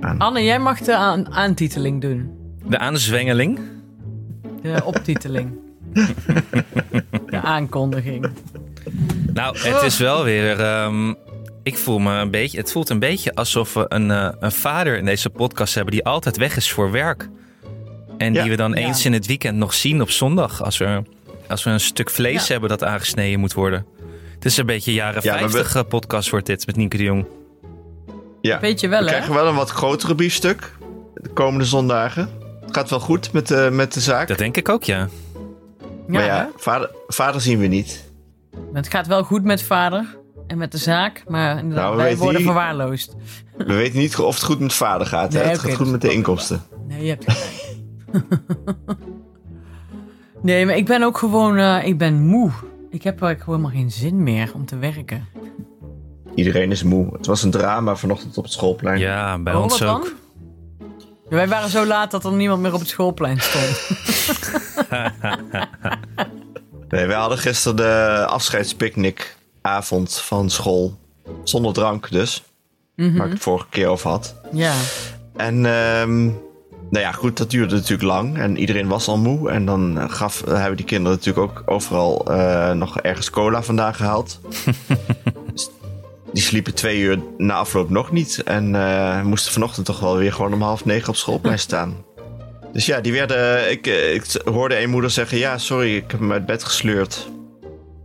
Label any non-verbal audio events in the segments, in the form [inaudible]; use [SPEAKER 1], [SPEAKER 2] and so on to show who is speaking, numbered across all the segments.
[SPEAKER 1] aan.
[SPEAKER 2] Anne, jij mag de aan- aantiteling doen.
[SPEAKER 3] De aanzwengeling.
[SPEAKER 1] [laughs]
[SPEAKER 2] De optiteling. de aankondiging.
[SPEAKER 3] Nou,
[SPEAKER 1] Oh.
[SPEAKER 3] het is wel weer. ehm, ik voel me een beetje. Het voelt een beetje alsof we een, eh, een vader in deze podcast hebben die altijd weg is voor werk. En
[SPEAKER 1] Ja.
[SPEAKER 3] die we dan
[SPEAKER 2] Ja.
[SPEAKER 3] eens in het weekend nog zien op zondag. Als we, als we een stuk vlees
[SPEAKER 2] Ja.
[SPEAKER 3] hebben dat aangesneden moet worden. Het is een beetje jaren
[SPEAKER 1] Ja, maar we-
[SPEAKER 3] 50 eh, podcast wordt dit met Nienke de Jong.
[SPEAKER 1] Ja.
[SPEAKER 2] Weet je wel,
[SPEAKER 1] we
[SPEAKER 2] hè?
[SPEAKER 1] krijgen wel een wat grotere biefstuk de komende zondagen. Het gaat wel goed met de, met de zaak.
[SPEAKER 3] Dat denk ik ook, ja.
[SPEAKER 1] maar
[SPEAKER 2] hè?
[SPEAKER 1] ja, vader, vader zien we niet.
[SPEAKER 2] Het gaat wel goed met vader en met de zaak, maar inderdaad,
[SPEAKER 1] Nou,
[SPEAKER 2] wij
[SPEAKER 1] weet
[SPEAKER 2] worden
[SPEAKER 1] die-
[SPEAKER 2] verwaarloosd.
[SPEAKER 1] We weten niet of het goed met vader gaat.
[SPEAKER 2] Nee,
[SPEAKER 1] hè? Het
[SPEAKER 2] oké,
[SPEAKER 1] gaat
[SPEAKER 2] dat
[SPEAKER 1] goed
[SPEAKER 2] is
[SPEAKER 1] met de inkomsten.
[SPEAKER 2] Nee, je hebt gelijk. [laughs] nee, maar ik ben ook gewoon, eh, ik ben moe. Ik heb eigenlijk gewoon helemaal geen zin meer om te werken.
[SPEAKER 1] Iedereen is moe. Het was een drama vanochtend op het schoolplein.
[SPEAKER 3] Ja, bij
[SPEAKER 2] Oh,
[SPEAKER 3] ons
[SPEAKER 2] wat
[SPEAKER 3] ook.
[SPEAKER 2] dan? Ja, wij waren zo laat dat er niemand meer op het schoolplein stond.
[SPEAKER 1] Nee, wij hadden gisteren de afscheidspicknickavond van school. Zonder drank dus.
[SPEAKER 2] Mhm.
[SPEAKER 1] Waar ik het vorige keer over had.
[SPEAKER 2] ja,
[SPEAKER 1] En ehm, nou ja, goed, dat duurde natuurlijk lang. En iedereen was al moe. En dan eh, gaf, eh, hebben die kinderen natuurlijk ook overal eh, nog ergens cola vandaan gehaald. Dus die sliepen twee uur na afloop nog niet. En eh, moesten vanochtend toch wel weer gewoon om half negen op schoolplein staan. Dus ja, die werden. Ik, eh, ik hoorde een moeder zeggen: Ja, sorry, ik heb hem uit bed gesleurd.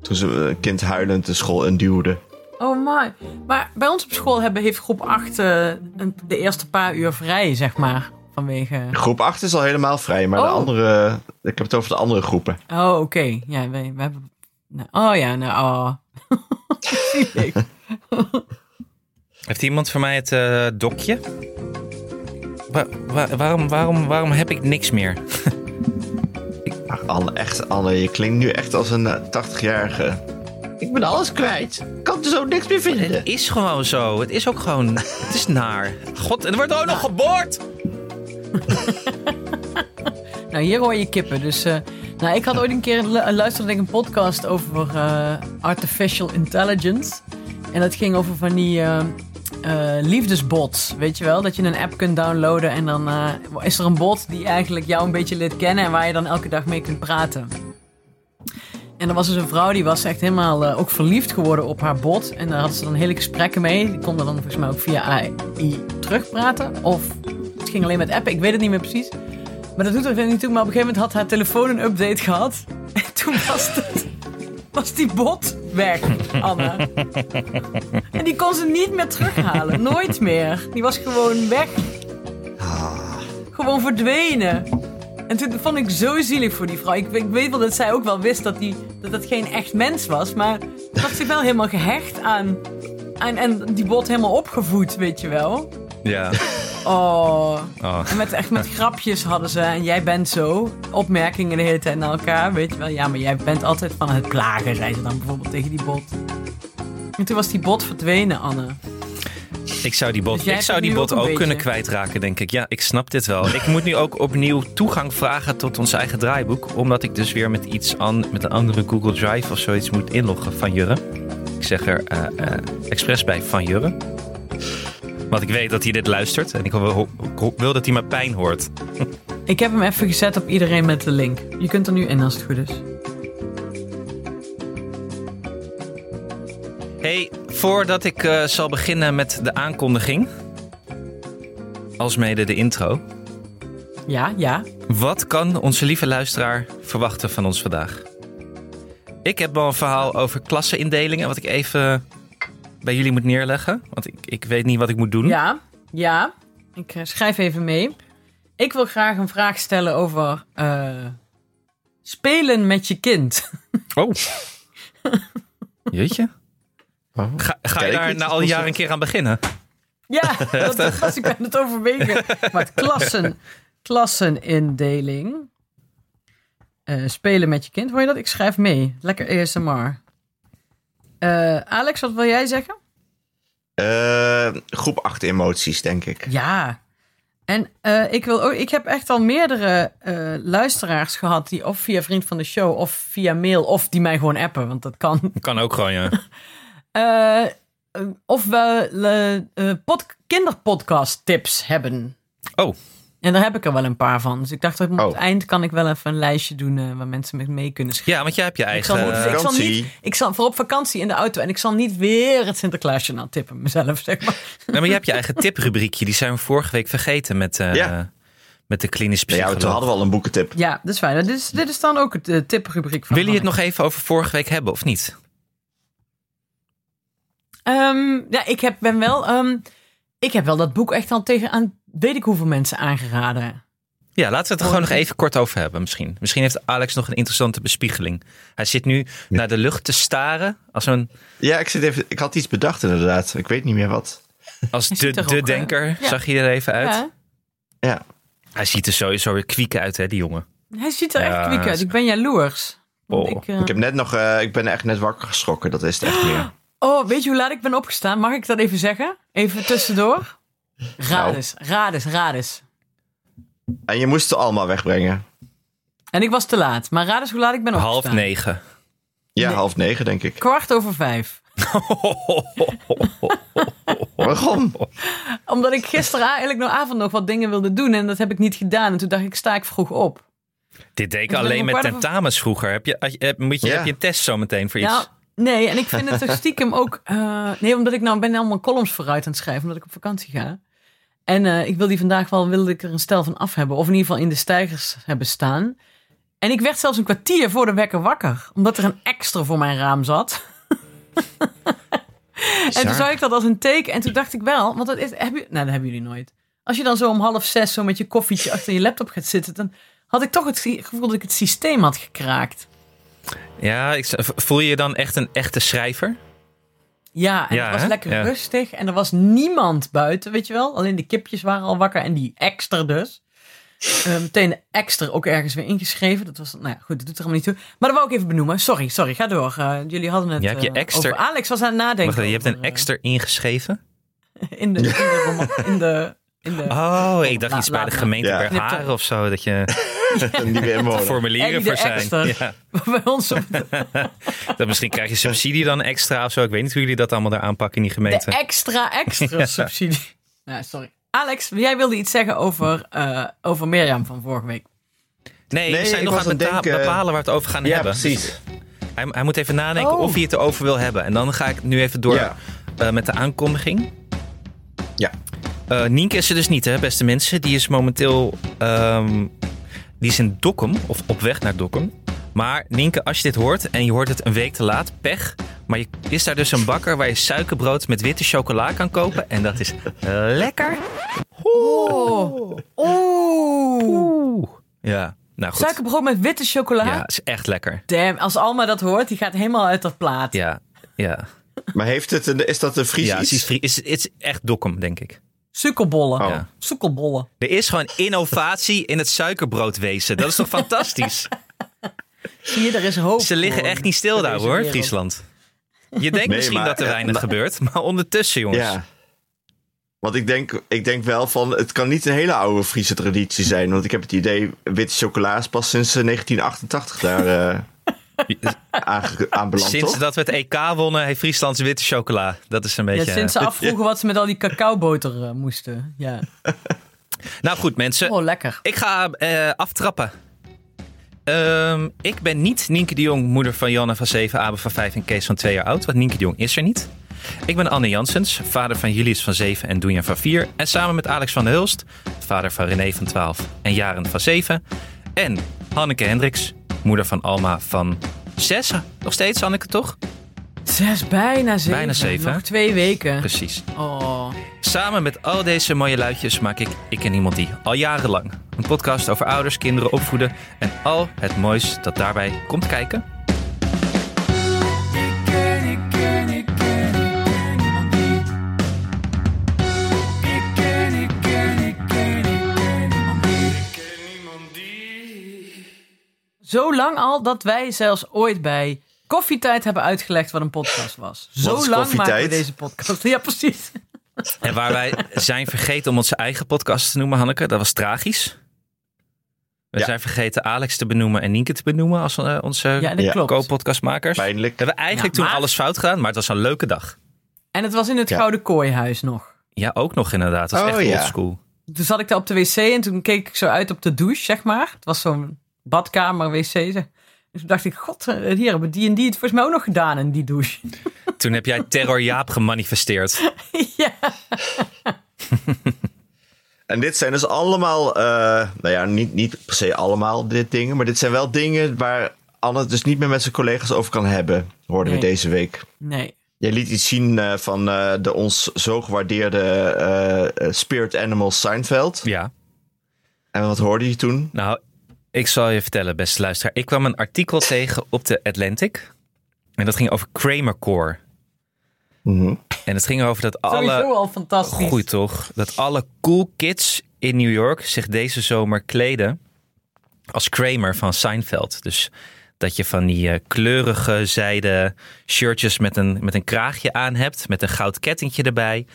[SPEAKER 1] Toen ze eh, een kind huilend de school induwde.
[SPEAKER 2] Oh my. Maar bij ons op school hebben, heeft groep 8 eh, een- de eerste paar uur vrij, zeg maar. Vanwege...
[SPEAKER 1] Groep 8 is al helemaal vrij, maar de
[SPEAKER 2] Oh.
[SPEAKER 1] andere. Ik heb het over de andere groepen.
[SPEAKER 2] Oh, oké. Ja, we, we hebben... nou, oh ja, nou... Oh. [laughs] Zielig.
[SPEAKER 3] Heeft iemand voor mij het eh, dokje? Wa- wa- waarom, waarom, waarom heb ik niks meer?
[SPEAKER 1] Ach, Anne, echt, Anne, je klinkt nu echt als een eh, 80-jarige. Ik ben alles kwijt. Ik kan er zo niks meer vinden.
[SPEAKER 3] Het is gewoon zo. Het is ook gewoon. Het is naar. God, en er wordt er ook nog geboord.
[SPEAKER 2] Nou, hier hoor je kippen. Dus, eh, nou, ik had ooit een keer lu- luisterde ik een podcast over eh, artificial intelligence. En dat ging over van die eh, eh, liefdesbots. Weet je wel? Dat je een app kunt downloaden en dan eh, is er een bot die eigenlijk jou een beetje leert kennen en waar je dan elke dag mee kunt praten. En er was dus een vrouw die was echt helemaal eh, ook verliefd geworden op haar bot. En daar had ze dan hele gesprekken mee. Die konden dan volgens mij ook via AI terugpraten. Of het ging alleen met appen, ik weet het niet meer precies. Maar dat doet er verder niet toe. Maar op een gegeven moment had haar telefoon een update gehad. [laughs] En toen was, het, was die bot weg, Anne. En die kon ze niet meer terughalen. Nooit meer. Die was gewoon weg. Gewoon verdwenen. En toen vond ik zo zielig voor die vrouw. Ik, ik weet wel dat zij ook wel wist dat, die, dat dat geen echt mens was. Maar ze had zich wel helemaal gehecht aan... aan en die bot helemaal opgevoed, weet je wel.
[SPEAKER 3] Ja.
[SPEAKER 2] Oh...
[SPEAKER 3] Oh.
[SPEAKER 2] En met, echt met grapjes hadden ze. En jij bent zo. Opmerkingen de hele tijd naar elkaar. Weet je wel. Ja, maar jij bent altijd van het klagen, zei ze dan bijvoorbeeld tegen die bot. En toen was die bot verdwenen, Anne.
[SPEAKER 3] Ik zou die bot,
[SPEAKER 2] Dus jij
[SPEAKER 3] ik
[SPEAKER 2] hebt
[SPEAKER 3] zou
[SPEAKER 2] het
[SPEAKER 3] die
[SPEAKER 2] nu
[SPEAKER 3] bot
[SPEAKER 2] ook
[SPEAKER 3] ook,
[SPEAKER 2] een
[SPEAKER 3] kunnen
[SPEAKER 2] beetje.
[SPEAKER 3] kwijtraken, denk ik. Ja, ik snap dit wel. Ik moet nu ook opnieuw toegang vragen tot ons eigen draaiboek. Omdat ik dus weer met iets aan, met een andere Google Drive of zoiets moet inloggen van Jurre. Ik zeg er eh, eh, expres bij van Jurre. Want ik weet dat hij dit luistert. En ik wil, ik wil dat hij mijn pijn hoort.
[SPEAKER 2] Ik heb hem even gezet op iedereen met de link. Je kunt er nu in als het goed is.
[SPEAKER 3] Hey, voordat ik eh, zal beginnen met de aankondiging, alsmede de intro.
[SPEAKER 2] Ja, ja.
[SPEAKER 3] Wat kan onze lieve luisteraar verwachten van ons vandaag? Ik heb wel een verhaal over klassenindelingen, wat ik even bij jullie moet neerleggen. Want ik, ik weet niet wat ik moet doen.
[SPEAKER 2] Ja, ja. Ik eh, schrijf even mee. Ik wil graag een vraag stellen over. eh, spelen met je kind. [laughs]
[SPEAKER 3] Oh. Jeetje.
[SPEAKER 1] Oh.
[SPEAKER 3] Ga, ga je
[SPEAKER 1] Kijk,
[SPEAKER 3] daar
[SPEAKER 1] het
[SPEAKER 3] na
[SPEAKER 1] is
[SPEAKER 3] al die
[SPEAKER 1] ons-
[SPEAKER 3] jaren een keer aan beginnen?
[SPEAKER 2] Ja, dat, dat was ik aan het overwegen. Maar het klassen, klassenindeling. Eh, spelen met je kind, hoor je dat? Ik schrijf mee. Lekker ASMR. Eh, Alex, wat wil jij zeggen?
[SPEAKER 1] Eh, groep 8 emoties, denk ik.
[SPEAKER 2] Ja. En eh, ik, wil ook, ik heb echt al meerdere eh, luisteraars gehad die of via vriend van de show of via mail of die mij gewoon appen, want dat kan.
[SPEAKER 3] Kan ook gewoon, ja.
[SPEAKER 2] Eh, eh, of we eh, eh, pod- kinderpodcast tips hebben.
[SPEAKER 3] Oh.
[SPEAKER 2] En daar heb ik er wel een paar van. Dus ik dacht, op het
[SPEAKER 1] Oh.
[SPEAKER 2] eind kan ik wel even een lijstje doen eh, waar mensen met mee kunnen schrijven.
[SPEAKER 3] Ja, want jij hebt je eigen...
[SPEAKER 2] zal moeten
[SPEAKER 3] eh,
[SPEAKER 2] zeggen- zal niet-
[SPEAKER 1] Vakantie.
[SPEAKER 2] Ik zal voor op vakantie in de auto en ik zal niet weer het Sinterklaasje nou tippen mezelf, zeg maar.
[SPEAKER 3] nee, maar jij hebt je eigen tiprubriekje. Die zijn we vorige week vergeten met, eh,
[SPEAKER 1] Ja.
[SPEAKER 3] met de klinisch
[SPEAKER 1] Nee, ja,
[SPEAKER 3] psycholoog.
[SPEAKER 1] toen hadden we al een boekentip.
[SPEAKER 2] Ja, dat is fijn. Dit is, dit is dan ook het eh, tiprubriek van
[SPEAKER 3] Wil je het
[SPEAKER 2] Mark.
[SPEAKER 3] nog even over vorige week hebben of niet?
[SPEAKER 2] Ehm, ja, ik heb, ben wel... ehm, ik heb wel dat boek echt al tegen aan weet ik hoeveel mensen aangeraden.
[SPEAKER 3] Ja, laten we het
[SPEAKER 2] Oh,
[SPEAKER 3] er gewoon nog
[SPEAKER 2] dat-
[SPEAKER 3] even kort over hebben misschien. Misschien heeft Alex nog een interessante bespiegeling. Hij zit nu naar de lucht te staren als, een,
[SPEAKER 1] Ja, ik, zit even, ik had iets bedacht inderdaad. Ik weet niet meer wat.
[SPEAKER 3] als de,
[SPEAKER 2] zit er ook,
[SPEAKER 3] de
[SPEAKER 2] hè?
[SPEAKER 3] denker.
[SPEAKER 2] Ja.
[SPEAKER 3] Zag je er even uit?
[SPEAKER 2] Ja,
[SPEAKER 1] Ja.
[SPEAKER 3] Hij ziet er sowieso weer kwiek uit, hè, die jongen.
[SPEAKER 2] hij ziet er
[SPEAKER 3] Ja,
[SPEAKER 2] echt kwiek uit. Ik ben jaloers. Want
[SPEAKER 3] Oh,
[SPEAKER 2] eh,
[SPEAKER 1] Ik, heb net nog, eh, ik ben echt net wakker geschrokken. Dat is het echt meer.
[SPEAKER 2] Oh, weet je hoe laat ik ben opgestaan? Mag ik dat even zeggen? Even tussendoor. Raad
[SPEAKER 1] Nou.
[SPEAKER 2] eens, raad eens, raad eens.
[SPEAKER 1] En je moest de Alma wegbrengen.
[SPEAKER 2] En ik was te laat, maar raad eens hoe laat ik ben opgestaan.
[SPEAKER 3] Half negen.
[SPEAKER 1] Ja,
[SPEAKER 2] Nee.
[SPEAKER 1] half negen denk ik.
[SPEAKER 2] Kwart over vijf.
[SPEAKER 1] Waarom?
[SPEAKER 2] Omdat
[SPEAKER 3] [laughs]
[SPEAKER 2] ik gisteren eigenlijk nog avond nog wat dingen wilde doen en dat heb ik niet gedaan. En toen dacht ik, sta ik vroeg op.
[SPEAKER 3] Dit deed ik
[SPEAKER 2] ben
[SPEAKER 3] alleen
[SPEAKER 2] om
[SPEAKER 3] met
[SPEAKER 2] kwart over-
[SPEAKER 3] tentamens vroeger. Heb je, had je- heb- moet je,
[SPEAKER 1] Ja.
[SPEAKER 3] heb je een test zometeen voor iets?
[SPEAKER 2] Nou, nee, en ik vind het toch
[SPEAKER 3] [laughs]
[SPEAKER 2] stiekem ook... eh, nee, omdat ik nou ben allemaal columns vooruit aan het schrijven, omdat ik op vakantie ga. En eh, ik wil die vandaag wel, wilde ik er een stel van af hebben. Of in ieder geval in de stijgers hebben staan. En ik werd zelfs een kwartier voor de wekker wakker. Omdat er een extra voor mijn raam zat. [laughs] en toen zag ik dat als een teken. En toen dacht ik wel, want dat is, heb je, nou, dat hebben jullie nooit. Als je dan zo om half zes zo met je koffietje achter je laptop gaat zitten, dan had ik toch het gevoel dat ik het systeem had gekraakt.
[SPEAKER 3] Ja, ik, voel je je dan echt een echte schrijver?
[SPEAKER 2] Ja, en
[SPEAKER 3] Ja,
[SPEAKER 2] het was
[SPEAKER 3] hè?
[SPEAKER 2] lekker
[SPEAKER 3] Ja.
[SPEAKER 2] rustig en er was niemand buiten, weet je wel. Alleen de kipjes waren al wakker en die extra dus. Eh, meteen de extra ook ergens weer ingeschreven. Dat was, nou ja, goed, dat doet er allemaal niet toe. Maar dat wou ik even benoemen. Sorry, sorry, ga door. Eh, jullie hadden het
[SPEAKER 3] Je hebt je
[SPEAKER 2] eh,
[SPEAKER 3] extra-
[SPEAKER 2] over Alex was aan het nadenken.
[SPEAKER 3] Wacht, je hebt
[SPEAKER 2] over,
[SPEAKER 3] een
[SPEAKER 2] eh,
[SPEAKER 3] extra ingeschreven?
[SPEAKER 2] in
[SPEAKER 3] [laughs]
[SPEAKER 2] de, in de, roman- in de, in de
[SPEAKER 3] Oh, ik dacht
[SPEAKER 2] laat-
[SPEAKER 3] iets bij de
[SPEAKER 2] laat
[SPEAKER 3] gemeente
[SPEAKER 1] maar. Ja.
[SPEAKER 3] Bergharen of
[SPEAKER 2] [laughs]
[SPEAKER 3] zo. Dat je
[SPEAKER 1] [laughs] [laughs] Niet meer inwonen.
[SPEAKER 3] formulieren
[SPEAKER 2] En
[SPEAKER 3] voor
[SPEAKER 2] de
[SPEAKER 3] zijn.
[SPEAKER 2] extra.
[SPEAKER 3] Ja.
[SPEAKER 2] [laughs] bij ons op de,
[SPEAKER 3] Dat misschien krijg je subsidie dan extra of zo. Ik weet niet hoe jullie dat allemaal daar aanpakken in die
[SPEAKER 2] de
[SPEAKER 3] gemeente.
[SPEAKER 2] extra
[SPEAKER 3] [laughs]
[SPEAKER 2] extra subsidie. Nou, sorry. Alex, jij wilde iets zeggen over, eh, over Mirjam van vorige week.
[SPEAKER 3] Nee, we
[SPEAKER 1] Nee,
[SPEAKER 3] zijn
[SPEAKER 1] ik
[SPEAKER 3] nog aan
[SPEAKER 1] was
[SPEAKER 3] het
[SPEAKER 1] aan het
[SPEAKER 3] beta-
[SPEAKER 1] denken-
[SPEAKER 3] bepalen waar we het over gaan hebben. Hij, hij moet even nadenken
[SPEAKER 2] Oh.
[SPEAKER 3] of hij het erover wil hebben. En dan ga ik nu even door
[SPEAKER 1] Ja.
[SPEAKER 3] eh, met de aankondiging.
[SPEAKER 1] Ja.
[SPEAKER 3] Eh, Nienke is er dus niet, hè, beste mensen. Die is momenteel... ehm, die is in Dokkum, of op weg naar Dokkum. Maar Nienke, als je dit hoort en je hoort het een week te laat, pech. Maar je is daar dus een bakker waar je suikerbrood met witte chocola kan kopen. En dat is lekker.
[SPEAKER 2] Oh. Oeh.
[SPEAKER 3] Oeh. Ja, nou goed.
[SPEAKER 2] Suikerbrood met witte chocola.
[SPEAKER 3] Ja, is echt lekker.
[SPEAKER 2] Damn, als Alma dat hoort, die gaat helemaal uit dat plaat.
[SPEAKER 3] Ja, ja.
[SPEAKER 1] Maar heeft het een, is dat een Fries
[SPEAKER 3] Ja,
[SPEAKER 1] iets?
[SPEAKER 3] het is, vri- is, het is echt dokkum, denk ik.
[SPEAKER 2] Sukkelbollen.
[SPEAKER 1] Oh.
[SPEAKER 3] Ja.
[SPEAKER 2] Sukkelbollen.
[SPEAKER 3] Er is gewoon innovatie in het suikerbroodwezen. Dat is toch fantastisch?
[SPEAKER 2] Zie je, er is hoop.
[SPEAKER 3] Ze liggen
[SPEAKER 2] voor-
[SPEAKER 3] echt niet stil
[SPEAKER 2] voor
[SPEAKER 3] daar
[SPEAKER 2] deze
[SPEAKER 3] hoor,
[SPEAKER 2] wereld.
[SPEAKER 3] Friesland. Je
[SPEAKER 1] Nee,
[SPEAKER 3] denkt misschien
[SPEAKER 1] maar- eh,
[SPEAKER 3] dat er weinig
[SPEAKER 1] maar-
[SPEAKER 3] gebeurt, maar ondertussen jongens.
[SPEAKER 1] Ja. Want ik denk, ik denk wel van, het kan niet een hele oude Friese traditie zijn. Want ik heb het idee, witte chocola is pas sinds eh, 1988 daar eh,
[SPEAKER 3] [laughs]
[SPEAKER 1] aange- aanbeland,
[SPEAKER 3] Sinds
[SPEAKER 1] toch?
[SPEAKER 3] dat we het EK wonnen heeft Friesland witte chocola. Dat is een
[SPEAKER 2] Ja,
[SPEAKER 3] beetje...
[SPEAKER 2] sinds ze afvroegen wat ze met al die cacaoboter eh, moesten. Ja.
[SPEAKER 3] Nou goed mensen,
[SPEAKER 2] Oh, lekker.
[SPEAKER 3] ik ga eh, aftrappen. Ehm, ik ben niet Nienke de Jong, moeder van Janne van 7, Abe van 5 en Kees van 2 jaar oud. Want Nienke de Jong is er niet. Ik ben Anne Janssens, vader van Julius van 7 en Doenja van 4. En samen met Alex van der Hulst, vader van René van 12 en Jaren van 7. En Hanneke Hendricks, moeder van Alma van 6. Nog steeds Hanneke, toch?
[SPEAKER 2] Zes, bijna zeven.
[SPEAKER 3] Bijna zeven,
[SPEAKER 2] Nog
[SPEAKER 3] hè?
[SPEAKER 2] twee weken.
[SPEAKER 3] Precies.
[SPEAKER 2] Oh.
[SPEAKER 3] Samen met al deze mooie luidjes maak ik Ik en Iemand Die al jarenlang. Een podcast over ouders, kinderen, opvoeden en al het moois dat daarbij komt kijken.
[SPEAKER 2] Zo lang al dat wij zelfs ooit bij Koffietijd hebben uitgelegd wat een podcast was.
[SPEAKER 1] Wat
[SPEAKER 2] Zo
[SPEAKER 1] is
[SPEAKER 2] lang maken we
[SPEAKER 1] Koffietijd?
[SPEAKER 2] deze podcast. [laughs] Ja, precies.
[SPEAKER 3] En waar
[SPEAKER 2] [laughs]
[SPEAKER 3] wij zijn vergeten om onze eigen podcast te noemen, Hanneke. Dat was tragisch. We
[SPEAKER 1] Ja.
[SPEAKER 3] zijn vergeten Alex te benoemen en Nienke te benoemen als eh, onze
[SPEAKER 2] Ja, dat
[SPEAKER 1] Ja,
[SPEAKER 2] klopt.
[SPEAKER 3] co-podcastmakers. We
[SPEAKER 1] Pijnlijk.
[SPEAKER 3] hebben eigenlijk
[SPEAKER 2] Ja,
[SPEAKER 3] toen
[SPEAKER 2] maar-
[SPEAKER 3] alles fout gedaan, maar het was een leuke dag.
[SPEAKER 2] En het was in het
[SPEAKER 1] Ja.
[SPEAKER 2] Gouden Kooihuis nog.
[SPEAKER 3] Ja, ook nog inderdaad. Dat is
[SPEAKER 1] Oh,
[SPEAKER 3] echt
[SPEAKER 1] ja.
[SPEAKER 3] oldschool.
[SPEAKER 2] Toen zat ik daar op de wc en toen keek ik zo uit op de douche, zeg maar. Het was zo'n badkamer, wc. Zeg. Dus toen dacht ik, god, eh, hier hebben die en die het volgens mij ook nog gedaan in die douche. [laughs]
[SPEAKER 3] Toen heb jij Terror Jaap gemanifesteerd.
[SPEAKER 2] ja.
[SPEAKER 1] En dit zijn dus allemaal, eh, nou ja, niet, niet per se allemaal dit dingen, maar dit zijn wel dingen waar Anne het dus niet meer met zijn collega's over kan hebben, hoorden we
[SPEAKER 2] Nee.
[SPEAKER 1] deze week.
[SPEAKER 2] Nee.
[SPEAKER 1] Jij liet iets zien eh, van eh, de ons zo gewaardeerde eh, eh, Spirit Animal Seinfeld.
[SPEAKER 3] Ja.
[SPEAKER 1] En wat hoorde je toen?
[SPEAKER 3] Nou, ik zal je vertellen, beste luisteraar. Ik kwam een artikel tegen op de Atlantic. En dat ging over Kramer Core.
[SPEAKER 1] Mhm.
[SPEAKER 3] En het ging erover dat alle...
[SPEAKER 2] Sowieso al fantastisch.
[SPEAKER 3] Goed toch? Dat alle cool kids in New York zich deze zomer kleden als Kramer van Seinfeld. Dus dat je van die eh, kleurige zijde shirtjes met een, met een kraagje aan hebt. Met een goud kettingje erbij.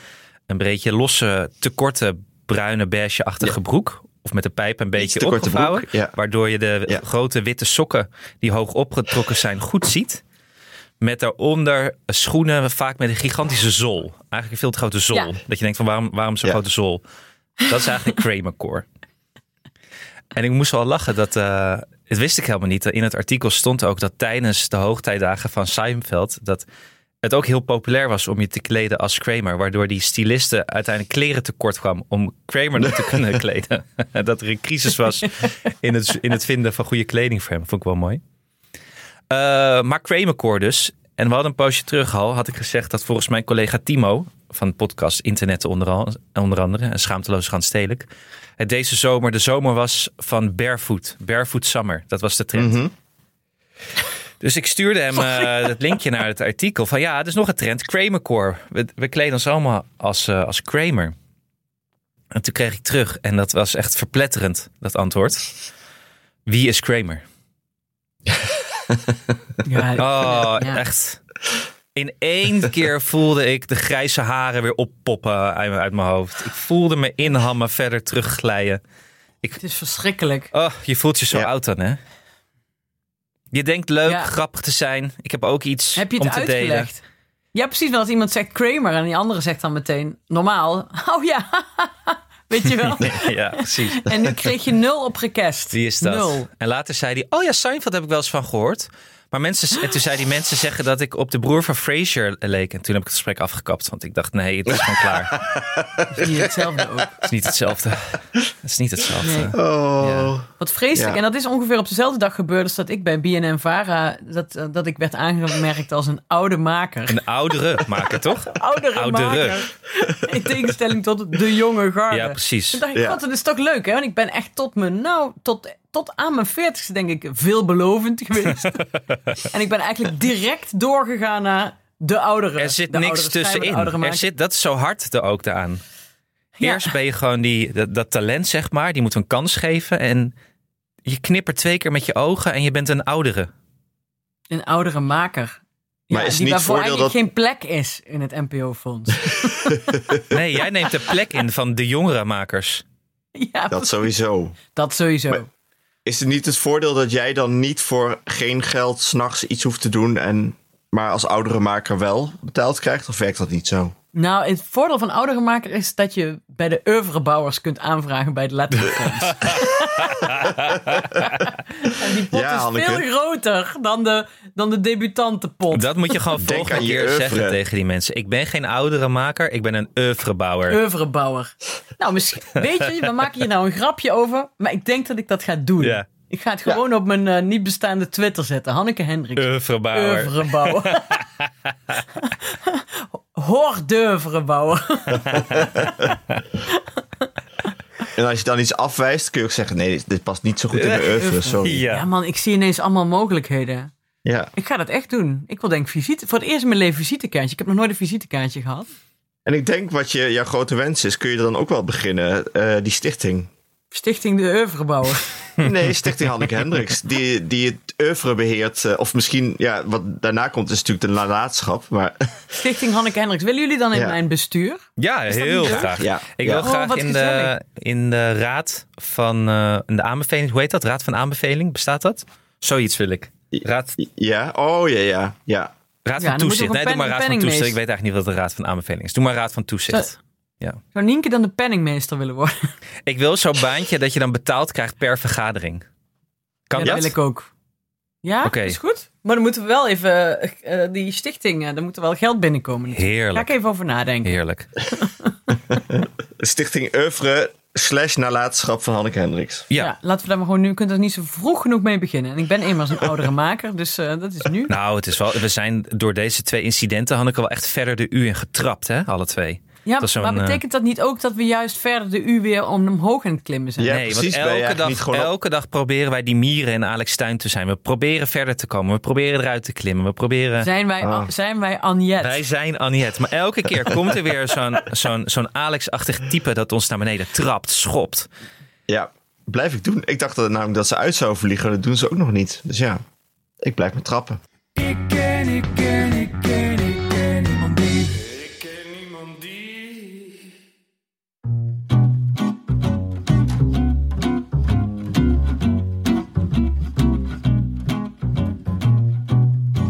[SPEAKER 3] Een beetje losse, te korte, bruine beige-achtige broek. Of met de pijp een beetje
[SPEAKER 1] te korte
[SPEAKER 3] opgevouwen.
[SPEAKER 1] broek, ja.
[SPEAKER 3] Waardoor je de
[SPEAKER 1] Ja.
[SPEAKER 3] grote witte sokken die hoog opgetrokken zijn goed ziet. Met daaronder schoenen, vaak met een gigantische zool. Eigenlijk een veel te grote zool.
[SPEAKER 2] Ja.
[SPEAKER 3] Dat je denkt van waarom, waarom zo'n
[SPEAKER 1] Ja.
[SPEAKER 3] grote zool? Dat is eigenlijk Kramer Core. En ik moest wel lachen dat, eh, het wist ik helemaal niet. In het artikel stond ook dat tijdens de hoogtijdagen van Seinfeld, dat het ook heel populair was om je te kleden als Kramer. Waardoor die stylisten uiteindelijk kleren tekort kwam om Kramer nog te kunnen kleden. [laughs] dat er een crisis was in het, in het vinden van goede kleding voor hem. Vond ik wel mooi. Eh, maar Kramercore dus. En we hadden een poosje terug al, had ik gezegd dat volgens mijn collega Timo van de podcast Internet onder, al- onder andere en Schaamteloos gaan stedelijk. Het deze zomer de zomer was van barefoot. Barefoot summer. Dat was de trend. Dus ik stuurde hem eh, het linkje naar het artikel van ja, er is nog een trend, Kramercore. We, we kleden ons allemaal als, eh, als Kramer. En toen kreeg ik terug en dat was echt verpletterend, dat antwoord. Wie is Kramer? [laughs]
[SPEAKER 2] Ja,
[SPEAKER 3] Oh,
[SPEAKER 2] Ja.
[SPEAKER 3] echt. In
[SPEAKER 2] [laughs]
[SPEAKER 3] één keer voelde ik de grijze haren weer oppoppen uit uit mijn hoofd. Ik voelde me inhammen, verder terugglijden.
[SPEAKER 2] Het is verschrikkelijk.
[SPEAKER 3] Oh, je voelt je zo
[SPEAKER 1] Ja.
[SPEAKER 3] oud dan, hè? Je denkt leuk,
[SPEAKER 2] Ja.
[SPEAKER 3] grappig te zijn. Ik heb ook iets
[SPEAKER 2] Heb je
[SPEAKER 3] om
[SPEAKER 2] het
[SPEAKER 3] te delen.
[SPEAKER 2] uitgelegd? Ja, precies. Want als iemand zegt Kramer en die andere zegt dan meteen normaal. [laughs] Oh ja, weet je wel.
[SPEAKER 3] [laughs] Ja, precies.
[SPEAKER 2] En nu kreeg je nul op request.
[SPEAKER 3] Die is dat.
[SPEAKER 2] Nul.
[SPEAKER 3] En later zei hij, oh ja, Seinfeld heb ik wel eens van gehoord. Maar mensen, en toen
[SPEAKER 2] [gasps]
[SPEAKER 3] zei die mensen zeggen dat ik op de broer van Frasier leek. En toen heb ik het gesprek afgekapt, want ik dacht, nee, het is gewoon klaar. Het
[SPEAKER 2] Die hetzelfde ook.
[SPEAKER 3] is niet
[SPEAKER 2] [laughs]
[SPEAKER 3] hetzelfde. Het is niet hetzelfde.
[SPEAKER 2] Nee.
[SPEAKER 1] Oh.
[SPEAKER 3] Ja.
[SPEAKER 2] Wat vreselijk.
[SPEAKER 1] Ja.
[SPEAKER 2] En dat is ongeveer op dezelfde dag gebeurd als dat ik bij BNN Vara. Dat, eh, dat ik werd aangemerkt als een oude maker.
[SPEAKER 3] Een oudere
[SPEAKER 2] [laughs]
[SPEAKER 3] maken, toch? [laughs]
[SPEAKER 2] Oudere,
[SPEAKER 3] oudere.
[SPEAKER 2] maker. [laughs] In tegenstelling tot de jonge garde.
[SPEAKER 3] Ja, precies.
[SPEAKER 2] Toen dacht ik,
[SPEAKER 1] Ja.
[SPEAKER 2] god, dat is toch leuk, hè? Want ik ben echt tot mijn, nou, tot, tot aan mijn veertigste, denk ik, veelbelovend
[SPEAKER 3] [laughs]
[SPEAKER 2] geweest. en ik ben eigenlijk direct doorgegaan naar de oudere.
[SPEAKER 3] Er zit
[SPEAKER 2] de
[SPEAKER 3] niks
[SPEAKER 2] oudere schrijver, de
[SPEAKER 3] tussenin.
[SPEAKER 2] oudere
[SPEAKER 3] Er
[SPEAKER 2] maker.
[SPEAKER 3] zit, dat is zo hard er ook aan.
[SPEAKER 2] Ja.
[SPEAKER 3] Eerst ben je gewoon die, dat, dat talent, zeg maar, die moet een kans geven. En je knippert twee keer met je ogen en je bent een oudere.
[SPEAKER 2] Een oudere maker. Ja,
[SPEAKER 1] Maar is
[SPEAKER 2] die
[SPEAKER 1] niet
[SPEAKER 2] waarvoor
[SPEAKER 1] voordeel
[SPEAKER 2] eigenlijk geen plek is in het NPO-fonds.
[SPEAKER 1] [laughs]
[SPEAKER 3] Nee, jij neemt de plek in van de jongere makers.
[SPEAKER 2] ja, dat,
[SPEAKER 1] Dat sowieso.
[SPEAKER 2] sowieso.
[SPEAKER 1] Is het niet het voordeel dat jij dan niet voor geen geld s'nachts iets hoeft te doen en maar als oudere maker wel betaald krijgt? Of werkt dat niet zo?
[SPEAKER 2] Nou, het voordeel van oudere maker is dat je bij de oeuvrebouwers kunt aanvragen bij het letterfonds. en die pot
[SPEAKER 1] Ja,
[SPEAKER 2] is
[SPEAKER 1] Hanneke.
[SPEAKER 2] veel groter dan de, dan de debutantenpot.
[SPEAKER 3] Dat moet je gewoon
[SPEAKER 1] [laughs] Denk
[SPEAKER 3] volgende
[SPEAKER 1] aan je
[SPEAKER 3] keer
[SPEAKER 1] oeuvre.
[SPEAKER 3] zeggen tegen die mensen. Ik ben geen oudere maker, ik ben een oeuvrebouwer.
[SPEAKER 2] Oeuvrebouwer. Nou, misschien, weet je, we maken hier nou een grapje over, maar ik denk dat ik dat ga doen.
[SPEAKER 3] Ja.
[SPEAKER 2] Ik ga het gewoon op mijn eh, niet bestaande Twitter zetten. Hanneke Hendricks.
[SPEAKER 3] Oeuvrebouwer.
[SPEAKER 2] Oeuvrebouwer. Hoor d'oeuvrebouwer.
[SPEAKER 1] En als je dan iets afwijst, kun je ook zeggen: nee, dit, dit past niet zo goed in de oeuvre, sorry.
[SPEAKER 3] Ja.
[SPEAKER 2] Ja man, ik zie ineens allemaal mogelijkheden.
[SPEAKER 1] Ja.
[SPEAKER 2] Ik ga dat echt doen. Ik wil denk ik visite. Voor het eerst in mijn leven visitekaartje. Ik heb nog nooit een visitekaartje gehad.
[SPEAKER 1] En ik denk wat je, jouw grote wens is, kun je dan ook wel beginnen, eh, die stichting.
[SPEAKER 2] Stichting de Oeuvrebouwer.
[SPEAKER 1] Nee, Stichting Hanneke Hendricks, die, die het oeuvre beheert. eh, of misschien, ja, wat daarna komt is natuurlijk de nalatenschap. Maar [laughs]
[SPEAKER 2] Stichting Hanneke Hendricks. Willen jullie dan in
[SPEAKER 1] Ja.
[SPEAKER 2] mijn bestuur?
[SPEAKER 3] Ja, heel
[SPEAKER 2] niet leuk?
[SPEAKER 3] graag.
[SPEAKER 1] Ja.
[SPEAKER 3] Ik
[SPEAKER 1] Ja.
[SPEAKER 3] wil
[SPEAKER 1] Oh,
[SPEAKER 3] graag
[SPEAKER 2] wat
[SPEAKER 3] in de,
[SPEAKER 2] gezellig.
[SPEAKER 3] in de raad van eh, in de aanbeveling. Hoe heet dat? Raad van aanbeveling? Bestaat dat? Zoiets wil ik. Raad.
[SPEAKER 1] ja, oh ja, ja, ja.
[SPEAKER 3] Raad
[SPEAKER 2] Ja,
[SPEAKER 3] van
[SPEAKER 2] dan moet je
[SPEAKER 3] Toezicht.
[SPEAKER 2] ook een
[SPEAKER 3] Nee, doe
[SPEAKER 2] pen-
[SPEAKER 3] maar Raad van
[SPEAKER 2] penningmeester.
[SPEAKER 3] Toezicht. Ik weet eigenlijk niet wat de Raad van Aanbeveling is. Doe maar Raad van Toezicht.
[SPEAKER 2] Zou Nienke dan de penningmeester willen worden?
[SPEAKER 3] Ik wil zo'n baantje dat je dan betaald krijgt per vergadering. Kan
[SPEAKER 2] ja,
[SPEAKER 3] dat?
[SPEAKER 2] wil ik ook. Ja,
[SPEAKER 3] Oké.
[SPEAKER 2] is goed. Maar dan moeten we wel even eh, eh, die stichting, eh, daar moet er wel geld binnenkomen. natuurlijk. Daar ga ik
[SPEAKER 3] Heerlijk.
[SPEAKER 2] even over nadenken.
[SPEAKER 3] Heerlijk.
[SPEAKER 1] Stichting Oeuvre slash nalatenschap van Hanneke Hendricks.
[SPEAKER 3] Ja.
[SPEAKER 2] Ja. laten we daar maar gewoon nu. Je kunt er niet zo vroeg genoeg mee beginnen. En ik ben
[SPEAKER 3] [laughs]
[SPEAKER 2] eenmaal een oudere maker, dus eh, dat is nu.
[SPEAKER 3] Nou, het is wel, we zijn door deze twee incidenten, Hanneke, wel echt verder de U in getrapt, hè? Alle twee.
[SPEAKER 2] ja,
[SPEAKER 3] dat is zo'n,
[SPEAKER 2] maar
[SPEAKER 3] eh,
[SPEAKER 2] betekent dat niet ook dat we juist verder de U weer om- omhoog aan het klimmen zijn?
[SPEAKER 1] Ja,
[SPEAKER 3] nee,
[SPEAKER 1] precies, ben je
[SPEAKER 3] want elke,
[SPEAKER 1] eigenlijk
[SPEAKER 3] dag,
[SPEAKER 1] niet gewoon op-
[SPEAKER 3] elke dag proberen wij die mieren in Alex Tuin te zijn. We proberen verder te komen. We proberen eruit te klimmen. We proberen...
[SPEAKER 2] Zijn wij,
[SPEAKER 1] Ah.
[SPEAKER 2] zijn wij Anjet?
[SPEAKER 3] Wij zijn Aniet. Maar elke keer komt er weer zo'n
[SPEAKER 2] [laughs]
[SPEAKER 3] zo'n zo'n Alex-achtig type dat ons naar beneden trapt, schopt.
[SPEAKER 1] Ja, blijf ik doen. Ik dacht dat, namelijk dat ze uit zou vliegen. Dat doen ze ook nog niet. Dus ja, ik blijf maar trappen.
[SPEAKER 4] Ik ken, ik ken, ik ken, ik ken niemand die.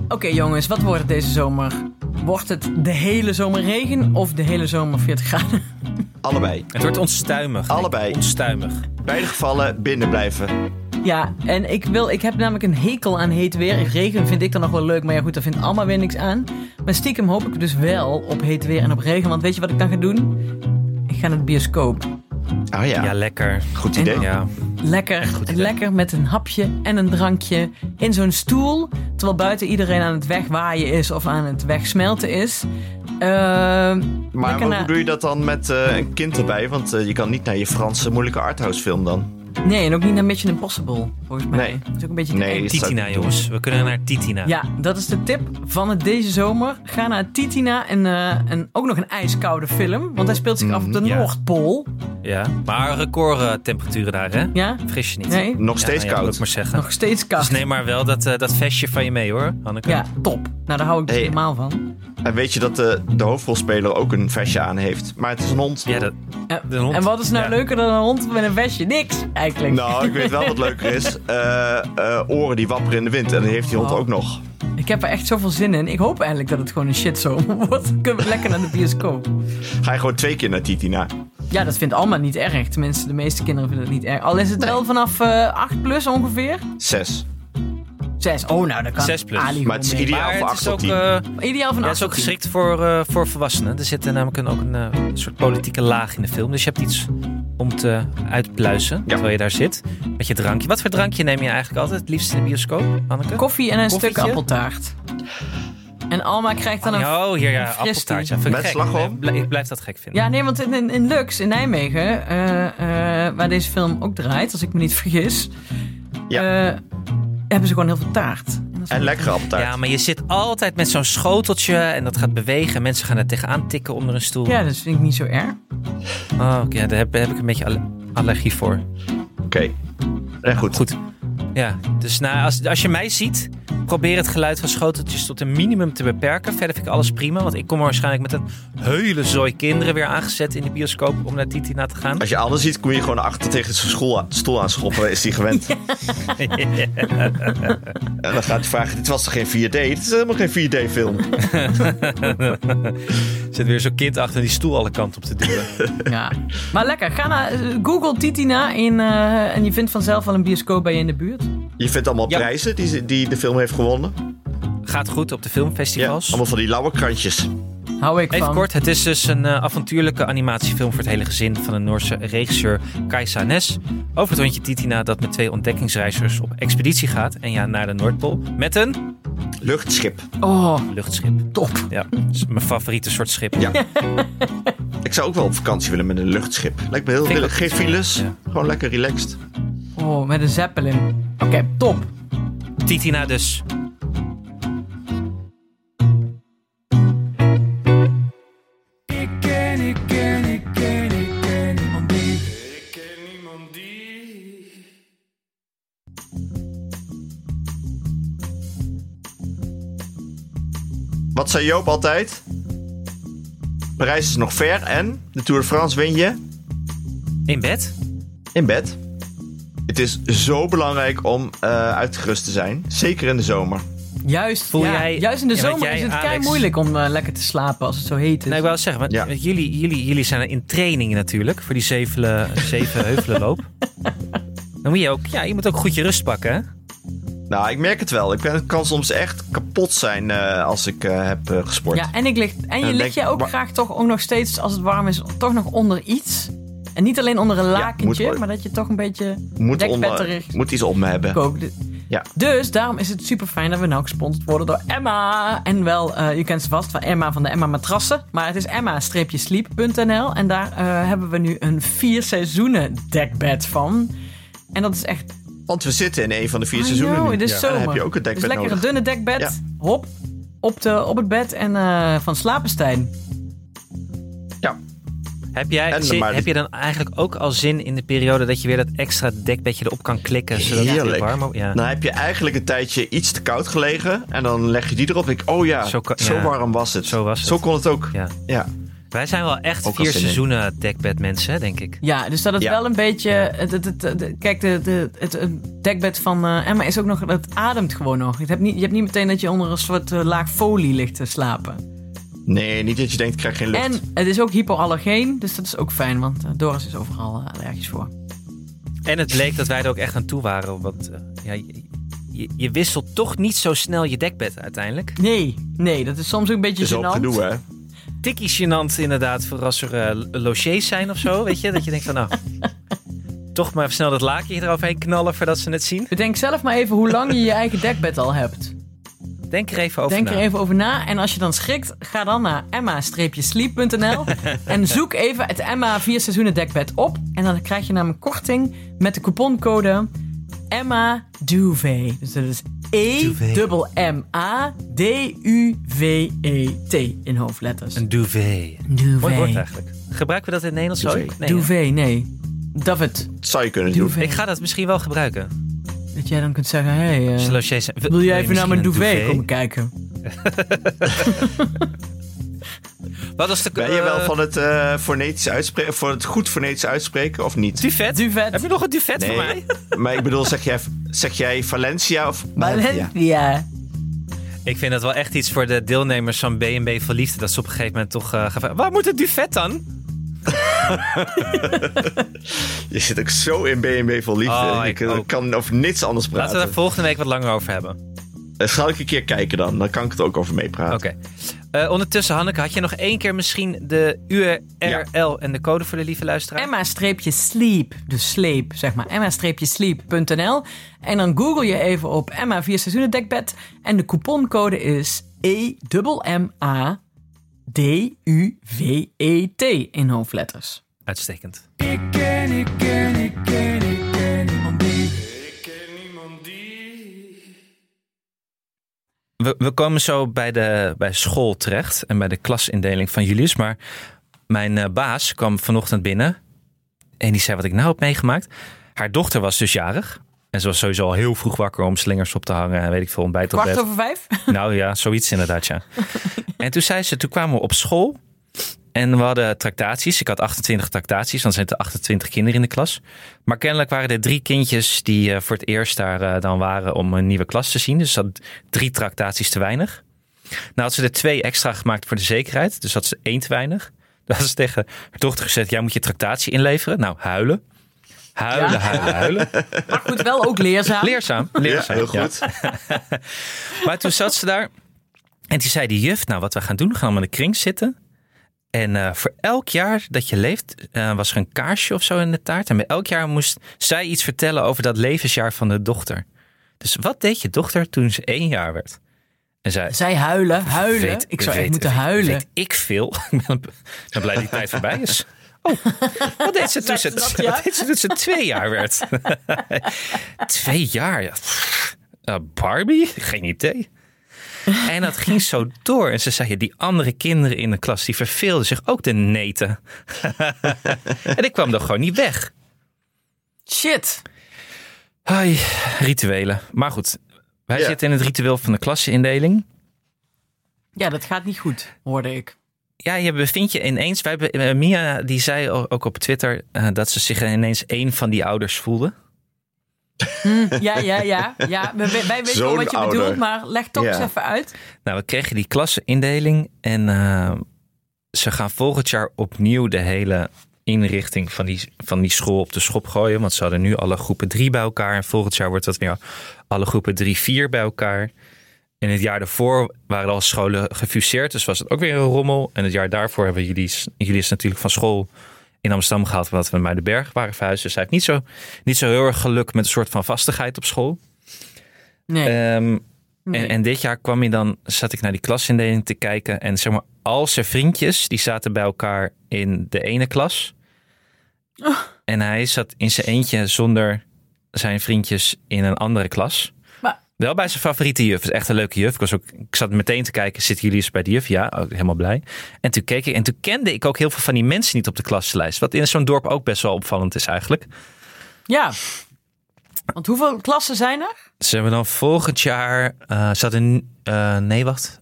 [SPEAKER 2] Oké jongens, wat wordt het deze zomer? Wordt het de hele zomer regen of de hele zomer 40 graden? [laughs]
[SPEAKER 1] Allebei.
[SPEAKER 3] Het wordt onstuimig.
[SPEAKER 1] Allebei.
[SPEAKER 3] Onstuimig.
[SPEAKER 1] In beide gevallen binnen blijven.
[SPEAKER 2] Ja, en ik, wil, ik heb namelijk een hekel aan heet weer. Regen vind ik dan nog wel leuk, maar ja goed, daar vindt allemaal weer niks aan. Maar stiekem hoop ik dus wel op heet weer en op regen. Want weet je wat ik dan ga doen? Ik ga naar de bioscoop.
[SPEAKER 1] Oh ja,
[SPEAKER 3] Ja, lekker.
[SPEAKER 1] goed idee.
[SPEAKER 3] Ja.
[SPEAKER 2] Lekker,
[SPEAKER 3] goed idee.
[SPEAKER 2] lekker met een hapje en een drankje in zo'n stoel. Terwijl buiten iedereen aan het wegwaaien is of aan het wegsmelten is. Ehm,
[SPEAKER 1] Maar
[SPEAKER 2] lekker
[SPEAKER 1] hoe
[SPEAKER 2] na-
[SPEAKER 1] doe je dat dan met eh, een kind erbij? Want eh, je kan niet naar je Franse moeilijke arthouse film dan.
[SPEAKER 2] Nee, en ook niet naar Mission Impossible, volgens mij.
[SPEAKER 1] Nee.
[SPEAKER 2] Dat is ook een beetje te
[SPEAKER 1] Nee,
[SPEAKER 2] eng.
[SPEAKER 1] is dat-
[SPEAKER 3] Titina, jongens. We kunnen naar Titina.
[SPEAKER 2] Ja, dat is de tip van het deze zomer. Ga naar Titina en, eh, en ook nog een ijskoude film. Want hij speelt zich af op de
[SPEAKER 3] ja.
[SPEAKER 2] Noordpool.
[SPEAKER 3] Ja. Maar recordtemperaturen daar, hè?
[SPEAKER 2] Ja?
[SPEAKER 3] Fris je niet.
[SPEAKER 2] Nee?
[SPEAKER 1] Nog steeds
[SPEAKER 3] ja,
[SPEAKER 1] koud.
[SPEAKER 3] Moet ik maar zeggen.
[SPEAKER 2] Nog steeds koud.
[SPEAKER 3] Dus neem maar wel dat, eh, dat vestje van je mee, hoor, Hanneke.
[SPEAKER 2] Ja, top. Nou, daar hou ik dus
[SPEAKER 1] Hey.
[SPEAKER 2] helemaal van.
[SPEAKER 1] En weet je dat de, de hoofdrolspeler ook een vestje aan heeft? Maar het is een hond.
[SPEAKER 3] Ja, dat,
[SPEAKER 2] En,
[SPEAKER 3] De hond.
[SPEAKER 2] en wat is nou
[SPEAKER 3] Ja.
[SPEAKER 2] leuker dan een hond met een vestje? Niks, eigenlijk.
[SPEAKER 1] Nou, ik weet wel wat leuker
[SPEAKER 3] [laughs]
[SPEAKER 1] is. Eh, eh, oren die wapperen in de wind. En die heeft die hond
[SPEAKER 2] Oh.
[SPEAKER 1] ook nog.
[SPEAKER 2] Ik heb er echt zoveel zin in. Ik hoop eigenlijk dat het gewoon een shitzomer [laughs] wordt. Dan kunnen we lekker naar de bioscoop.
[SPEAKER 1] Ga je gewoon twee keer naar Titina.
[SPEAKER 2] Ja, dat vindt Alma niet erg. Tenminste, de meeste kinderen vinden het niet erg. Al is het wel vanaf eh 8 plus ongeveer.
[SPEAKER 1] Zes.
[SPEAKER 2] Zes. Oh, nou, dat kan
[SPEAKER 3] 6 plus.
[SPEAKER 2] Ali
[SPEAKER 1] Maar het is
[SPEAKER 2] gewoon mee.
[SPEAKER 1] ideaal
[SPEAKER 3] maar
[SPEAKER 1] voor
[SPEAKER 3] het is
[SPEAKER 1] acht tot
[SPEAKER 3] ook,
[SPEAKER 1] tien.
[SPEAKER 3] eh,
[SPEAKER 2] Ideaal van
[SPEAKER 3] ja, het
[SPEAKER 2] acht
[SPEAKER 3] is ook
[SPEAKER 2] tot tien.
[SPEAKER 3] geschikt voor, eh, voor volwassenen. Er zit eh, namelijk een, ook een eh, soort politieke laag in de film. Dus je hebt iets om te uitpluizen terwijl je daar zit. Met je drankje. Wat voor drankje neem je eigenlijk altijd het liefst in de bioscoop, Hanneke?
[SPEAKER 2] Koffie en een
[SPEAKER 3] Koffietje?
[SPEAKER 2] stuk appeltaart. En Alma krijgt dan een... Ja,
[SPEAKER 3] Oh, hier ja,
[SPEAKER 2] een
[SPEAKER 3] appeltaart. Ja,
[SPEAKER 2] fristie.
[SPEAKER 3] vind ik
[SPEAKER 1] Met
[SPEAKER 3] gek.
[SPEAKER 1] slagroom?
[SPEAKER 3] Nee, blij- Ik blijf dat gek vinden.
[SPEAKER 2] nee, want in, in, in Lux in Nijmegen, eh, eh, waar deze film ook draait, als ik me niet vergis,
[SPEAKER 1] Ja.
[SPEAKER 2] eh, hebben ze gewoon heel veel taart. En dat is-
[SPEAKER 1] En lekkere appeltaart.
[SPEAKER 3] eh, Ja, maar je zit altijd met zo'n schoteltje en dat gaat bewegen. Mensen gaan er tegenaan tikken onder een stoel.
[SPEAKER 2] Ja, dat vind ik niet zo erg.
[SPEAKER 3] Oh, oké, daar heb, heb ik een beetje alle- allergie voor.
[SPEAKER 1] Oké. En goed.
[SPEAKER 3] Goed. Ja, dus nou, als, als je mij ziet, probeer het geluid van schoteltjes tot een minimum te beperken. Verder vind ik alles prima, want ik kom waarschijnlijk met een hele zooi kinderen weer aangezet in de bioscoop om naar Titina te gaan.
[SPEAKER 1] Als je anders ziet, kom je gewoon achter tegen zijn school aan- stoel aanschoppen. Is die
[SPEAKER 3] [laughs]
[SPEAKER 1] gewend. En dan gaat hij vragen, dit was toch geen 4D? Dit is helemaal geen 4D-film.
[SPEAKER 3] Zit weer zo'n kind achter die stoel alle kanten op te duwen.
[SPEAKER 2] Ja. Maar lekker, ga naar eh, Google Titina in, eh, en je vindt vanzelf wel een bioscoop bij je in de buurt.
[SPEAKER 1] Je vindt allemaal
[SPEAKER 3] Ja.
[SPEAKER 1] prijzen die, ze- die de film heeft gewonnen.
[SPEAKER 3] [laughs] Gaat goed op de
[SPEAKER 1] Ja,
[SPEAKER 3] filmfestivals.
[SPEAKER 1] allemaal van die lauwe krantjes.
[SPEAKER 2] Hou ik
[SPEAKER 3] Even
[SPEAKER 2] van.
[SPEAKER 3] kort, het is dus een eh, avontuurlijke animatiefilm voor het hele gezin van de Noorse regisseur Kajsa Nes. Over het hondje Titina dat met twee ontdekkingsreizigers op expeditie gaat. En ja, naar de Noordpool met een
[SPEAKER 1] Luchtschip.
[SPEAKER 2] Oh,
[SPEAKER 3] luchtschip.
[SPEAKER 2] top.
[SPEAKER 3] Ja, dat is mijn favoriete soort schip. [laughs]
[SPEAKER 1] Ja. Ik zou ook wel op vakantie willen met een luchtschip. Lijkt me heel
[SPEAKER 3] Vind ik
[SPEAKER 1] willig.
[SPEAKER 3] ook
[SPEAKER 1] Geen
[SPEAKER 3] iets, ja.
[SPEAKER 1] files.
[SPEAKER 3] Ja.
[SPEAKER 1] Gewoon lekker relaxed.
[SPEAKER 2] Oh, met een zeppelin. Oké, top.
[SPEAKER 3] Titina dus.
[SPEAKER 4] Ik ken, ik ken, ik ken, ik ken niemand die.
[SPEAKER 1] Wat zei Joop altijd? Parijs is nog ver en de Tour de France win je
[SPEAKER 3] In bed?
[SPEAKER 1] in bed. Het is zo belangrijk om eh, uitgerust te zijn. Zeker in de zomer.
[SPEAKER 2] Juist,
[SPEAKER 3] Voel
[SPEAKER 2] ja,
[SPEAKER 3] jij-
[SPEAKER 2] juist in de
[SPEAKER 3] ja,
[SPEAKER 2] zomer
[SPEAKER 3] dat jij,
[SPEAKER 2] is het
[SPEAKER 3] Alex-
[SPEAKER 2] kei moeilijk om eh, lekker te slapen als het zo heet is.
[SPEAKER 3] Nee, ik wou zeggen, want
[SPEAKER 1] Ja.
[SPEAKER 3] want jullie, jullie, jullie zijn in training natuurlijk voor die zevelen, zeven heuvelenloop. Dan moet je ook, ja, je moet ook goed je rust pakken. hè?
[SPEAKER 1] Nou, ik merk het wel. Ik ben- het kan soms echt kapot zijn eh, als ik eh, heb eh, gesport.
[SPEAKER 2] ja, en, ik lig, en je
[SPEAKER 1] denk
[SPEAKER 2] ligt je
[SPEAKER 1] ik,
[SPEAKER 2] ook
[SPEAKER 1] wa-
[SPEAKER 2] graag toch ook nog steeds, als het warm is, toch nog onder iets. En niet alleen onder een lakentje,
[SPEAKER 1] moet-
[SPEAKER 2] maar dat je toch een beetje
[SPEAKER 1] moet, onder,
[SPEAKER 2] dekpetterig
[SPEAKER 1] moet iets om me hebben.
[SPEAKER 2] kookt.
[SPEAKER 1] Ja.
[SPEAKER 2] Dus daarom is het super fijn dat we nou gesponsord worden door Emma. En wel, eh, je kent ze vast van Emma van de Emma Matrassen. Maar het is emma-sleep.nl. En daar eh, hebben we nu een vier seizoenen dekbed van. En dat is echt
[SPEAKER 1] Want we zitten in een van de vier
[SPEAKER 2] I
[SPEAKER 1] seizoenen
[SPEAKER 2] know,
[SPEAKER 1] nu.
[SPEAKER 2] Ah, het is
[SPEAKER 1] Ja.
[SPEAKER 2] zomer.
[SPEAKER 1] Dan heb je ook een dekbed
[SPEAKER 2] dus lekker
[SPEAKER 1] nodig.
[SPEAKER 2] een dunne dekbed.
[SPEAKER 1] Ja.
[SPEAKER 2] Hop, op, de, op het bed en eh, van slapenstein.
[SPEAKER 1] Ja.
[SPEAKER 3] Heb, jij,
[SPEAKER 1] En
[SPEAKER 3] zin-
[SPEAKER 1] maar-
[SPEAKER 3] heb je dan eigenlijk ook al zin in de periode dat je weer dat extra dekbedje erop kan klikken? Zodat het weer
[SPEAKER 1] Heerlijk. Nou,
[SPEAKER 3] warm wordt? Ja.
[SPEAKER 1] Dan heb je eigenlijk een tijdje iets te koud gelegen. En dan leg je die erop. Ik, oh ja,
[SPEAKER 3] Zo
[SPEAKER 1] zo,
[SPEAKER 3] ka- ja.
[SPEAKER 1] warm was het.
[SPEAKER 3] Zo was het.
[SPEAKER 1] Zo kon het ook.
[SPEAKER 3] Ja.
[SPEAKER 1] Ja.
[SPEAKER 3] Wij zijn wel echt
[SPEAKER 1] Ook al
[SPEAKER 3] vier
[SPEAKER 1] zin in.
[SPEAKER 3] seizoenen dekbed mensen, denk ik.
[SPEAKER 2] Ja, dus dat het
[SPEAKER 1] Ja.
[SPEAKER 2] wel een beetje... Het, het, het- het- kijk, de, de, het, het dekbed van eh, Emma is ook nog... Het ademt gewoon nog. Je hebt niet, je hebt niet meteen dat je onder een soort eh, laag folie ligt te slapen.
[SPEAKER 1] Nee, niet dat je denkt, ik krijg geen lucht.
[SPEAKER 2] En het is ook hypoallergeen, dus dat is ook fijn. Want eh, Doris is overal eh, allergisch voor.
[SPEAKER 3] En het bleek dat wij er ook echt aan toe waren. Want eh, ja, je, je- je wisselt toch niet zo snel je dekbed uiteindelijk.
[SPEAKER 2] Nee, nee, dat is soms ook een beetje
[SPEAKER 1] Het is ook
[SPEAKER 2] gênant.
[SPEAKER 1] gedoe, hè?
[SPEAKER 3] Tikkie gênant inderdaad voor als er eh, logiers zijn of zo. Weet je, dat je denkt
[SPEAKER 2] [laughs]
[SPEAKER 3] van nou, toch maar even snel dat laakje eroverheen knallen voordat ze het zien.
[SPEAKER 2] Bedenk zelf maar even hoe lang je je eigen dekbed al hebt.
[SPEAKER 3] Denk er even over
[SPEAKER 2] Denk
[SPEAKER 3] na.
[SPEAKER 2] er even over na. En als je dan schrikt, ga dan naar
[SPEAKER 3] [laughs]
[SPEAKER 2] emma-sleep.nl en zoek even het Emma 4 seizoenen dekbed op. En dan krijg je namelijk korting met de couponcode Emma Duvet. Dus dat is
[SPEAKER 3] Duvet.
[SPEAKER 2] E-M-A-D-U-V-E-T E in hoofdletters.
[SPEAKER 3] Een duvet. Mooi woord
[SPEAKER 2] duvet.
[SPEAKER 3] eigenlijk. Gebruiken we dat in het Nederlands ook?
[SPEAKER 1] Duvet.
[SPEAKER 3] Nee, hè?
[SPEAKER 2] Duvet, nee. David,
[SPEAKER 1] Dat zou je kunnen doen.
[SPEAKER 2] duvet.
[SPEAKER 3] Ik ga dat misschien wel gebruiken.
[SPEAKER 2] Dat jij dan kunt zeggen, hey, eh,
[SPEAKER 3] Als de logiers zijn.
[SPEAKER 2] wil
[SPEAKER 3] je
[SPEAKER 2] jij even naar
[SPEAKER 3] misschien
[SPEAKER 2] mijn
[SPEAKER 3] een
[SPEAKER 2] duvet, komen kijken?
[SPEAKER 3] Wat was de
[SPEAKER 1] Ben je
[SPEAKER 3] eh,
[SPEAKER 1] wel van het, eh, fonetisch uitspreken, voor het goed fonetisch uitspreken of niet?
[SPEAKER 3] duvet?
[SPEAKER 2] Duvet.
[SPEAKER 3] Heb je nog een duvet
[SPEAKER 1] Nee.
[SPEAKER 3] voor mij? [laughs]
[SPEAKER 1] [laughs] maar ik bedoel, zeg jij, zeg jij Valencia of
[SPEAKER 2] Valencia.
[SPEAKER 3] Ik vind dat wel echt iets voor de deelnemers van B&B Verliefd. Dat ze op een gegeven moment toch eh, gaan vragen... Waar moet het duvet dan?
[SPEAKER 1] Je zit ook zo in B&B vol liefde.
[SPEAKER 3] Oh,
[SPEAKER 1] ik
[SPEAKER 3] ik
[SPEAKER 1] eh,
[SPEAKER 3] ook.
[SPEAKER 1] kan over niets anders
[SPEAKER 3] Laten
[SPEAKER 1] praten.
[SPEAKER 3] we daar volgende week wat langer over hebben.
[SPEAKER 1] Eh, Zal ik een keer kijken dan? Dan kan ik het ook over meepraten.
[SPEAKER 3] Oké. Eh, ondertussen, Hanneke, had je nog één keer misschien de URL en de code voor de lieve luisteraar?
[SPEAKER 2] Emma-sleep, dus sleep, zeg maar. Emma-sleep.nl. En dan google je even op Emma 4 seizoenen dekbed. En de couponcode is E-M-M-A-D-U-V-E-T in hoofdletters.
[SPEAKER 3] Uitstekend.
[SPEAKER 4] Ik ken, ik ken, ik ken, ik ken niemand die. Ik ken niemand die.
[SPEAKER 3] We, we komen zo bij, de, bij school terecht en bij de klasindeling van Julius. Maar mijn eh, baas kwam vanochtend binnen en die zei wat ik nou heb meegemaakt. Haar dochter was dus jarig. En ze was sowieso al heel vroeg wakker om slingers op te hangen en weet ik veel, ontbijt op
[SPEAKER 2] Kwart
[SPEAKER 3] bed.
[SPEAKER 2] over vijf?
[SPEAKER 3] Nou ja, zoiets inderdaad, ja. En toen zei ze, toen kwamen we op school en we hadden tractaties. Ik had 28 tractaties, dan zijn er 28 kinderen in de klas. Maar kennelijk waren er drie kindjes die eh, voor het eerst daar eh, dan waren om een nieuwe klas te zien. Dus ze had drie tractaties te weinig. Nou had ze er twee extra gemaakt voor de zekerheid, dus had ze één te weinig. Dan had ze tegen haar dochter gezegd, jij moet je tractatie inleveren. Nou, huilen. Huilen,
[SPEAKER 2] Ja.
[SPEAKER 3] huilen, huilen.
[SPEAKER 2] Maar goed, wel ook leerzaam.
[SPEAKER 3] Leerzaam, leerzaam.
[SPEAKER 1] heel
[SPEAKER 3] ja.
[SPEAKER 1] goed.
[SPEAKER 3] Maar toen zat ze daar. En toen zei die juf, nou wat we gaan doen, we gaan allemaal in de kring zitten. En eh, voor elk jaar dat je leeft, eh, was er een kaarsje of zo in de taart. En bij elk jaar moest zij iets vertellen over dat levensjaar van de dochter. Dus wat deed je dochter toen ze één jaar werd? En zij,
[SPEAKER 2] Zij huilen, huilen.
[SPEAKER 3] weet-
[SPEAKER 2] ik zou echt
[SPEAKER 3] weet-
[SPEAKER 2] moeten
[SPEAKER 3] weet-
[SPEAKER 2] huilen.
[SPEAKER 3] Weet ik veel. [laughs] ik ben, ben blij dat die tijd voorbij is. Oh, wat deed ze toen ze,
[SPEAKER 2] Zei ze dat, ja?
[SPEAKER 3] wat deed ze, toen ze twee jaar werd? [laughs] twee jaar, ja. Pff, eh, Barbie? Geen idee. En dat ging zo door. En ze zei, ja, die andere kinderen in de klas, die verveelden zich ook de neten. [laughs] en ik kwam er gewoon niet weg.
[SPEAKER 2] Shit.
[SPEAKER 3] Ai, rituelen. Maar goed, wij
[SPEAKER 1] Ja.
[SPEAKER 3] zitten in het ritueel van de klassenindeling.
[SPEAKER 2] Ja, dat gaat niet goed, hoorde ik.
[SPEAKER 3] Ja, je bevindt je ineens. Wij, hebben- eh, Mia die zei o- ook op Twitter eh, dat ze zich ineens één van die ouders voelde.
[SPEAKER 2] Ja, ja, ja. ja. We- we- wij weten wel
[SPEAKER 1] Zo'n
[SPEAKER 2] wat je
[SPEAKER 1] ouder.
[SPEAKER 2] bedoelt, maar leg toch
[SPEAKER 1] Ja.
[SPEAKER 2] eens even uit.
[SPEAKER 3] Nou, we kregen die klassenindeling en eh, ze gaan volgend jaar opnieuw de hele inrichting van die, van die school op de schop gooien. Want ze hadden nu alle groepen drie bij elkaar en volgend jaar wordt dat weer alle groepen drie, vier bij elkaar. En het jaar daarvoor waren al scholen gefuseerd, dus was het ook weer een rommel. En het jaar daarvoor hebben jullie, jullie is natuurlijk van school in Amsterdam gehaald, omdat we naar de berg waren verhuisd. Dus hij heeft niet zo, niet zo heel erg geluk met een soort van vastigheid op school.
[SPEAKER 2] Nee.
[SPEAKER 3] Ehm,
[SPEAKER 2] nee.
[SPEAKER 3] en, en dit jaar kwam je dan, zat ik naar die klasindeling te kijken. En zeg maar, al zijn vriendjes, die zaten bij elkaar in de ene klas. En hij zat in zijn eentje zonder zijn vriendjes in een andere klas.
[SPEAKER 2] Maar-
[SPEAKER 3] Wel bij zijn favoriete juf. Het is echt een leuke juf. Ik, was ook, ik zat meteen te kijken, zitten jullie eens bij de juf? Ja, ook helemaal blij. En toen keek ik, en toen kende ik ook heel veel van die mensen niet op de klaslijst. Wat in zo'n dorp ook best wel opvallend is eigenlijk.
[SPEAKER 2] Ja. Want hoeveel klassen zijn er?
[SPEAKER 3] Ze hebben dan volgend jaar. eh ze hadden. eh, nee, wacht.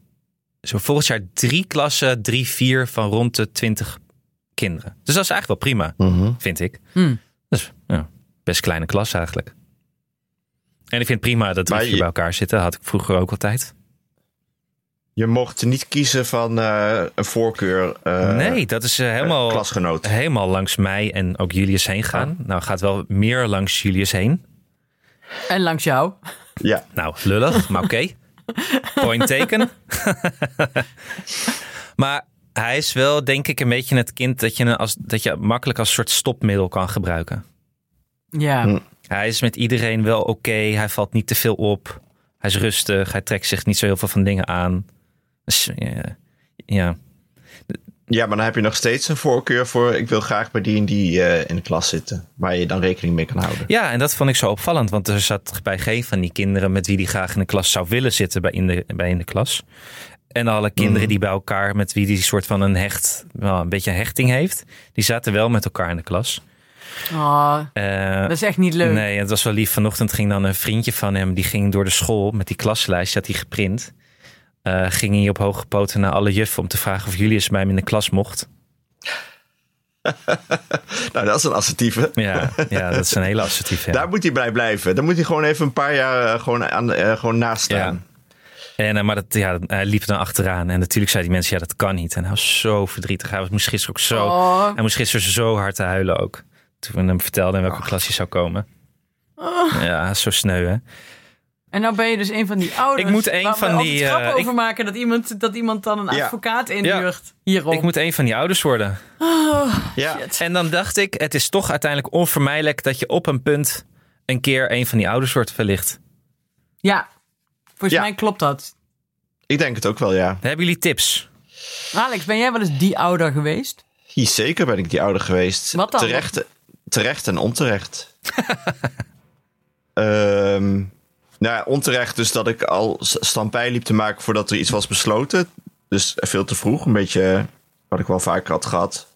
[SPEAKER 3] Zo volgend jaar drie klassen, drie, vier van rond de twintig kinderen. Dus dat is eigenlijk wel prima,
[SPEAKER 1] Mhm.
[SPEAKER 3] vind ik.
[SPEAKER 2] Hmm.
[SPEAKER 3] Dus ja, best kleine klas eigenlijk. En ik vind het prima dat drie
[SPEAKER 1] Maar
[SPEAKER 3] vier
[SPEAKER 1] je-
[SPEAKER 3] bij elkaar zitten. Dat had ik vroeger ook altijd.
[SPEAKER 1] Je mocht niet kiezen van eh, een voorkeur eh,
[SPEAKER 3] nee, dat is eh, helemaal. [laughs]
[SPEAKER 1] klasgenoot.
[SPEAKER 3] Helemaal langs mij en ook Julius heen gaan. Nou, gaat wel meer langs Julius heen.
[SPEAKER 2] En langs jou.
[SPEAKER 1] Ja.
[SPEAKER 3] Nou, lullig, maar oké. Point taken. [laughs] maar hij is wel, denk ik, een beetje het kind dat je, een- als, dat je makkelijk als soort stopmiddel kan gebruiken.
[SPEAKER 2] Ja.
[SPEAKER 1] Hm.
[SPEAKER 3] Hij is met iedereen wel oké. Hij valt niet te veel op. Hij is rustig. Hij trekt zich niet zo heel veel van dingen aan. Dus, eh, ja.
[SPEAKER 1] ja, maar dan heb je nog steeds een voorkeur voor... ik wil graag bij die en die eh, in de klas zitten. Waar je dan rekening mee kan houden.
[SPEAKER 3] ja, en dat vond ik zo opvallend. Want er zat bij geen van die kinderen met wie hij graag in de klas zou willen zitten bij in de, bij in de klas. En alle kinderen die bij elkaar, met wie die soort van een hecht, wel een beetje een hechting heeft, die zaten wel met elkaar in de klas.
[SPEAKER 2] Oh,
[SPEAKER 3] Eh,
[SPEAKER 2] dat is echt niet leuk.
[SPEAKER 3] nee, het was wel lief. Vanochtend ging dan een vriendje van hem, die ging door de school met die klaslijst, die had hij geprint. Eh, ging hij op hoge poten naar alle juffen om te vragen of Julius bij hem in de klas mocht.
[SPEAKER 1] Nou, dat is een assertieve.
[SPEAKER 3] Ja, ja dat is een hele assertief. Ja.
[SPEAKER 1] Daar moet hij bij blijven. Dan moet hij gewoon even een paar jaar eh, gewoon, aan, eh, gewoon naast staan.
[SPEAKER 3] En, eh, maar dat, ja, hij liep dan achteraan. En natuurlijk zeiden die mensen, ja, dat kan niet. En hij was zo verdrietig. Hij was, moest gisteren ook zo...
[SPEAKER 2] Oh.
[SPEAKER 3] Hij moest gisteren zo hard te huilen ook. Toen we hem vertelden in
[SPEAKER 2] Oh.
[SPEAKER 3] welke klas hij zou komen. Ja, zo sneu, hè?
[SPEAKER 2] En nou ben je dus een van die ouders.
[SPEAKER 3] Ik moet een
[SPEAKER 2] waar we
[SPEAKER 3] van
[SPEAKER 2] altijd
[SPEAKER 3] die,
[SPEAKER 2] grappen
[SPEAKER 3] eh, ik-
[SPEAKER 2] over maken dat iemand, dat iemand dan een
[SPEAKER 1] Ja.
[SPEAKER 2] advocaat inhuurt hierop.
[SPEAKER 3] Ik moet een van die ouders worden.
[SPEAKER 1] Ja.
[SPEAKER 3] En dan dacht ik, het is toch uiteindelijk onvermijdelijk... dat je op een punt een keer een van die ouders wordt verlicht.
[SPEAKER 2] Ja, volgens
[SPEAKER 1] Ja.
[SPEAKER 2] mij klopt dat.
[SPEAKER 1] Ik denk het ook wel, ja.
[SPEAKER 3] Hebben jullie tips?
[SPEAKER 2] Alex, ben jij wel eens die ouder geweest?
[SPEAKER 1] Hier, zeker ben ik die ouder geweest.
[SPEAKER 2] Wat dan?
[SPEAKER 1] Terecht, terecht en
[SPEAKER 2] [laughs]
[SPEAKER 1] onterecht. Ehm, nou ja, onterecht dus dat ik al s- stampij liep te maken voordat er iets was besloten. Dus veel te vroeg. Een beetje wat ik wel vaker had gehad.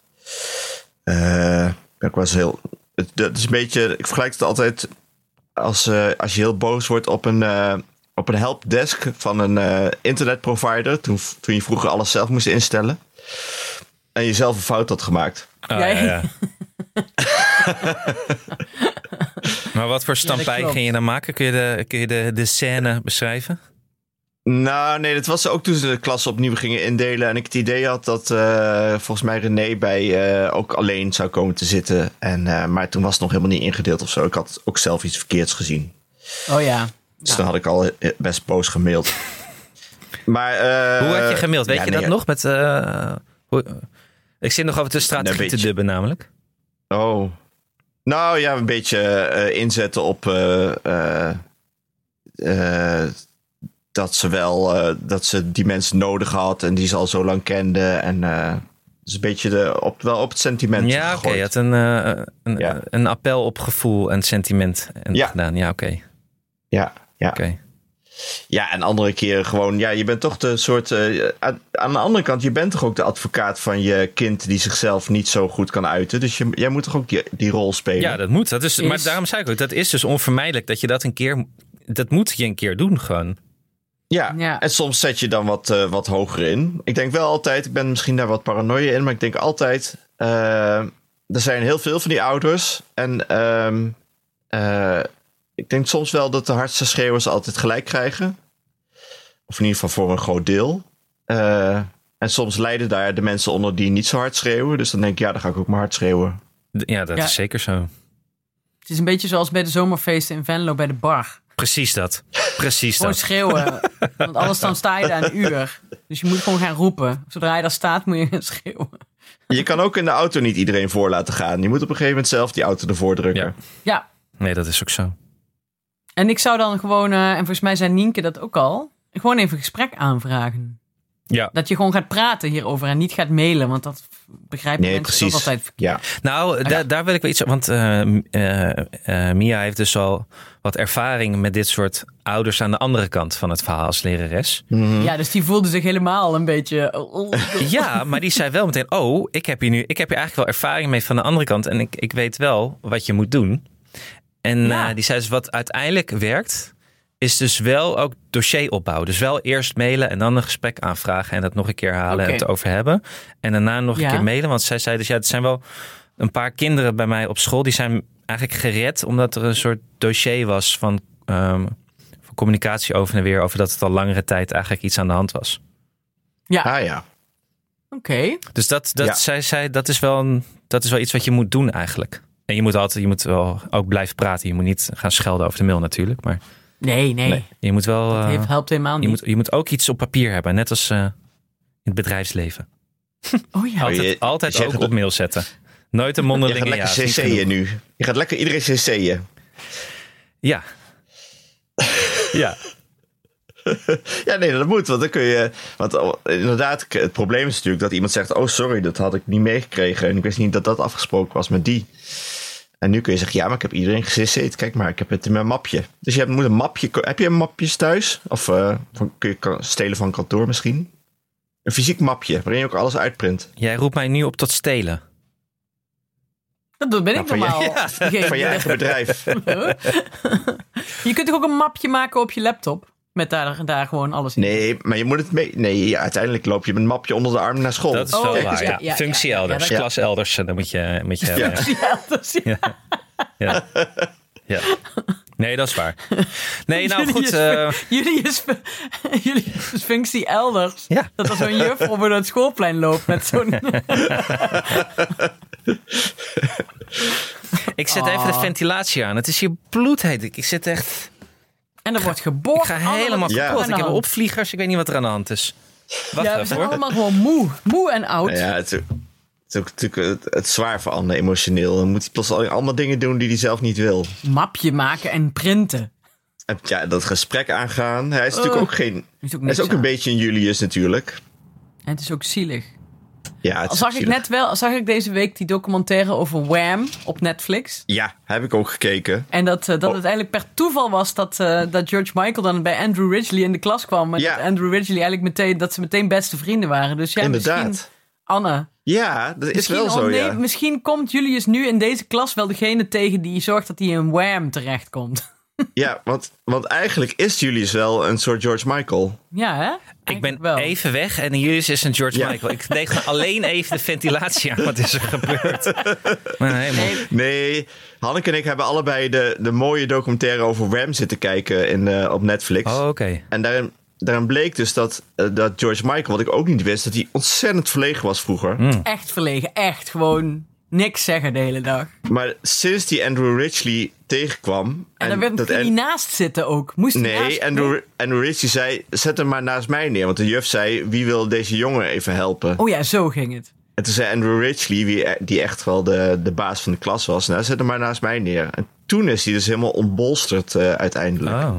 [SPEAKER 1] Eh, ben ik was heel... Het, dat is een beetje... Ik vergelijk het altijd als, eh, als je heel boos wordt op een, eh, op een helpdesk van een eh, internetprovider. Toen, toen je vroeger alles zelf moest instellen. En je zelf een fout had gemaakt.
[SPEAKER 3] Oh,
[SPEAKER 2] Jij? [laughs]
[SPEAKER 3] maar wat voor stampij
[SPEAKER 2] klopt.
[SPEAKER 3] ging je dan maken? Kun je de, kun je de, de scène beschrijven?
[SPEAKER 1] Nou, nee, dat was ook toen ze de klas opnieuw gingen indelen. En ik het idee had dat eh, volgens mij René bij eh, ook alleen zou komen te zitten. En, eh, maar toen was het nog helemaal niet ingedeeld of zo. Ik had ook zelf iets verkeerds gezien.
[SPEAKER 2] Oh ja.
[SPEAKER 1] Dus dan had ik al eh, best boos gemaild. maar, eh,
[SPEAKER 3] Hoe had je gemaild? Weet
[SPEAKER 1] ja,
[SPEAKER 3] je
[SPEAKER 1] nee,
[SPEAKER 3] dat nog? Met, eh, hoe- ik zit nog over de strategie
[SPEAKER 1] Een
[SPEAKER 3] te
[SPEAKER 1] beetje.
[SPEAKER 3] dubben namelijk.
[SPEAKER 1] Oh. Nou ja, een beetje eh, inzetten op eh, eh, eh, dat ze wel eh, dat ze die mensen nodig had en die ze al zo lang kende. En eh, dus een beetje de, op, wel op het sentiment.
[SPEAKER 3] ja, oké.
[SPEAKER 1] gegooid.
[SPEAKER 3] je had een, eh, een,
[SPEAKER 1] Ja.
[SPEAKER 3] een appel op gevoel en sentiment en
[SPEAKER 1] Ja.
[SPEAKER 3] gedaan. Ja, oké.
[SPEAKER 1] ja, ja.
[SPEAKER 3] oké.
[SPEAKER 1] ja, en andere keren gewoon. Ja, je bent toch de soort. eh, aan aan de andere kant, je bent toch ook de advocaat van je kind die zichzelf niet zo goed kan uiten. Dus je, jij moet toch ook die, die rol spelen.
[SPEAKER 3] Ja, dat moet. Dat is, Maar
[SPEAKER 2] Is-
[SPEAKER 3] daarom zei ik ook, dat is dus onvermijdelijk dat je dat een keer... Dat moet je een keer doen gewoon.
[SPEAKER 1] Ja,
[SPEAKER 2] Ja.
[SPEAKER 1] en soms zet je dan wat, eh, wat hoger in. Ik denk wel altijd, ik ben misschien daar wat paranoia in, maar ik denk altijd, eh, er zijn heel veel van die ouders. En ehm, eh, Ik denk soms wel dat de hardste schreeuwers altijd gelijk krijgen. Of in ieder geval voor een groot deel. Eh, en soms lijden daar de mensen onder die niet zo hard schreeuwen. Dus dan denk ik, ja, dan ga ik ook maar hard schreeuwen.
[SPEAKER 3] D- Ja, dat
[SPEAKER 2] Ja.
[SPEAKER 3] is zeker zo.
[SPEAKER 2] Het is een beetje zoals bij de zomerfeesten in Venlo bij de bar.
[SPEAKER 3] Precies dat. Precies
[SPEAKER 2] Gewoon
[SPEAKER 3] dat. [laughs]
[SPEAKER 2] schreeuwen. Want anders dan sta je daar een uur. Dus je moet gewoon gaan roepen. Zodra je daar staat moet je gaan schreeuwen.
[SPEAKER 1] Je kan ook in de auto niet iedereen voor laten gaan. Je moet op een gegeven moment zelf die auto ervoor drukken.
[SPEAKER 3] Ja.
[SPEAKER 2] Ja,
[SPEAKER 3] Nee, dat is ook zo.
[SPEAKER 2] en ik zou dan gewoon, eh, en volgens mij zei Nienke dat ook al, gewoon even gesprek aanvragen.
[SPEAKER 3] Ja.
[SPEAKER 2] Dat je gewoon gaat praten hierover en niet gaat mailen, want dat begrijpen
[SPEAKER 1] Nee,
[SPEAKER 2] mensen toch
[SPEAKER 1] precies.
[SPEAKER 2] altijd verkeerd.
[SPEAKER 1] Ja.
[SPEAKER 3] Nou, da- daar wil ik wel iets Want eh, m- eh, eh, Mia heeft dus al wat ervaring met dit soort ouders aan de andere kant van het verhaal als lerares.
[SPEAKER 1] Mhm.
[SPEAKER 2] Ja, dus die voelde zich helemaal een beetje... oh, oh, oh.
[SPEAKER 3] Ja, maar die zei wel meteen: Oh, ik heb hier nu ik heb hier eigenlijk wel ervaring mee van de andere kant. En ik, ik weet wel wat je moet doen. En
[SPEAKER 2] Ja.
[SPEAKER 3] eh, die zei dus: Wat uiteindelijk werkt, is dus wel ook dossieropbouw. Dus wel eerst mailen en dan een gesprek aanvragen. En dat nog een keer halen en
[SPEAKER 2] Oké.
[SPEAKER 3] het over hebben. En daarna nog
[SPEAKER 2] Ja.
[SPEAKER 3] een keer mailen. Want zij zei dus: Ja, het zijn wel een paar kinderen bij mij op school. Die zijn eigenlijk gered omdat er een soort dossier was van. ehm, van communicatie over en weer over dat het al langere tijd eigenlijk iets aan de hand was.
[SPEAKER 1] Ah ja.
[SPEAKER 2] Oké,
[SPEAKER 3] Dus dat, dat,
[SPEAKER 1] Ja.
[SPEAKER 3] zij, zei dat, is wel een, dat is wel iets wat je moet doen eigenlijk. En je moet altijd, je moet wel ook blijven praten. Je moet niet gaan schelden over de mail natuurlijk. Maar
[SPEAKER 2] nee, nee,
[SPEAKER 3] nee, je moet wel. eh,
[SPEAKER 2] Het heeft- helpt helemaal
[SPEAKER 3] je,
[SPEAKER 2] niet.
[SPEAKER 3] moet, je moet ook iets op papier hebben. Net als eh, in het bedrijfsleven.
[SPEAKER 2] Oh ja,
[SPEAKER 3] Altijd,
[SPEAKER 1] Oh, je-
[SPEAKER 3] altijd
[SPEAKER 1] je zegt
[SPEAKER 3] ook
[SPEAKER 1] dat-
[SPEAKER 3] op mail zetten. Nooit een
[SPEAKER 1] Je gaat
[SPEAKER 3] mondelinge ja.
[SPEAKER 1] lekker
[SPEAKER 3] is niet
[SPEAKER 1] cc'en
[SPEAKER 3] genoeg.
[SPEAKER 1] nu. Je gaat lekker iedereen cc'en. [laughs]
[SPEAKER 3] Ja. ja.
[SPEAKER 1] Ja, nee, dat moet. Want dan kun je. Want oh, inderdaad, k- het probleem is natuurlijk dat iemand zegt: Oh, sorry, dat had ik niet meegekregen. En ik wist niet dat dat afgesproken was met die. En nu kun je zeggen: Ja, maar ik heb iedereen gecc. Kijk maar, ik heb het in mijn mapje. Dus je hebt- moet een mapje. ko- Heb je mapjes thuis? Of eh, van, kun je ka- stelen van kantoor misschien? Een fysiek mapje waarin je ook alles uitprint.
[SPEAKER 3] Jij roept mij nu op tot stelen.
[SPEAKER 2] dat ben
[SPEAKER 1] Nou,
[SPEAKER 2] ik
[SPEAKER 1] van je-
[SPEAKER 2] normaal. Geen-
[SPEAKER 1] Van je
[SPEAKER 3] [laughs]
[SPEAKER 1] eigen bedrijf.
[SPEAKER 2] [laughs] je kunt toch ook een mapje maken op je laptop? Met daar, daar gewoon alles in.
[SPEAKER 1] Nee, maar je moet het mee. Nee, ja, uiteindelijk loop je met een mapje onder de arm naar school.
[SPEAKER 3] Dat is
[SPEAKER 2] Oh,
[SPEAKER 3] wel
[SPEAKER 2] kijk
[SPEAKER 3] waar.
[SPEAKER 2] eens,
[SPEAKER 3] Ja.
[SPEAKER 2] ja, ja,
[SPEAKER 3] Functie
[SPEAKER 2] ja, ja,
[SPEAKER 3] elders,
[SPEAKER 2] dat-
[SPEAKER 3] klas elders. eh, Dan moet je, moet je
[SPEAKER 1] Ja.
[SPEAKER 2] [laughs] Ja, dat is-
[SPEAKER 3] Ja. ja. Nee, dat is waar.
[SPEAKER 2] [laughs]
[SPEAKER 3] Nee, nou
[SPEAKER 2] Jullie
[SPEAKER 3] goed.
[SPEAKER 2] is-
[SPEAKER 3] eh,
[SPEAKER 2] [laughs] Jullie is, [laughs] jullie is functie elders.
[SPEAKER 3] ja.
[SPEAKER 2] Dat er zo'n juf over het schoolplein loopt met zo'n... [laughs]
[SPEAKER 3] Ik zet even de
[SPEAKER 2] Ah.
[SPEAKER 3] ventilatie aan. Het is hier bloedheet. Ik ik zit echt.
[SPEAKER 2] En er wordt
[SPEAKER 3] Ik
[SPEAKER 2] geboord.
[SPEAKER 3] ga helemaal
[SPEAKER 1] Ja.
[SPEAKER 3] kapot.
[SPEAKER 2] Aan de
[SPEAKER 3] Ik heb
[SPEAKER 2] hand.
[SPEAKER 3] opvliegers. Ik weet niet wat er aan de hand is. Wacht
[SPEAKER 2] Ja, we
[SPEAKER 3] even
[SPEAKER 2] zijn
[SPEAKER 3] hoor.
[SPEAKER 2] allemaal gewoon moe. Moe en oud.
[SPEAKER 1] Nou ja, het, is ook- het is ook natuurlijk het, het zwaar voor Anne emotioneel. Dan moet hij plots al- allemaal dingen doen die hij zelf niet wil.
[SPEAKER 2] Mapje maken en printen.
[SPEAKER 1] En ja, dat gesprek aangaan. Hij is natuurlijk
[SPEAKER 2] Oh.
[SPEAKER 1] ook geen.
[SPEAKER 2] Er Is ook
[SPEAKER 1] Hij
[SPEAKER 2] niks
[SPEAKER 1] is ook
[SPEAKER 2] aan.
[SPEAKER 1] een beetje een Julius natuurlijk.
[SPEAKER 2] En het is ook zielig.
[SPEAKER 1] Ja, het is
[SPEAKER 2] Zag ik
[SPEAKER 1] zielig.
[SPEAKER 2] net wel, zag ik deze week die documentaire over Wham op Netflix.
[SPEAKER 1] Ja, heb ik ook gekeken.
[SPEAKER 2] En dat, eh, dat het eigenlijk per toeval was dat, eh, dat George Michael dan bij Andrew Ridgely in de klas kwam. En
[SPEAKER 1] Ja.
[SPEAKER 2] dat Andrew Ridgely eigenlijk meteen, dat ze meteen beste vrienden waren. Dus ja, misschien,
[SPEAKER 1] Inderdaad.
[SPEAKER 2] Anne,
[SPEAKER 1] Ja, dat is
[SPEAKER 2] misschien,
[SPEAKER 1] wel
[SPEAKER 2] oh
[SPEAKER 1] zo,
[SPEAKER 2] nee,
[SPEAKER 1] ja.
[SPEAKER 2] misschien komt Julius nu in deze klas wel degene tegen die zorgt dat hij in Wham terechtkomt. [laughs]
[SPEAKER 1] Ja, want, want eigenlijk is Julius wel een soort George Michael.
[SPEAKER 2] ja, hè?
[SPEAKER 3] Ik
[SPEAKER 2] Eigenlijk
[SPEAKER 3] ben
[SPEAKER 2] wel.
[SPEAKER 3] even weg en Julius is een George
[SPEAKER 1] Ja.
[SPEAKER 3] Michael. Ik deed gewoon alleen even de ventilatie aan. Wat is er
[SPEAKER 2] [laughs]
[SPEAKER 3] gebeurd? Maar helemaal.
[SPEAKER 2] Nee,
[SPEAKER 1] Nee, Hanneke en ik hebben allebei de, de mooie documentaire over Wham zitten kijken in, eh, op Netflix.
[SPEAKER 3] Oh, oké.
[SPEAKER 1] En daarin, daarin bleek dus dat, eh, dat George Michael, wat ik ook niet wist, dat hij ontzettend verlegen was vroeger.
[SPEAKER 3] Hmm.
[SPEAKER 2] echt verlegen. Echt gewoon niks zeggen de hele dag.
[SPEAKER 1] Maar sinds die Andrew Ridgely tegenkwam.
[SPEAKER 2] En, dan werd,
[SPEAKER 1] dat
[SPEAKER 2] ging hij
[SPEAKER 1] en-
[SPEAKER 2] naast zitten ook. Moest hij naast-
[SPEAKER 1] Nee, Andrew, Andrew Ridgely zei: zet hem maar naast mij neer. Want de juf zei: wie wil deze jongen even helpen?
[SPEAKER 2] Oh ja, zo ging het.
[SPEAKER 1] En toen zei Andrew Ridgely, wie, e- die echt wel de, de baas van de klas was: nou, zet hem maar naast mij neer. En toen is hij dus helemaal ontbolsterd eh, uiteindelijk.
[SPEAKER 3] Oh.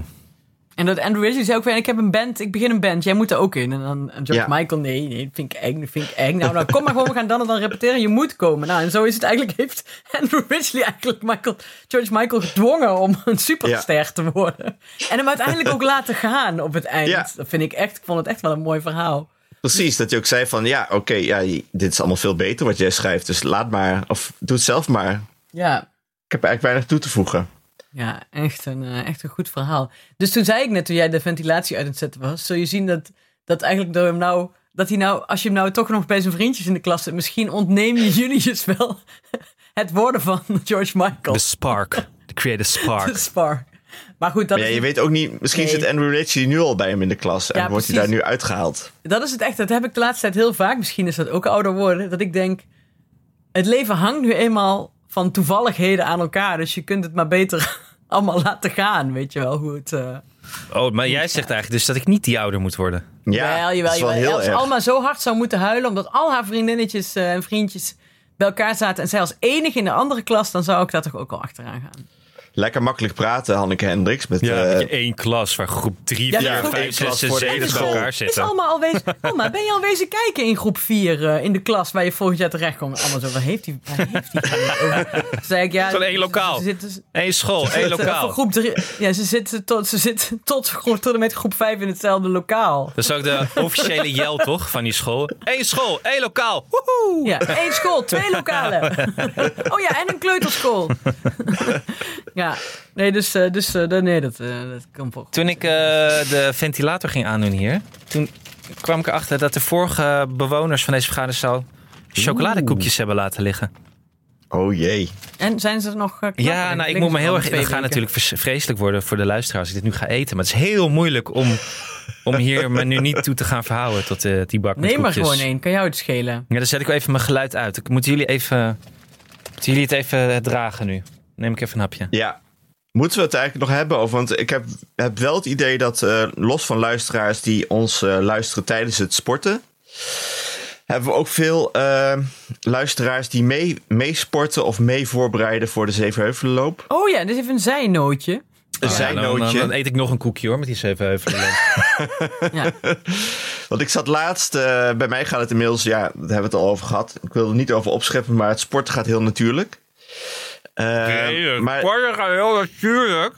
[SPEAKER 2] En dat Andrew Ridgely zei ook weer, ik heb een band, ik begin een band, jij moet er ook in. En dan en George
[SPEAKER 1] Ja.
[SPEAKER 2] Michael, nee, nee, dat vind ik eng, dat vind ik eng. Nou, nou, kom maar gewoon, we gaan dan en dan repeteren, je moet komen. Nou, en zo is het eigenlijk, heeft Andrew Ridgely eigenlijk Michael, George Michael gedwongen om een superster te worden. En hem uiteindelijk ook laten gaan op het eind.
[SPEAKER 1] Ja.
[SPEAKER 2] Dat vind ik echt, ik vond het echt wel een mooi verhaal.
[SPEAKER 1] Precies, dat hij ook zei: van ja, oké, ja, j- dit is allemaal veel beter wat jij schrijft. Dus laat maar, of doe het zelf maar.
[SPEAKER 2] Ja,
[SPEAKER 1] Ik heb er eigenlijk weinig toe te voegen.
[SPEAKER 2] Ja, echt een, eh, echt een goed verhaal. Dus toen zei ik net, toen jij de ventilatie uit het zetten was, zul je zien dat, dat eigenlijk door hem nou, dat hij nou, als je hem nou toch nog bij zijn vriendjes in de klas zit, misschien ontneem je [laughs] dus Julius wel het worden van [laughs] George Michael.
[SPEAKER 3] The spark. The create a spark.
[SPEAKER 2] De spar. Maar goed, dat
[SPEAKER 1] Maar ja,
[SPEAKER 2] is
[SPEAKER 1] je weet ook niet, misschien
[SPEAKER 2] Nee.
[SPEAKER 1] zit Andrew Ritchie nu al bij hem in de klas. En
[SPEAKER 2] Ja,
[SPEAKER 1] wordt hij daar
[SPEAKER 2] precies.
[SPEAKER 1] nu uitgehaald.
[SPEAKER 2] Dat is het echt. Dat heb ik de laatste tijd heel vaak. Misschien is dat ook ouder worden. Dat ik denk, het leven hangt nu eenmaal van toevalligheden aan elkaar. Dus je kunt het maar beter [laughs] allemaal laten gaan. Weet je wel hoe het... eh,
[SPEAKER 3] Oh, maar jij zegt eigenlijk dus dat ik niet die ouder moet worden.
[SPEAKER 1] Ja,
[SPEAKER 2] Jawel,
[SPEAKER 1] dat
[SPEAKER 2] jawel,
[SPEAKER 1] is wel
[SPEAKER 2] jawel.
[SPEAKER 1] heel
[SPEAKER 2] Als
[SPEAKER 1] erg.
[SPEAKER 2] Alma zo hard zou moeten huilen omdat al haar vriendinnetjes eh, en vriendjes bij elkaar zaten en zij als enige in de andere klas, dan zou ik daar toch ook al achteraan gaan.
[SPEAKER 1] Lekker makkelijk praten, Hanneke Hendricks. Met,
[SPEAKER 3] Ja,
[SPEAKER 1] eh,
[SPEAKER 3] met je één klas waar groep 3,
[SPEAKER 2] Ja,
[SPEAKER 3] 4,
[SPEAKER 2] groep-
[SPEAKER 3] 5,
[SPEAKER 1] één
[SPEAKER 3] 6
[SPEAKER 1] klas
[SPEAKER 3] en
[SPEAKER 1] voor de
[SPEAKER 3] 7
[SPEAKER 1] hele
[SPEAKER 3] bij
[SPEAKER 1] school.
[SPEAKER 3] elkaar
[SPEAKER 2] Is
[SPEAKER 3] zitten.
[SPEAKER 2] allemaal alwezen,
[SPEAKER 1] [laughs]
[SPEAKER 2] Alma, ben je alwezen kijken in groep 4 eh, in de klas waar je volgend jaar terecht komt? Allemaal zo, waar heeft hij? Waar heeft hij? het
[SPEAKER 1] [laughs]
[SPEAKER 2] over? Toen zei ik, ja,
[SPEAKER 3] Zo'n één
[SPEAKER 2] ze-
[SPEAKER 3] lokaal.
[SPEAKER 2] Ze zitten, ze
[SPEAKER 3] Eén school, één
[SPEAKER 2] zitten voor
[SPEAKER 3] lokaal.
[SPEAKER 2] groep drie, ja, ze zitten tot, ze zitten tot, groep- tot en met groep 5 in hetzelfde lokaal.
[SPEAKER 3] Dat is ook de officiële jel, toch, van die school. Eén school, één lokaal. Woehoe!
[SPEAKER 2] Ja, één school,
[SPEAKER 3] [laughs]
[SPEAKER 2] twee lokalen. oh ja, en een kleuterschool. ja, nee, dus, eh, dus eh, dat- nee, dat, eh, dat kan wel.
[SPEAKER 3] Toen ik eh, de ventilator ging aandoen hier, toen kwam ik erachter dat de vorige bewoners van deze vergaderzaal chocoladekoekjes hebben laten liggen.
[SPEAKER 1] Oh jee.
[SPEAKER 2] En zijn ze er nog? eh, knapper in?
[SPEAKER 3] Ja, nou, ik
[SPEAKER 2] Liggen
[SPEAKER 3] moet me
[SPEAKER 2] ze
[SPEAKER 3] heel
[SPEAKER 2] al
[SPEAKER 3] erg.
[SPEAKER 2] twee
[SPEAKER 3] Het gaat
[SPEAKER 2] weken?
[SPEAKER 3] natuurlijk vers- vreselijk worden voor de luisteraars als ik dit nu ga eten. Maar het is heel moeilijk om, om
[SPEAKER 2] [laughs]
[SPEAKER 3] hier me nu niet toe te gaan verhouden tot eh, die bak met
[SPEAKER 2] Neem maar
[SPEAKER 3] koekjes.
[SPEAKER 2] gewoon één, kan jou het schelen.
[SPEAKER 3] Ja, dan zet ik wel even mijn geluid uit. Ik- Moeten jullie, even, moeten jullie het even eh, dragen nu? Neem ik even een hapje.
[SPEAKER 1] Ja. Moeten we het eigenlijk nog hebben over? Want ik heb, heb wel het idee dat, eh, los van luisteraars die ons eh, luisteren tijdens het sporten, hebben we ook veel eh, luisteraars die mee- meesporten of mee voorbereiden voor de Zevenheuvelenloop.
[SPEAKER 2] Oh ja, dit is even een zijnootje.
[SPEAKER 1] Een
[SPEAKER 3] Ah, Ja, dan, dan,
[SPEAKER 1] zijnootje.
[SPEAKER 3] dan eet ik nog een koekje hoor, met die zeven heuvelen.
[SPEAKER 2] Ja.
[SPEAKER 1] Want ik zat laatst, eh, bij mij gaat het inmiddels, ja, daar hebben we het al over gehad. Ik wil er niet over opscheppen, maar het sporten gaat heel natuurlijk. Eh, maar
[SPEAKER 3] heel natuurlijk.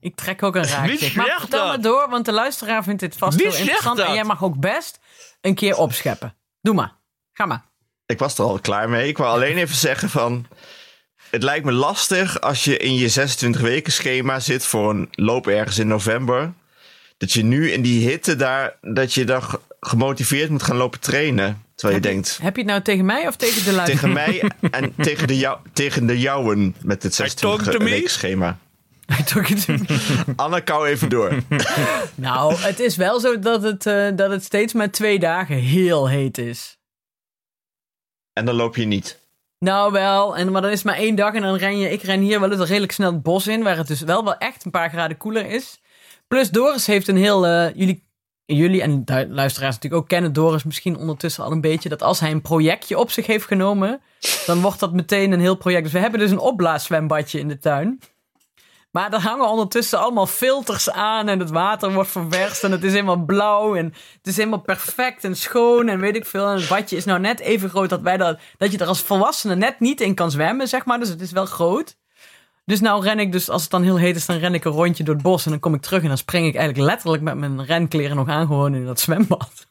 [SPEAKER 2] Ik trek ook een
[SPEAKER 3] Wie
[SPEAKER 2] raakje. Maar
[SPEAKER 3] zegt
[SPEAKER 2] vertel
[SPEAKER 3] dat?
[SPEAKER 2] maar door, want de luisteraar vindt dit vast
[SPEAKER 3] Wie
[SPEAKER 2] heel
[SPEAKER 3] zegt
[SPEAKER 2] interessant.
[SPEAKER 3] dat?
[SPEAKER 2] En jij mag ook best een keer opscheppen. Doe maar. Ga maar.
[SPEAKER 1] ik was er al klaar mee. Ik wou alleen even zeggen van... Het lijkt me lastig als je in je 26 weken schema zit voor een loop ergens in november. Dat je nu in die hitte daar, dat je dan ge- gemotiveerd moet gaan lopen trainen. Terwijl je denkt,
[SPEAKER 2] Heb je het nou tegen mij of tegen de luisteraar?
[SPEAKER 1] tegen mij en tegen de, jou, tegen de jouwen met dit
[SPEAKER 3] talk to
[SPEAKER 1] 26
[SPEAKER 3] me?
[SPEAKER 1] weken schema.
[SPEAKER 2] [laughs] Toch het-
[SPEAKER 1] Anne, kou even door.
[SPEAKER 2] Nou, het is wel zo dat het, eh, dat het steeds maar twee dagen heel heet is.
[SPEAKER 1] En dan loop je niet.
[SPEAKER 2] Nou wel, en, maar dan is het maar één dag en dan ren je... Ik ren hier wel eens redelijk snel het bos in, waar het dus wel wel echt een paar graden koeler is. Plus Doris heeft een heel... eh, jullie, jullie en du- luisteraars natuurlijk ook kennen Doris misschien ondertussen al een beetje... dat als hij een projectje op zich heeft genomen, dan wordt dat meteen een heel project. Dus we hebben dus een opblaaszwembadje in de tuin. Maar er hangen ondertussen allemaal filters aan en het water wordt ververst en het is helemaal blauw en het is helemaal perfect en schoon en weet ik veel. En het badje is nou net even groot dat, wij dat, dat je er als volwassene net niet in kan zwemmen, zeg maar. Dus het is wel groot. Dus nou ren ik dus, als het dan heel heet is, dan ren ik een rondje door het bos en dan kom ik terug en dan spring ik eigenlijk letterlijk met mijn renkleren nog aan gewoon in dat zwembad.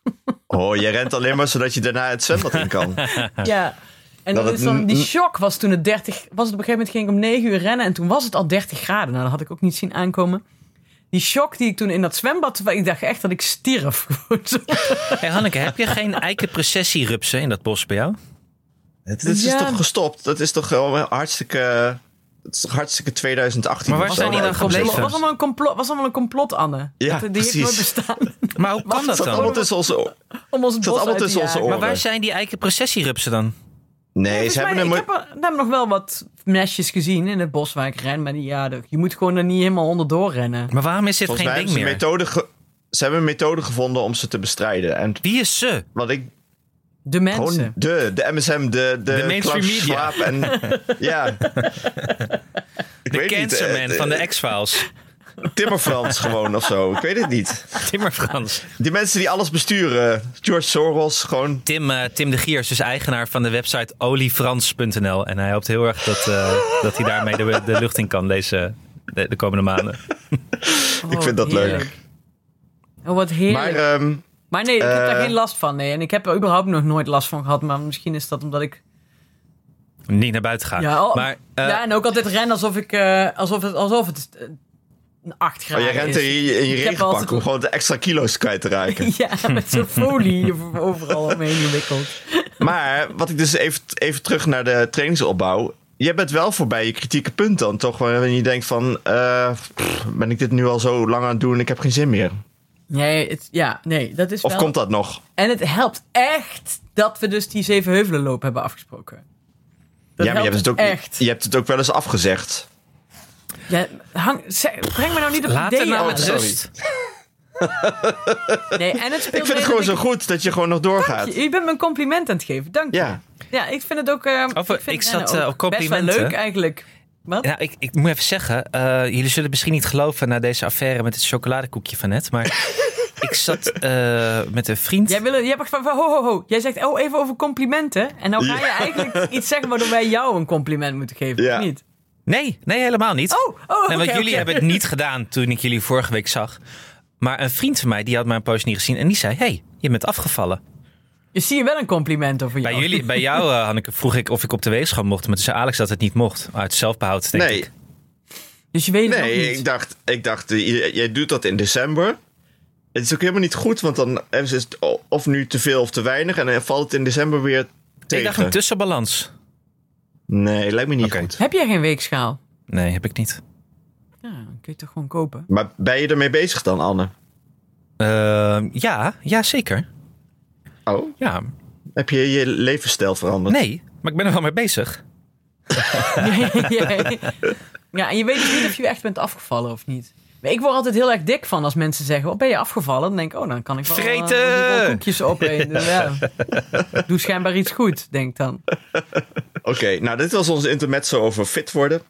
[SPEAKER 1] Oh, je rent alleen maar zodat je daarna het zwembad in kan.
[SPEAKER 2] Ja. En
[SPEAKER 1] Dat
[SPEAKER 2] dat
[SPEAKER 1] het
[SPEAKER 2] is dan, die
[SPEAKER 1] n-
[SPEAKER 2] shock was toen het 30... Was het op een gegeven moment ging ik om 9 uur rennen en toen was het al 30 graden. Nou, dat had ik ook niet zien aankomen. Die shock die ik toen in dat zwembad... Ik dacht echt dat ik stierf. [laughs] Gewoon zo.
[SPEAKER 3] Hey Hanneke,
[SPEAKER 1] [laughs]
[SPEAKER 3] heb je geen eikenprocessierupsen in dat bos bij jou?
[SPEAKER 1] Het, dit is
[SPEAKER 2] Ja.
[SPEAKER 1] toch gestopt? Dat is toch wel hartstikke. Het is toch hartstikke 2018.
[SPEAKER 3] Maar waar
[SPEAKER 1] of
[SPEAKER 3] zijn
[SPEAKER 1] zo?
[SPEAKER 3] die dan
[SPEAKER 1] Ja,
[SPEAKER 3] gebleven?
[SPEAKER 2] was allemaal een complot, was allemaal een complot Anne.
[SPEAKER 1] Ja,
[SPEAKER 2] Dat- die
[SPEAKER 1] precies.
[SPEAKER 2] heeft nooit
[SPEAKER 1] [laughs]
[SPEAKER 2] bestaan.
[SPEAKER 3] Maar hoe kan dat
[SPEAKER 1] Het zat allemaal
[SPEAKER 3] dan?
[SPEAKER 1] tussen onze oren.
[SPEAKER 2] Om ons het
[SPEAKER 1] zat
[SPEAKER 2] bos
[SPEAKER 1] allemaal
[SPEAKER 2] uit te
[SPEAKER 1] tussen onze
[SPEAKER 2] jagen.
[SPEAKER 1] oren.
[SPEAKER 3] Maar waar zijn die eikenprocessierupsen dan?
[SPEAKER 1] Nee,
[SPEAKER 2] Volgens
[SPEAKER 1] ze
[SPEAKER 2] mij-
[SPEAKER 1] hebben een.
[SPEAKER 2] ik
[SPEAKER 1] mo-
[SPEAKER 2] heb er, daar heb ik nog wel wat mesjes gezien in het bos waar ik ren. Maar die, ja, de- je moet gewoon er niet helemaal onderdoor rennen.
[SPEAKER 3] Maar waarom is dit
[SPEAKER 1] Volgens
[SPEAKER 3] geen
[SPEAKER 1] mij
[SPEAKER 3] ding
[SPEAKER 1] hebben ze, een
[SPEAKER 3] meer?
[SPEAKER 1] methode ge- ze hebben een methode gevonden om ze te bestrijden. En
[SPEAKER 3] Wie is ze?
[SPEAKER 1] wat ik.
[SPEAKER 2] De mensen.
[SPEAKER 1] Gewoon de, de MSM, de. De,
[SPEAKER 3] mainstream
[SPEAKER 1] Klaus
[SPEAKER 3] media.
[SPEAKER 1] Schwab
[SPEAKER 3] [laughs]
[SPEAKER 1] en. ja. Ik
[SPEAKER 3] De
[SPEAKER 1] weet niet, eh,
[SPEAKER 3] cancerman
[SPEAKER 1] eh,
[SPEAKER 3] van de
[SPEAKER 1] [laughs]
[SPEAKER 3] X-Files. [laughs]
[SPEAKER 1] Timmerfrans gewoon of zo. Ik weet het niet.
[SPEAKER 3] Timmer Frans.
[SPEAKER 1] Die mensen die alles besturen. George Soros, gewoon.
[SPEAKER 3] Tim, eh, Tim de Gier is dus eigenaar van de website oliefrans.nl. En hij hoopt heel erg dat, eh, dat hij daarmee de, de lucht in kan deze, de, de komende maanden.
[SPEAKER 1] [laughs] ik vind dat leuk.
[SPEAKER 2] Oh, wat heerlijk.
[SPEAKER 1] Maar. ehm,
[SPEAKER 2] Maar nee, ik heb daar
[SPEAKER 1] Eh.
[SPEAKER 2] geen last van. Nee. En ik heb er überhaupt nog nooit last van gehad. Maar misschien is dat omdat ik.
[SPEAKER 3] Niet naar buiten
[SPEAKER 1] Ah,
[SPEAKER 3] gaan.
[SPEAKER 2] Ja, oh,
[SPEAKER 3] maar, eh,
[SPEAKER 2] ja en ook altijd ren alsof, ik, eh, alsof het, alsof het eh, een 8
[SPEAKER 1] Oh,
[SPEAKER 2] graden
[SPEAKER 1] jij
[SPEAKER 2] is.
[SPEAKER 1] rent in je, in je
[SPEAKER 2] Ik heb wel
[SPEAKER 1] regenpak
[SPEAKER 2] altijd-
[SPEAKER 1] om gewoon de extra kilo's kwijt te raken.
[SPEAKER 2] [laughs] Ja, met zo'n folie over- overal omheen gewikkeld.
[SPEAKER 1] Maar wat ik dus even, even terug naar de trainingsopbouw. je bent wel voorbij je kritieke punt dan, toch? Waarin je denkt van, eh, pff, ben ik dit nu al zo lang aan het doen? Ik heb geen zin meer.
[SPEAKER 2] Nee, het, ja, nee, dat is
[SPEAKER 1] Of
[SPEAKER 2] wel...
[SPEAKER 1] komt dat nog?
[SPEAKER 2] En het helpt echt dat we dus die zeven heuvelenloop hebben afgesproken. Dat
[SPEAKER 1] ja, maar je hebt,
[SPEAKER 2] helpt
[SPEAKER 1] het ook,
[SPEAKER 2] echt.
[SPEAKER 1] je hebt het ook wel eens afgezegd.
[SPEAKER 2] Ja, hang, zeg- breng me nou niet op
[SPEAKER 3] Laat
[SPEAKER 2] ideeën.
[SPEAKER 3] het nou met
[SPEAKER 2] Alex.
[SPEAKER 1] sorry.
[SPEAKER 3] rust.
[SPEAKER 2] Nee, en het speelt
[SPEAKER 1] Ik vind het
[SPEAKER 2] mee
[SPEAKER 1] gewoon zo
[SPEAKER 2] dat
[SPEAKER 1] goed dat je gewoon nog doorgaat.
[SPEAKER 2] ik- Je, je bent me een compliment aan het geven, dank je.
[SPEAKER 1] Ja.
[SPEAKER 2] Ja, ik vind het ook... eh,
[SPEAKER 3] Of,
[SPEAKER 2] ik, vind
[SPEAKER 3] Oh, ik zat,
[SPEAKER 2] Renna
[SPEAKER 3] eh,
[SPEAKER 2] ook
[SPEAKER 3] op complimenten.
[SPEAKER 2] Best wel leuk eigenlijk. Wat?
[SPEAKER 3] Nou, ik, ik moet even zeggen, eh, jullie zullen misschien niet geloven na deze affaire met het chocoladekoekje van
[SPEAKER 2] [laughs]
[SPEAKER 3] net, maar ik zat eh, met een vriend.
[SPEAKER 2] Jij, wil, jij mag van, van- ho, ho, ho. Jij zegt, oh, even over complimenten. En nou ga je eigenlijk iets zeggen waardoor wij jou een compliment moeten geven,
[SPEAKER 1] Ja.
[SPEAKER 2] of niet?
[SPEAKER 3] Nee, nee, helemaal niet.
[SPEAKER 2] Oh, oh, oké.
[SPEAKER 3] nee, want jullie
[SPEAKER 2] oké.
[SPEAKER 3] hebben het niet gedaan toen ik jullie vorige week zag. Maar een vriend van mij, die had mijn post niet gezien en die zei, hey, je bent afgevallen.
[SPEAKER 2] Je zie je wel een compliment over jou.
[SPEAKER 3] Bij, jullie, bij jou, eh, Hanneke, vroeg ik of ik op de weegschaal mocht, maar toen zei Alex dat het niet mocht. Uit zelfbehoud, denk
[SPEAKER 1] Nee,
[SPEAKER 3] ik.
[SPEAKER 2] Dus je weet het nog
[SPEAKER 1] nee
[SPEAKER 2] niet.
[SPEAKER 1] ik dacht, ik dacht eh, jij- jij doet dat in december. Het is ook helemaal niet goed, want dan is het o- of nu te veel of te weinig. En dan valt het in december weer tegen.
[SPEAKER 3] Ik dacht een tussenbalans.
[SPEAKER 1] Nee, lijkt me niet
[SPEAKER 3] Oké.
[SPEAKER 1] goed.
[SPEAKER 2] Heb jij geen weegschaal?
[SPEAKER 3] Nee, heb ik niet.
[SPEAKER 2] Ja, dan kun je het toch gewoon kopen.
[SPEAKER 1] Maar ben je ermee bezig dan, Anne?
[SPEAKER 3] Eh, ja, ja, zeker.
[SPEAKER 1] Oh.
[SPEAKER 3] Ja,
[SPEAKER 1] Heb je je levensstijl veranderd?
[SPEAKER 3] nee, maar ik ben er wel mee bezig.
[SPEAKER 2] [laughs] ja, en je weet dus niet of je echt bent afgevallen of niet. Maar ik word altijd heel erg dik van als mensen zeggen, oh, ben je afgevallen? Dan denk ik, oh, dan kan ik wel eh,
[SPEAKER 3] Vreten!
[SPEAKER 2] die koekjes opeten. Dus ja, ik doe schijnbaar iets goed, denk ik dan.
[SPEAKER 1] Oké, nou dit was onze intermezzo over fit worden.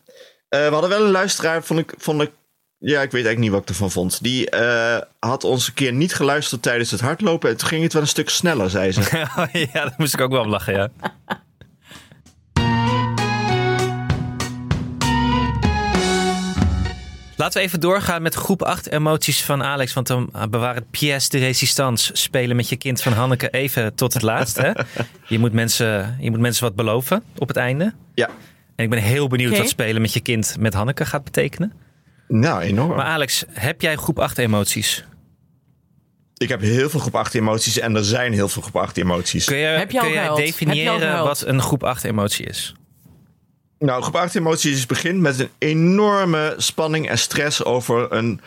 [SPEAKER 1] Eh, we hadden wel een luisteraar, vond ik, vond ik... Ja, ik weet eigenlijk niet wat ik ervan vond. Die eh, had ons een keer niet geluisterd tijdens het hardlopen. En toen ging het wel een stuk sneller, zei
[SPEAKER 3] [laughs]
[SPEAKER 1] ze.
[SPEAKER 3] ja, daar moest ik ook wel om lachen, ja. Laten we even doorgaan met groep 8 emoties van Alex. Want dan bewaar het pièce de résistance. Spelen met je kind van Hanneke even tot het laatst. Hè?
[SPEAKER 2] [laughs]
[SPEAKER 3] Je, moet mensen, je moet mensen wat beloven op het einde.
[SPEAKER 1] Ja,
[SPEAKER 3] En ik ben heel benieuwd
[SPEAKER 2] Oké.
[SPEAKER 3] wat spelen met je kind met Hanneke gaat betekenen.
[SPEAKER 1] nou enorm.
[SPEAKER 3] Maar Alex, heb jij groep 8 emoties?
[SPEAKER 1] Ik heb heel veel groep 8 emoties en er zijn heel veel groep 8 emoties.
[SPEAKER 3] Kun, je,
[SPEAKER 2] Heb je al
[SPEAKER 3] kun jij
[SPEAKER 2] gehuild? Heb je al
[SPEAKER 3] definiëren
[SPEAKER 2] gehuild?
[SPEAKER 3] wat een groep 8 emotie is?
[SPEAKER 1] Nou, groep 8 emoties begint met een enorme spanning en stress over een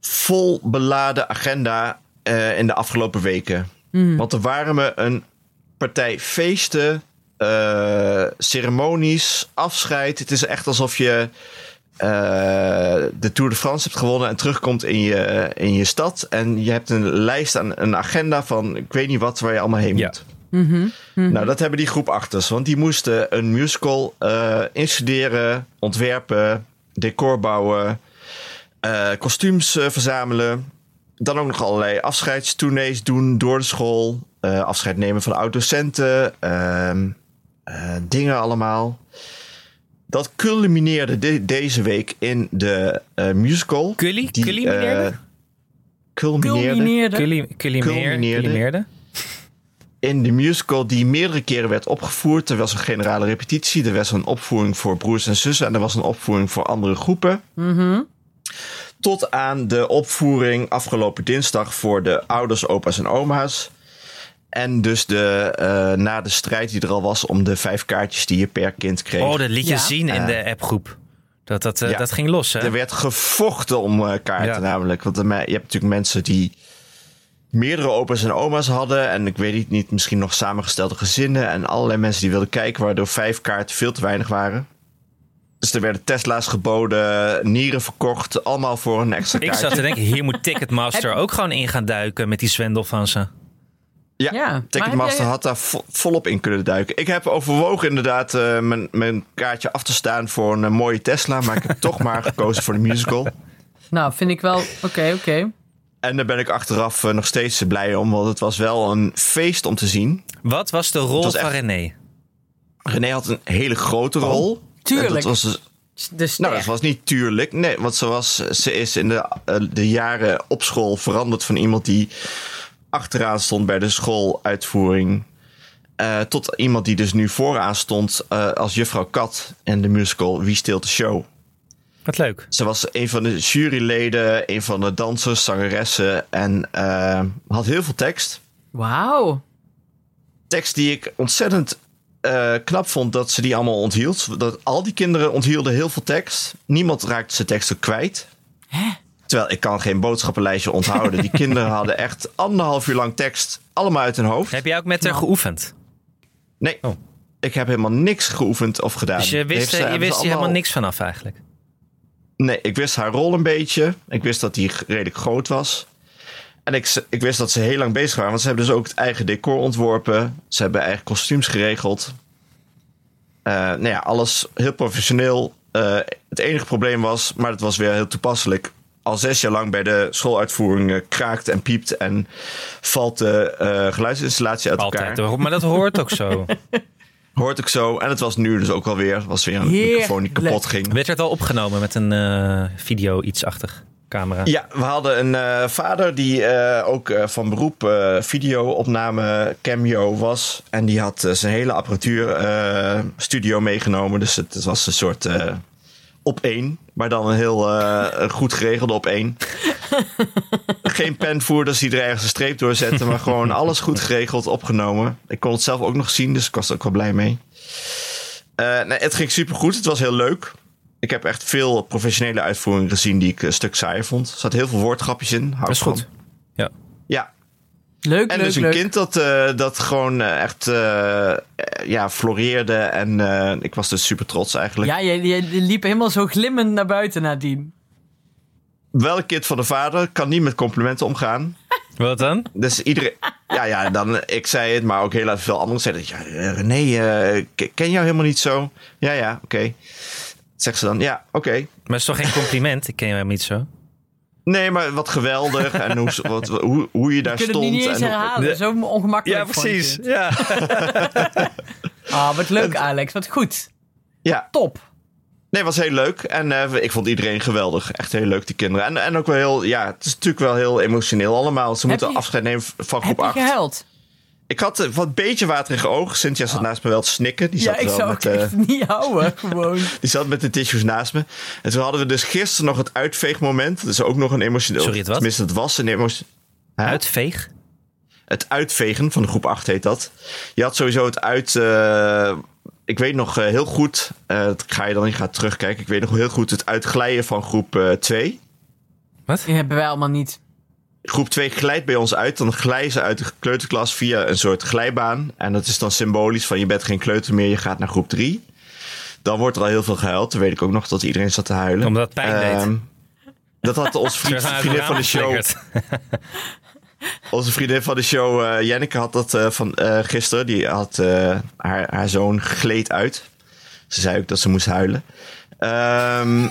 [SPEAKER 1] vol beladen agenda eh, in de afgelopen weken. Want er waren me een partij feesten, eh, ceremonies, afscheid. Het is echt alsof je eh, de Tour de France hebt gewonnen en terugkomt in je, in je stad. En je hebt een lijst aan een agenda van ik weet niet wat waar je allemaal heen
[SPEAKER 3] Ja.
[SPEAKER 1] moet. Nou, dat hebben die groep achters. Want die moesten een musical eh, instuderen, ontwerpen, decor bouwen, eh, kostuums eh, verzamelen. Dan ook nog allerlei afscheidstournees doen door de school. eh, afscheid nemen van oud-docenten. ehm, eh, dingen allemaal. Dat culmineerde de- deze week in de eh, musical.
[SPEAKER 3] Culli?
[SPEAKER 1] die,
[SPEAKER 3] Culmineerde?
[SPEAKER 1] eh, culmineerde?
[SPEAKER 2] Culmineerde.
[SPEAKER 3] Culli- Cullimeer-
[SPEAKER 1] Culmineerde.
[SPEAKER 3] Cullimeerde?
[SPEAKER 1] in de musical die meerdere keren werd opgevoerd. Er was een generale repetitie, er was een opvoering voor broers en zussen en er was een opvoering voor andere groepen.
[SPEAKER 2] Mhm.
[SPEAKER 1] Tot aan de opvoering afgelopen dinsdag voor de ouders, opa's en oma's. En dus de, eh, na de strijd die er al was om de vijf kaartjes die je per kind kreeg.
[SPEAKER 3] Oh, dat liet je
[SPEAKER 2] Ja.
[SPEAKER 3] zien in de appgroep. Dat, dat, eh,
[SPEAKER 1] Ja.
[SPEAKER 3] dat ging los, hè?
[SPEAKER 1] Er werd gevochten om eh, kaarten
[SPEAKER 3] Ja.
[SPEAKER 1] namelijk. Want er me- je hebt natuurlijk mensen die meerdere opa's en oma's hadden. En ik weet het niet, misschien nog samengestelde gezinnen. En allerlei mensen die wilden kijken, waardoor vijf kaarten veel te weinig waren. Dus er werden Tesla's geboden, nieren verkocht. Allemaal voor een extra
[SPEAKER 3] Ik
[SPEAKER 1] kaartje.
[SPEAKER 3] zat te denken,
[SPEAKER 2] [laughs]
[SPEAKER 3] hier moet Ticketmaster ook gewoon in gaan duiken met die zwendel van ze.
[SPEAKER 1] Ja,
[SPEAKER 2] Ja, maar
[SPEAKER 1] Ticketmaster
[SPEAKER 2] heb jij-
[SPEAKER 1] had daar vo- volop in kunnen duiken. Ik heb overwogen inderdaad eh, mijn, mijn kaartje af te staan voor een eh, mooie Tesla. Maar
[SPEAKER 2] [laughs]
[SPEAKER 1] ik heb toch maar gekozen voor de musical.
[SPEAKER 2] Nou, vind ik wel, oké, oké.
[SPEAKER 1] En daar ben ik achteraf eh, nog steeds eh, blij om, want het was wel een feest om te zien.
[SPEAKER 3] Wat was de rol
[SPEAKER 1] was
[SPEAKER 3] van
[SPEAKER 1] echt-
[SPEAKER 3] René?
[SPEAKER 1] René had een hele grote rol.
[SPEAKER 2] Oh, tuurlijk.
[SPEAKER 1] En Dat was, dus-
[SPEAKER 2] Dus
[SPEAKER 1] nou, dat was niet tuurlijk. Nee, want ze, was, ze is in de, eh, de jaren op school veranderd van iemand die achteraan stond bij de schooluitvoering. eh, tot iemand die dus nu vooraan stond eh, als juffrouw Kat in de musical Wie steelt de show.
[SPEAKER 3] Wat leuk.
[SPEAKER 1] Ze was een van de juryleden, een van de dansers, zangeressen en eh, had heel veel tekst.
[SPEAKER 2] Wauw.
[SPEAKER 1] tekst die ik ontzettend eh, knap vond dat ze die allemaal onthield. Dat al die kinderen onthielden heel veel tekst. Niemand raakte zijn teksten kwijt. Terwijl ik kan geen boodschappenlijstje onthouden.
[SPEAKER 3] [laughs]
[SPEAKER 1] Die kinderen hadden echt anderhalf uur lang tekst. Allemaal uit hun hoofd.
[SPEAKER 3] Heb jij ook met haar
[SPEAKER 1] Nou,
[SPEAKER 3] geoefend?
[SPEAKER 1] Nee,
[SPEAKER 3] Oh.
[SPEAKER 1] ik heb helemaal niks geoefend of gedaan.
[SPEAKER 3] Dus je
[SPEAKER 1] Heeft
[SPEAKER 3] wist,
[SPEAKER 1] ze-
[SPEAKER 3] eh, je
[SPEAKER 1] hebben ze
[SPEAKER 3] wist hier helemaal
[SPEAKER 1] allemaal-
[SPEAKER 3] niks vanaf eigenlijk.
[SPEAKER 1] Nee, ik wist haar rol een beetje. Ik wist dat die g- redelijk groot was. En ik, s- ik wist dat ze heel lang bezig waren. Want ze hebben dus ook het eigen decor ontworpen. Ze hebben eigen kostuums geregeld. Eh nou ja, alles heel professioneel. Eh, het enige probleem was, maar dat was weer heel toepasselijk. Al zes jaar lang bij de schooluitvoering eh, kraakt en piept en valt de eh, geluidsinstallatie uit elkaar.
[SPEAKER 3] Altijd hoor. Maar dat hoort ook
[SPEAKER 1] [laughs]
[SPEAKER 3] zo.
[SPEAKER 1] Hoort ik zo. En het was nu dus ook alweer. Was weer een
[SPEAKER 2] Heerlijk.
[SPEAKER 1] microfoon die kapot ging.
[SPEAKER 3] Werd het al opgenomen met een eh, video iets-achtig camera?
[SPEAKER 1] Ja, we hadden een eh, vader die eh, ook eh, van beroep eh video-opname cameo was. En die had eh, zijn hele apparatuur eh, studio meegenomen. Dus het, het was een soort eh, op één. Maar dan een heel eh, goed geregelde op één. Geen penvoerders die er ergens een streep door zetten. Maar gewoon alles goed geregeld, opgenomen. Ik kon het zelf ook nog zien, dus ik was er ook wel blij mee. Eh, nee, het ging supergoed. Het was heel leuk. Ik heb echt veel professionele uitvoeringen gezien die ik een stuk saaier vond. Er zaten heel veel woordgrapjes in. Hou
[SPEAKER 3] Dat is
[SPEAKER 1] ik van.
[SPEAKER 3] goed. Ja.
[SPEAKER 1] Ja.
[SPEAKER 2] Leuk,
[SPEAKER 1] En
[SPEAKER 2] leuk,
[SPEAKER 1] dus een
[SPEAKER 2] leuk.
[SPEAKER 1] kind dat, eh, dat gewoon eh, echt eh, eh, ja, floreerde. En eh, ik was dus super trots eigenlijk.
[SPEAKER 2] Ja, je, je liep helemaal zo glimmend naar buiten nadien.
[SPEAKER 1] Wel een kind van de vader. Kan niet met complimenten omgaan.
[SPEAKER 3] Wat dan?
[SPEAKER 1] Dus iedereen... [laughs] ja, ja, dan, ik zei het, maar ook heel veel anderen zeiden... Ja, eh, René, eh, ik ken jou helemaal niet zo. Ja, ja, oké. Zegt ze dan, ja, oké.
[SPEAKER 3] Maar het is toch geen compliment? Ik ken je hem niet zo.
[SPEAKER 1] Nee, maar wat geweldig. En hoe, wat, hoe, hoe je daar
[SPEAKER 2] Je kunt het
[SPEAKER 1] stond.
[SPEAKER 2] niet eens
[SPEAKER 1] en hoe-
[SPEAKER 2] herhalen,
[SPEAKER 3] Nee.
[SPEAKER 2] zo ongemakkelijk. vond je het.
[SPEAKER 3] Ja.
[SPEAKER 2] Ah, wat leuk Alex, wat goed.
[SPEAKER 1] ja,
[SPEAKER 2] Top.
[SPEAKER 1] nee, was heel leuk. En eh, ik vond iedereen geweldig. Echt heel leuk, die kinderen. En, en ook wel heel, ja, het is natuurlijk wel heel emotioneel allemaal. Ze moeten
[SPEAKER 2] je-
[SPEAKER 1] afscheid nemen van
[SPEAKER 2] Heb
[SPEAKER 1] groep
[SPEAKER 2] je
[SPEAKER 1] 8.
[SPEAKER 2] gehuild?
[SPEAKER 1] Ik had eh, wat beetje waterige ogen. Cynthia zat naast me wel te snikken. Die
[SPEAKER 2] Ah. Ja,
[SPEAKER 1] zat wel
[SPEAKER 2] ik zou
[SPEAKER 1] met,
[SPEAKER 2] het
[SPEAKER 1] eh,
[SPEAKER 2] echt niet
[SPEAKER 1] [laughs]
[SPEAKER 2] houden, gewoon.
[SPEAKER 1] Die zat met de tissues naast me. En toen hadden we dus gisteren nog het uitveegmoment. Dus ook nog een emotioneel.
[SPEAKER 3] Sorry, het wat?
[SPEAKER 1] Tenminste, het was een emotioneel.
[SPEAKER 3] Uitveeg.
[SPEAKER 1] het uitvegen van de groep 8 heet dat. Je had sowieso het uit. eh, ik weet nog eh, heel goed. eh, dat ga je dan niet gaan terugkijken. Ik weet nog heel goed het uitglijden van groep eh, 2.
[SPEAKER 2] Die hebben wij allemaal niet.
[SPEAKER 1] groep 2 glijdt bij ons uit. Dan glijden ze uit de kleuterklas via een soort glijbaan. En dat is dan symbolisch van je bent geen kleuter meer. Je gaat naar groep 3. Dan wordt er al heel veel gehuild. Dan weet ik ook nog dat iedereen zat te huilen.
[SPEAKER 3] Omdat het pijn deed.
[SPEAKER 1] Ehm, Dat had
[SPEAKER 3] [laughs]
[SPEAKER 1] onze vriend, vriendin van de show. Onze vriendin van de show, eh, Janneke, had dat eh, van eh, gisteren. Die had eh, haar, haar zoon gleed uit. Ze zei ook dat ze moest huilen. Ehm,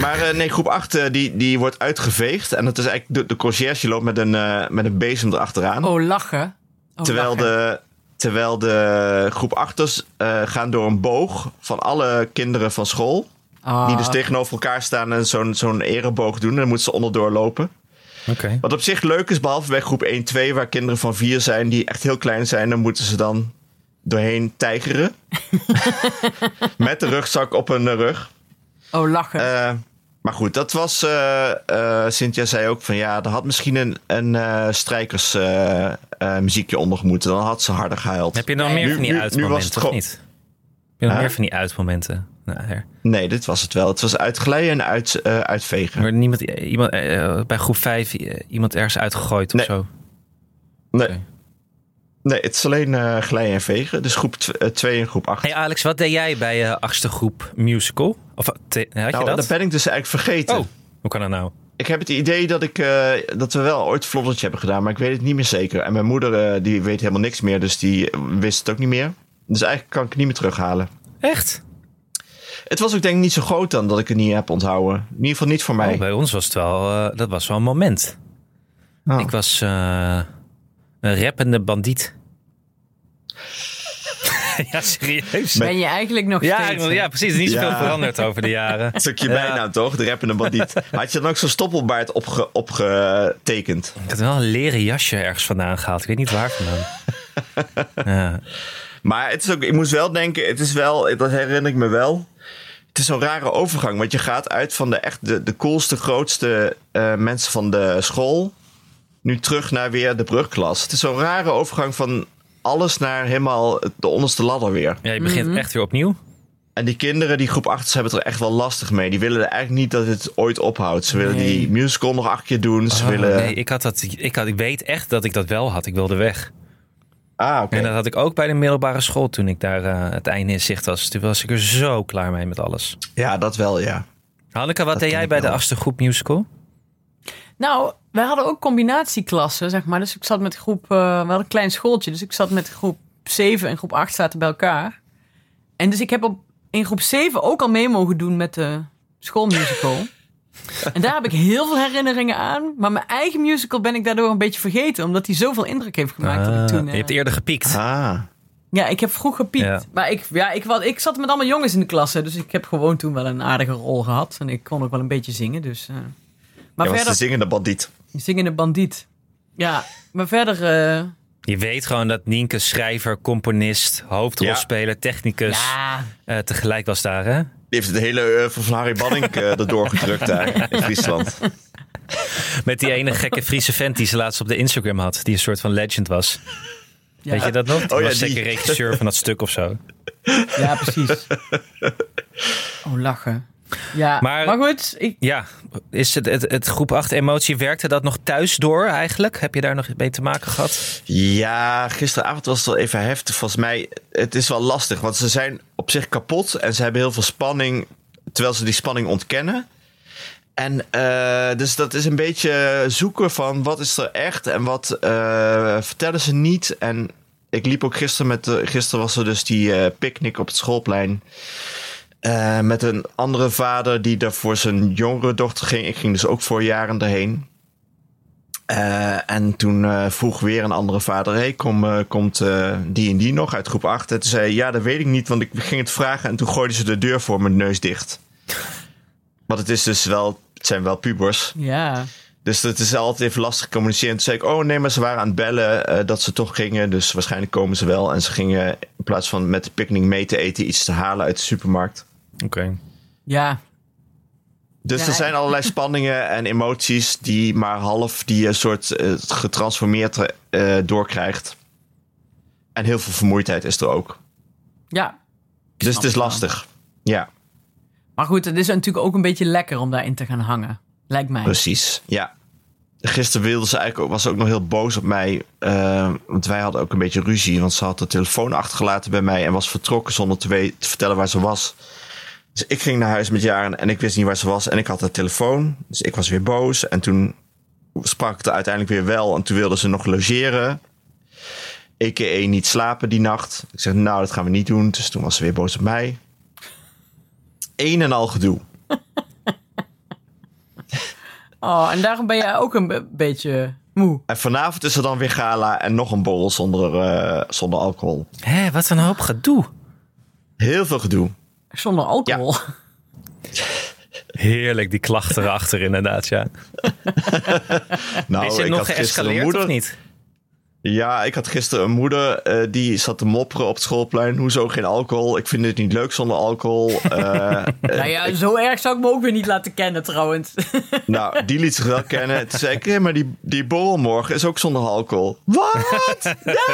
[SPEAKER 1] maar eh, nee, groep 8 eh, die, die wordt uitgeveegd. En dat is eigenlijk de, de conciërge loopt met een, eh, met een bezem erachteraan.
[SPEAKER 2] Oh, lachen. Oh,
[SPEAKER 1] terwijl,
[SPEAKER 2] lachen.
[SPEAKER 1] de, terwijl de groep 8ers eh, gaan door een boog van alle kinderen van school.
[SPEAKER 2] Ah,
[SPEAKER 1] Die dus tegenover elkaar staan en zo'n zo'n ereboog doen. En dan moeten ze onderdoor lopen.
[SPEAKER 3] Oké.
[SPEAKER 1] Wat op zich leuk is, behalve bij groep 1, 2, waar kinderen van 4 zijn die echt heel klein zijn, dan moeten ze dan doorheen tijgeren. Met de rugzak op hun rug.
[SPEAKER 2] Oh, lachen.
[SPEAKER 1] Eh, maar goed, dat was. eh eh, Cynthia zei ook van ja, er had misschien een, een eh, strijkersmuziekje eh, onder moeten. Dan had ze harder gehuild.
[SPEAKER 3] Heb je nog meer
[SPEAKER 1] nu-
[SPEAKER 3] van die
[SPEAKER 1] nu- nu was
[SPEAKER 3] uitmomenten,
[SPEAKER 1] het
[SPEAKER 3] of
[SPEAKER 1] gewoon-
[SPEAKER 3] niet? Heb je nog
[SPEAKER 1] Huh?
[SPEAKER 3] meer van die uitmomenten? Nou, er
[SPEAKER 1] Nee, dit was het wel. Het was uitglijden en uit, eh,
[SPEAKER 3] er
[SPEAKER 1] uitvegen.
[SPEAKER 3] werd niemand, eh, iemand, eh, bij groep 5 iemand ergens uitgegooid
[SPEAKER 1] Nee.
[SPEAKER 3] of zo.
[SPEAKER 1] Nee.
[SPEAKER 3] Oké.
[SPEAKER 1] Nee, het is alleen eh, glijden en vegen. Dus groep 2 en groep 8.
[SPEAKER 3] Hey Alex, wat deed jij bij je achtste groep musical? Of eh, te- had je
[SPEAKER 1] nou,
[SPEAKER 3] dat?
[SPEAKER 1] ben ik dus eigenlijk vergeten.
[SPEAKER 3] Oh, hoe kan dat nou?
[SPEAKER 1] Ik heb het idee dat, ik, eh, dat we wel ooit vloddertje hebben gedaan, maar ik weet het niet meer zeker. En mijn moeder eh, die weet helemaal niks meer, dus die wist het ook niet meer. Dus eigenlijk kan ik het niet meer terughalen.
[SPEAKER 3] Echt?
[SPEAKER 1] Het was ook denk ik niet zo groot dan dat ik het niet heb onthouden. In ieder geval niet voor mij.
[SPEAKER 3] Oh, bij ons was het wel, eh, dat was wel een moment.
[SPEAKER 1] Oh.
[SPEAKER 3] Ik was eh, een rappende bandiet. [laughs] ja, serieus.
[SPEAKER 2] ben je eigenlijk nog
[SPEAKER 3] Ja,
[SPEAKER 2] steeds... eh?
[SPEAKER 3] ja, precies. Niet zoveel
[SPEAKER 1] Ja.
[SPEAKER 3] veranderd over de
[SPEAKER 1] [laughs]
[SPEAKER 3] jaren.
[SPEAKER 1] Een stukje bijnaam toch? De rappende [laughs] bandiet. Had je dan ook zo'n stoppelbaard opge- opgetekend?
[SPEAKER 3] Ik had wel een leren jasje ergens vandaan gehaald. Ik weet niet waar vandaan. ja.
[SPEAKER 1] Maar het is ook, ik moest wel denken, het is wel, dat herinner ik me wel. Het is zo'n rare overgang, want je gaat uit van de echt de, de coolste, grootste eh, mensen van de school. Nu terug naar weer de brugklas. Het is zo'n rare overgang van alles naar helemaal de onderste ladder weer.
[SPEAKER 3] Ja, je
[SPEAKER 1] Mhm.
[SPEAKER 3] begint echt weer opnieuw.
[SPEAKER 1] En die kinderen, die groep 8, hebben het er echt wel lastig mee. Die willen er eigenlijk niet dat het ooit ophoudt. Ze willen
[SPEAKER 2] Nee.
[SPEAKER 1] die musical nog acht keer doen. Ze Ah.
[SPEAKER 3] Oh,
[SPEAKER 1] willen...
[SPEAKER 3] Nee, ik, had dat, ik, had, ik weet echt dat ik dat wel had. Ik wilde weg.
[SPEAKER 1] Ah, oké.
[SPEAKER 3] En dat had ik ook bij de middelbare school toen ik daar eh, het einde in zicht was. Toen was ik er zo klaar mee met alles.
[SPEAKER 1] Ja, dat wel, ja.
[SPEAKER 3] Hanneke, wat deed
[SPEAKER 1] ken
[SPEAKER 3] jij
[SPEAKER 1] ik
[SPEAKER 3] bij de
[SPEAKER 1] wel.
[SPEAKER 3] achtste groep musical?
[SPEAKER 2] Nou, wij hadden ook combinatieklassen, zeg maar. Dus ik zat met groep... eh we hadden een klein schooltje, dus ik zat met groep 7 en groep 8 zaten bij elkaar. En dus ik heb op, in groep 7 ook al mee mogen doen met de schoolmusical.
[SPEAKER 1] [laughs]
[SPEAKER 2] en daar heb ik heel veel herinneringen aan. Maar mijn eigen musical ben ik daardoor een beetje vergeten. Omdat die zoveel indruk heeft gemaakt. dat ik
[SPEAKER 3] Ah,
[SPEAKER 2] toen,
[SPEAKER 3] je
[SPEAKER 2] eh,
[SPEAKER 3] hebt eerder gepiekt.
[SPEAKER 1] Ah.
[SPEAKER 2] Ja, ik heb vroeg gepiekt.
[SPEAKER 3] Ja.
[SPEAKER 2] Maar ik, ja, ik, wa- ik zat met allemaal jongens in de klas. hè, Dus ik heb gewoon toen wel een aardige rol gehad. En ik kon ook wel een beetje zingen. Dus, eh. Maar
[SPEAKER 1] Jij was de
[SPEAKER 2] verder,
[SPEAKER 1] zingende bandiet.
[SPEAKER 2] zingende bandiet. Ja, maar verder... eh,
[SPEAKER 3] Je weet gewoon dat Nienke schrijver, componist, hoofdrolspeler, technicus
[SPEAKER 2] ja,
[SPEAKER 3] eh, tegelijk was daar. Hè?
[SPEAKER 1] Die heeft de hele eh, van Harry Banning eh, erdoor gedrukt daar in Friesland.
[SPEAKER 3] Met die ene gekke Friese vent die ze laatst op de Instagram had. Die een soort van legend was.
[SPEAKER 2] ja,
[SPEAKER 3] Weet je dat nog? Oh Die
[SPEAKER 1] ja,
[SPEAKER 3] was
[SPEAKER 1] die.
[SPEAKER 3] zeker regisseur van dat stuk of zo.
[SPEAKER 2] ja, precies. Oh, lachen. Ja,
[SPEAKER 3] Maar-
[SPEAKER 2] maar, goed. Ik,
[SPEAKER 3] Ja, is het, het, het groep 8 emotie, werkte dat nog thuis door eigenlijk? Heb je daar nog mee te maken gehad?
[SPEAKER 1] Ja, gisteravond was het wel even heftig. Volgens mij, het is wel lastig. Want ze zijn op zich kapot en ze hebben heel veel spanning. Terwijl ze die spanning ontkennen. En eh, dus dat is een beetje zoeken van wat is er echt en wat eh, vertellen ze niet. En ik liep ook gisteren met... De, gisteren was er dus die eh, picknick op het schoolplein. eh, met een andere vader die daar voor zijn jongere dochter ging. Ik ging dus ook voor jaren daarheen. Eh, en toen eh, vroeg weer een andere vader: hey, kom, eh, komt eh, die en die nog uit groep 8? En toen zei hij: Ja, dat weet ik niet, want ik ging het vragen. En toen gooiden ze de deur voor mijn neus dicht. Want het, is dus wel, het zijn wel pubers.
[SPEAKER 2] ja,
[SPEAKER 1] Dus dat is altijd even lastig communiceren. Toen zei ik: Oh nee, maar ze waren aan het bellen eh, dat ze toch gingen. Dus waarschijnlijk komen ze wel. En ze gingen in plaats van met de picknick mee te eten, iets te halen uit de supermarkt.
[SPEAKER 3] Oké.
[SPEAKER 2] ja,
[SPEAKER 1] Dus
[SPEAKER 2] Ja,
[SPEAKER 1] er zijn
[SPEAKER 2] en-
[SPEAKER 1] allerlei spanningen en emoties die maar half die een soort eh, getransformeerd eh, doorkrijgt. En heel veel vermoeidheid is er ook.
[SPEAKER 2] ja.
[SPEAKER 1] Dus
[SPEAKER 2] snap
[SPEAKER 1] het is
[SPEAKER 2] het wel.
[SPEAKER 1] lastig. Ja,
[SPEAKER 2] Maar goed, het is natuurlijk ook een beetje lekker om daarin te gaan hangen. Lijkt mij.
[SPEAKER 1] precies. Ja. Gisteren wilde ze eigenlijk ook, was ze ook nog heel boos op mij. eh, want wij hadden ook een beetje ruzie. Want ze had de telefoon achtergelaten bij mij en was vertrokken zonder te, we- te vertellen waar ze was. Dus ik ging naar huis met Jaren en ik wist niet waar ze was. En ik had haar telefoon. Dus ik was weer boos. En toen sprak het uiteindelijk weer wel. En toen wilde ze nog logeren. EKE niet slapen die nacht. Ik zeg, nou, dat gaan we niet doen. Dus toen was ze weer boos op mij. Een en al gedoe.
[SPEAKER 2] Oh, en daarom ben jij ook een be- beetje moe.
[SPEAKER 1] En vanavond is er dan weer gala en nog een borrel zonder, eh, zonder alcohol.
[SPEAKER 3] Hé, wat een hoop gedoe.
[SPEAKER 1] Heel veel
[SPEAKER 3] [laughs]
[SPEAKER 1] gedoe.
[SPEAKER 2] Zonder alcohol.
[SPEAKER 3] Heerlijk, die klachten erachter inderdaad, ja. Oh,
[SPEAKER 1] Nou,
[SPEAKER 3] is het
[SPEAKER 1] ik
[SPEAKER 3] nog
[SPEAKER 1] had gisteren een
[SPEAKER 3] geëscaleerd
[SPEAKER 1] moeder.
[SPEAKER 3] of niet?
[SPEAKER 1] Ja, ik had gisteren een moeder eh, die zat te mopperen op het schoolplein. Hoezo geen alcohol? Ik vind het niet leuk zonder alcohol.
[SPEAKER 3] [laughs]
[SPEAKER 1] Eh,
[SPEAKER 2] nou ja, zo erg zou ik me ook weer niet laten kennen trouwens. [laughs]
[SPEAKER 1] nou, die liet zich wel kennen. Toen zei ik, "Hé, maar die, die borrel morgen is ook zonder alcohol.
[SPEAKER 3] [laughs]
[SPEAKER 1] Wat? Wat?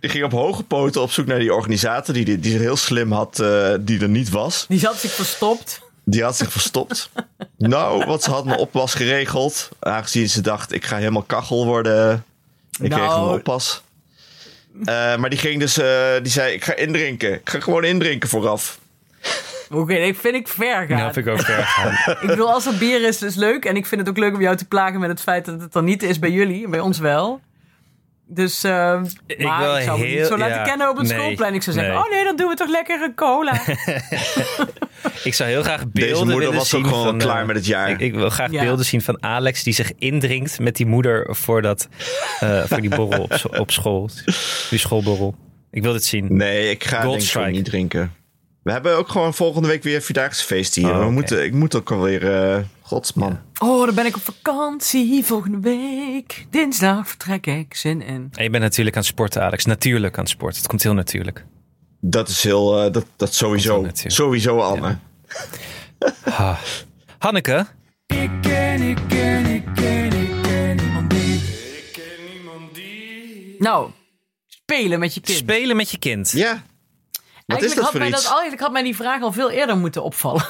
[SPEAKER 1] Die ging op hoge poten op zoek naar die organisator die, die, die ze heel slim had, eh, die er niet was.
[SPEAKER 2] Die zat zich verstopt.
[SPEAKER 1] Die had zich verstopt. nou, want ze had een oppas geregeld. Aangezien ze dacht, ik ga helemaal kachel worden. Ik
[SPEAKER 2] Nou.
[SPEAKER 1] regel een oppas. Eh, maar die ging dus, eh, die zei, ik ga indrinken. Ik ga gewoon indrinken vooraf.
[SPEAKER 2] Oké, dat vind ik ver gaan.
[SPEAKER 3] Nou, heb ik ook ver gegaan.
[SPEAKER 2] Ik bedoel, als er bier is, is leuk. En ik vind het ook leuk om jou te plagen met het feit dat het er niet is bij jullie. en Bij ons wel. Dus, ehm
[SPEAKER 3] Ik
[SPEAKER 2] maar
[SPEAKER 3] wil
[SPEAKER 2] ik zou me
[SPEAKER 3] heel-
[SPEAKER 2] niet zo laten
[SPEAKER 3] ja,
[SPEAKER 2] kennen op het
[SPEAKER 3] nee,
[SPEAKER 2] schoolplein. Ik zou zeggen,
[SPEAKER 3] nee.
[SPEAKER 2] oh nee, dan doen we toch lekker een
[SPEAKER 3] [laughs]
[SPEAKER 2] cola.
[SPEAKER 3] Ik zou heel graag beelden
[SPEAKER 1] Deze moeder
[SPEAKER 3] willen
[SPEAKER 1] was
[SPEAKER 3] zien
[SPEAKER 1] ook gewoon
[SPEAKER 3] van,
[SPEAKER 1] klaar
[SPEAKER 3] eh,
[SPEAKER 1] met het jaar.
[SPEAKER 3] Ik, ik wil graag
[SPEAKER 2] Ja.
[SPEAKER 3] beelden zien van Alex die zich indringt met die moeder voor, dat, eh, voor die borrel op, scho- op school. Die schoolborrel. Ik wil dit zien.
[SPEAKER 1] nee, ik ga
[SPEAKER 3] Gold
[SPEAKER 1] denk ik gewoon
[SPEAKER 3] Strike.
[SPEAKER 1] niet drinken. We hebben ook gewoon volgende week weer vierdaagse hier.
[SPEAKER 3] Oh,
[SPEAKER 1] we
[SPEAKER 3] oké.
[SPEAKER 1] moeten, ik moet ook alweer... eh godsman.
[SPEAKER 2] oh, dan ben ik op vakantie volgende week. Dinsdag vertrek ik, zin in.
[SPEAKER 3] En je bent natuurlijk aan het sporten, Alex. Natuurlijk aan het sporten. Het komt heel natuurlijk.
[SPEAKER 1] Dat is heel... eh, dat, dat
[SPEAKER 3] Komt
[SPEAKER 1] sowieso.
[SPEAKER 3] wel natuurlijk.
[SPEAKER 1] Sowieso, Anne.
[SPEAKER 3] Ah. Hanneke,
[SPEAKER 4] Ik ken, ik ken, ik ken, ik ken niemand die. Ik ken niemand die.
[SPEAKER 2] Nou, spelen met je kind.
[SPEAKER 3] Spelen met je kind.
[SPEAKER 1] Ja. Wat is
[SPEAKER 2] eigenlijk,
[SPEAKER 1] dat
[SPEAKER 2] had
[SPEAKER 1] voor
[SPEAKER 2] mij
[SPEAKER 1] iets?
[SPEAKER 2] dat, eigenlijk had mij die vraag al veel eerder moeten opvallen.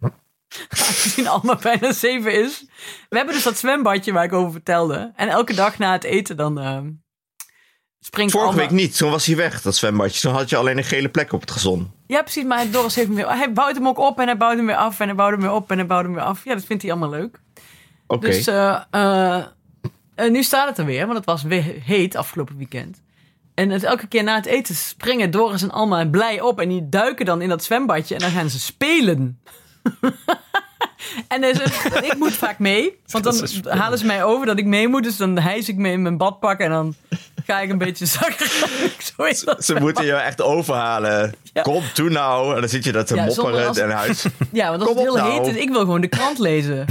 [SPEAKER 2] [laughs] Aangezien Alma bijna zeven is. We hebben dus dat zwembadje waar ik over vertelde. En elke dag na het eten dan ehm, springt
[SPEAKER 1] Vorige
[SPEAKER 2] Alma...
[SPEAKER 1] week niet. Toen was hij weg, dat zwembadje. Toen had je alleen een gele plek op het gezond.
[SPEAKER 2] Ja, precies. Maar Doris heeft hem weer... Hij bouwt hem ook op en hij bouwt hem weer af en hij bouwt hem weer op en hij bouwt hem weer af. Ja, dat vindt hij allemaal leuk.
[SPEAKER 1] Oké.
[SPEAKER 2] Dus eh, eh, eh, nu staat het er weer, want het was weer heet afgelopen weekend. En het, elke keer na het eten springen Doris en Alma blij op. En die duiken dan in dat zwembadje en dan gaan ze spelen. [laughs] en dan is het- ik moet vaak mee,
[SPEAKER 1] [laughs]
[SPEAKER 2] want dan
[SPEAKER 3] Gaan ze spelen.
[SPEAKER 2] halen ze mij over dat ik mee moet. Dus dan hijs ik mee in mijn badpak en dan ga ik een beetje [laughs] zakken. Zo is dat.
[SPEAKER 1] Ze moeten je echt overhalen.
[SPEAKER 2] [laughs] Ja.
[SPEAKER 1] Kom, toe nou. En dan zit je dat te
[SPEAKER 2] Ja, zonder
[SPEAKER 1] mopperen
[SPEAKER 2] als-
[SPEAKER 1] en
[SPEAKER 2] [laughs]
[SPEAKER 1] huis.
[SPEAKER 2] Ja, want als
[SPEAKER 1] Kom
[SPEAKER 2] het heel
[SPEAKER 1] op nou.
[SPEAKER 2] heet is, ik wil gewoon de krant
[SPEAKER 1] [laughs]
[SPEAKER 2] lezen.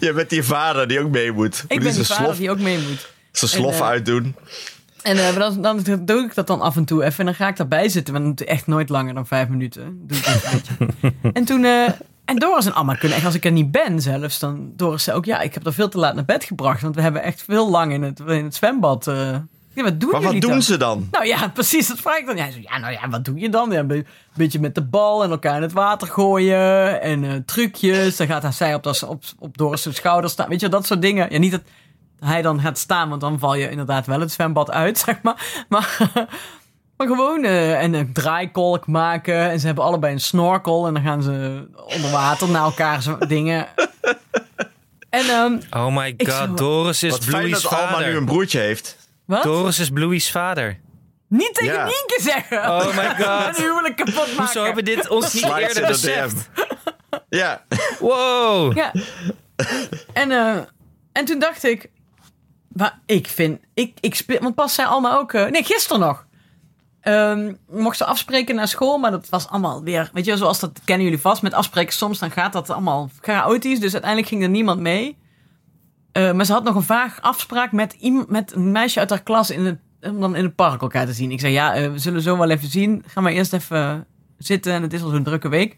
[SPEAKER 1] je bent die vader die ook mee moet.
[SPEAKER 2] Ik
[SPEAKER 1] moet
[SPEAKER 2] ben
[SPEAKER 1] die
[SPEAKER 2] die
[SPEAKER 1] zijn
[SPEAKER 2] vader
[SPEAKER 1] slof,
[SPEAKER 2] die ook mee moet.
[SPEAKER 1] zijn slof
[SPEAKER 2] en, eh,
[SPEAKER 1] uitdoen.
[SPEAKER 2] En eh, maar dan, dan doe ik dat dan af en toe even. En dan ga ik daarbij zitten. Want het is echt nooit langer dan vijf minuten. Doe ik dat een
[SPEAKER 1] [laughs]
[SPEAKER 2] beetje. En toen... eh, en Doris en Amma kunnen echt, als ik er niet ben zelfs, dan Doris zei ook, ja, ik heb er veel te laat naar bed gebracht, want we hebben echt veel lang in het, in het zwembad. eh. Ja, wat doen
[SPEAKER 1] Maar
[SPEAKER 2] jullie
[SPEAKER 1] wat doen
[SPEAKER 2] dan?
[SPEAKER 1] ze dan?
[SPEAKER 2] Nou ja, [laughs] precies, dat vraag ik dan. Ja, hij zo, ja, nou ja, wat doe je dan? Ja, een be- een beetje met de bal en elkaar in het water gooien en eh, trucjes. Dan gaat hij- zij op, dat- op, op Doris' zijn schouder staan. Weet je, wel, dat soort dingen. Ja, niet dat hij dan gaat staan, want dan val je inderdaad wel het zwembad uit, [laughs] zeg maar. Maar, maar gewoon eh, en een draaikolk maken. En ze hebben allebei een snorkel en dan gaan ze onder water naar elkaar zo- [laughs] dingen. En, ehm,
[SPEAKER 3] Oh my
[SPEAKER 2] Ik
[SPEAKER 3] god,
[SPEAKER 2] zou-
[SPEAKER 3] Doris is
[SPEAKER 1] Wat fijn
[SPEAKER 3] Bluey's
[SPEAKER 1] dat Alma
[SPEAKER 3] vader.
[SPEAKER 1] nu een broertje heeft.
[SPEAKER 2] wat?
[SPEAKER 3] Doris is Bluey's vader.
[SPEAKER 2] Niet tegen
[SPEAKER 1] Ja.
[SPEAKER 2] Nienke zeggen!
[SPEAKER 3] Oh my
[SPEAKER 2] [laughs] Een
[SPEAKER 3] god.
[SPEAKER 2] huwelijk kapot maken.
[SPEAKER 3] Hoezo hebben we dit ons niet
[SPEAKER 1] Slide
[SPEAKER 3] eerder
[SPEAKER 1] in de
[SPEAKER 3] beseft?
[SPEAKER 1] DM. [laughs] Ja,
[SPEAKER 3] Wow.
[SPEAKER 2] Ja. en, eh, en toen dacht ik. Maar ik vind. Ik, ik speel, want pas zijn allemaal ook. eh, nee, gisteren nog. Ehm mocht ze afspreken naar school, maar dat was allemaal weer. Weet je, wel, zoals dat kennen jullie vast. Met afspreken soms, dan gaat dat allemaal chaotisch. Dus uiteindelijk ging er niemand mee. Eh, maar ze had nog een vaag afspraak met, iem- met een meisje uit haar klas in het, om dan in het park elkaar te zien. Ik zei, ja, eh, we zullen zo wel even zien. Ga maar eerst even zitten en het is al zo'n drukke week.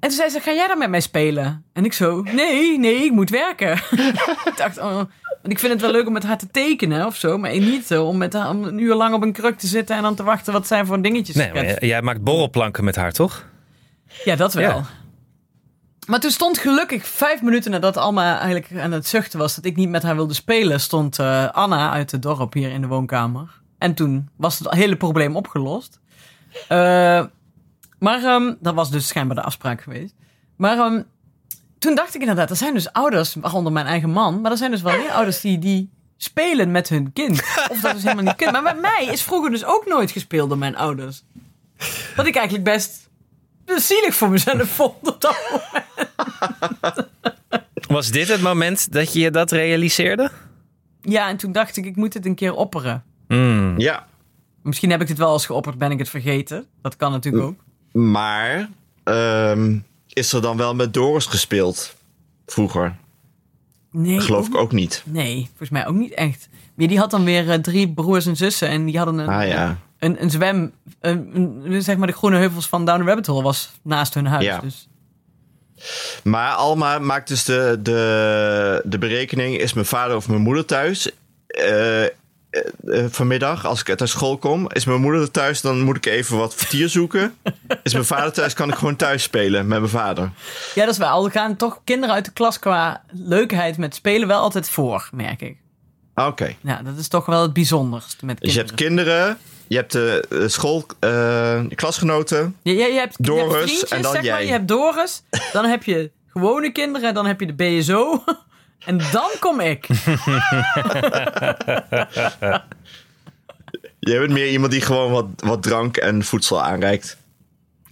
[SPEAKER 2] En toen zei ze, ga jij dan met mij spelen? En ik zo, nee, nee, ik moet werken. [laughs] ik dacht, oh, want ik vind het wel leuk om met haar te tekenen of zo. Maar niet eh, om, met haar, om een uur lang op een kruk te zitten en dan te wachten wat zij voor dingetjes
[SPEAKER 3] Nee, maar
[SPEAKER 2] schetst.
[SPEAKER 3] jij- jij maakt borrelplanken met haar, toch?
[SPEAKER 2] Ja, dat wel.
[SPEAKER 3] Ja.
[SPEAKER 2] Maar toen stond gelukkig vijf minuten nadat Alma eigenlijk aan het zuchten was dat ik niet met haar wilde spelen, stond eh, Anna uit het dorp hier in de woonkamer. En toen was het hele probleem opgelost. Eh, maar ehm, dat was dus schijnbaar de afspraak geweest. Maar ehm, toen dacht ik inderdaad, er zijn dus ouders, waaronder mijn eigen man, maar er zijn dus wel meer ouders die, die spelen met hun kind. Of dat is helemaal niet kunnen. Maar bij mij is vroeger dus ook nooit gespeeld door mijn ouders. Wat ik eigenlijk best zielig voor mezelf [laughs] vond. op dat moment.
[SPEAKER 3] Was dit het moment dat je je dat realiseerde?
[SPEAKER 2] Ja, en toen dacht ik, ik moet dit een keer opperen.
[SPEAKER 3] Hmm.
[SPEAKER 1] ja.
[SPEAKER 2] Misschien heb ik dit wel eens geopperd, ben ik het vergeten. Dat kan natuurlijk ook.
[SPEAKER 1] Maar ehm, is er dan wel met Doris gespeeld? Vroeger.
[SPEAKER 2] Nee,
[SPEAKER 1] Geloof
[SPEAKER 2] ook-
[SPEAKER 1] ik ook niet.
[SPEAKER 2] nee volgens mij ook niet echt. Maar die had dan weer eh, drie broers en zussen en die hadden een,
[SPEAKER 1] Ah ja.
[SPEAKER 2] een, een zwem... Een, een- zeg maar de groene heuvels van Down the Rabbit Hole was naast hun huis.
[SPEAKER 1] Ja.
[SPEAKER 2] Dus
[SPEAKER 1] Maar Alma maakt dus de, de, de berekening: is mijn vader of mijn moeder thuis? Eh, eh, eh, vanmiddag, als ik uit school kom, is mijn moeder thuis, dan moet ik even wat vertier zoeken. Is mijn vader thuis, kan ik gewoon thuis spelen met mijn vader.
[SPEAKER 2] ja, dat is wel. Al gaan toch kinderen uit de klas qua leukheid met spelen wel altijd voor, merk ik.
[SPEAKER 1] Ah, Oké.
[SPEAKER 2] Ja, dat is toch wel het bijzonderst met
[SPEAKER 1] Dus je
[SPEAKER 2] kinderen.
[SPEAKER 1] hebt kinderen, je hebt de eh, school, eh, klasgenoten.
[SPEAKER 2] Je, je, je hebt, je hebt
[SPEAKER 1] Doris
[SPEAKER 2] vriendjes,
[SPEAKER 1] en dan
[SPEAKER 2] zeg maar.
[SPEAKER 1] jij.
[SPEAKER 2] Je hebt Doris, dan heb je gewone kinderen, dan heb je de BSO. [laughs] En dan kom ik.
[SPEAKER 1] Je bent meer iemand die gewoon wat, wat drank en voedsel aanreikt.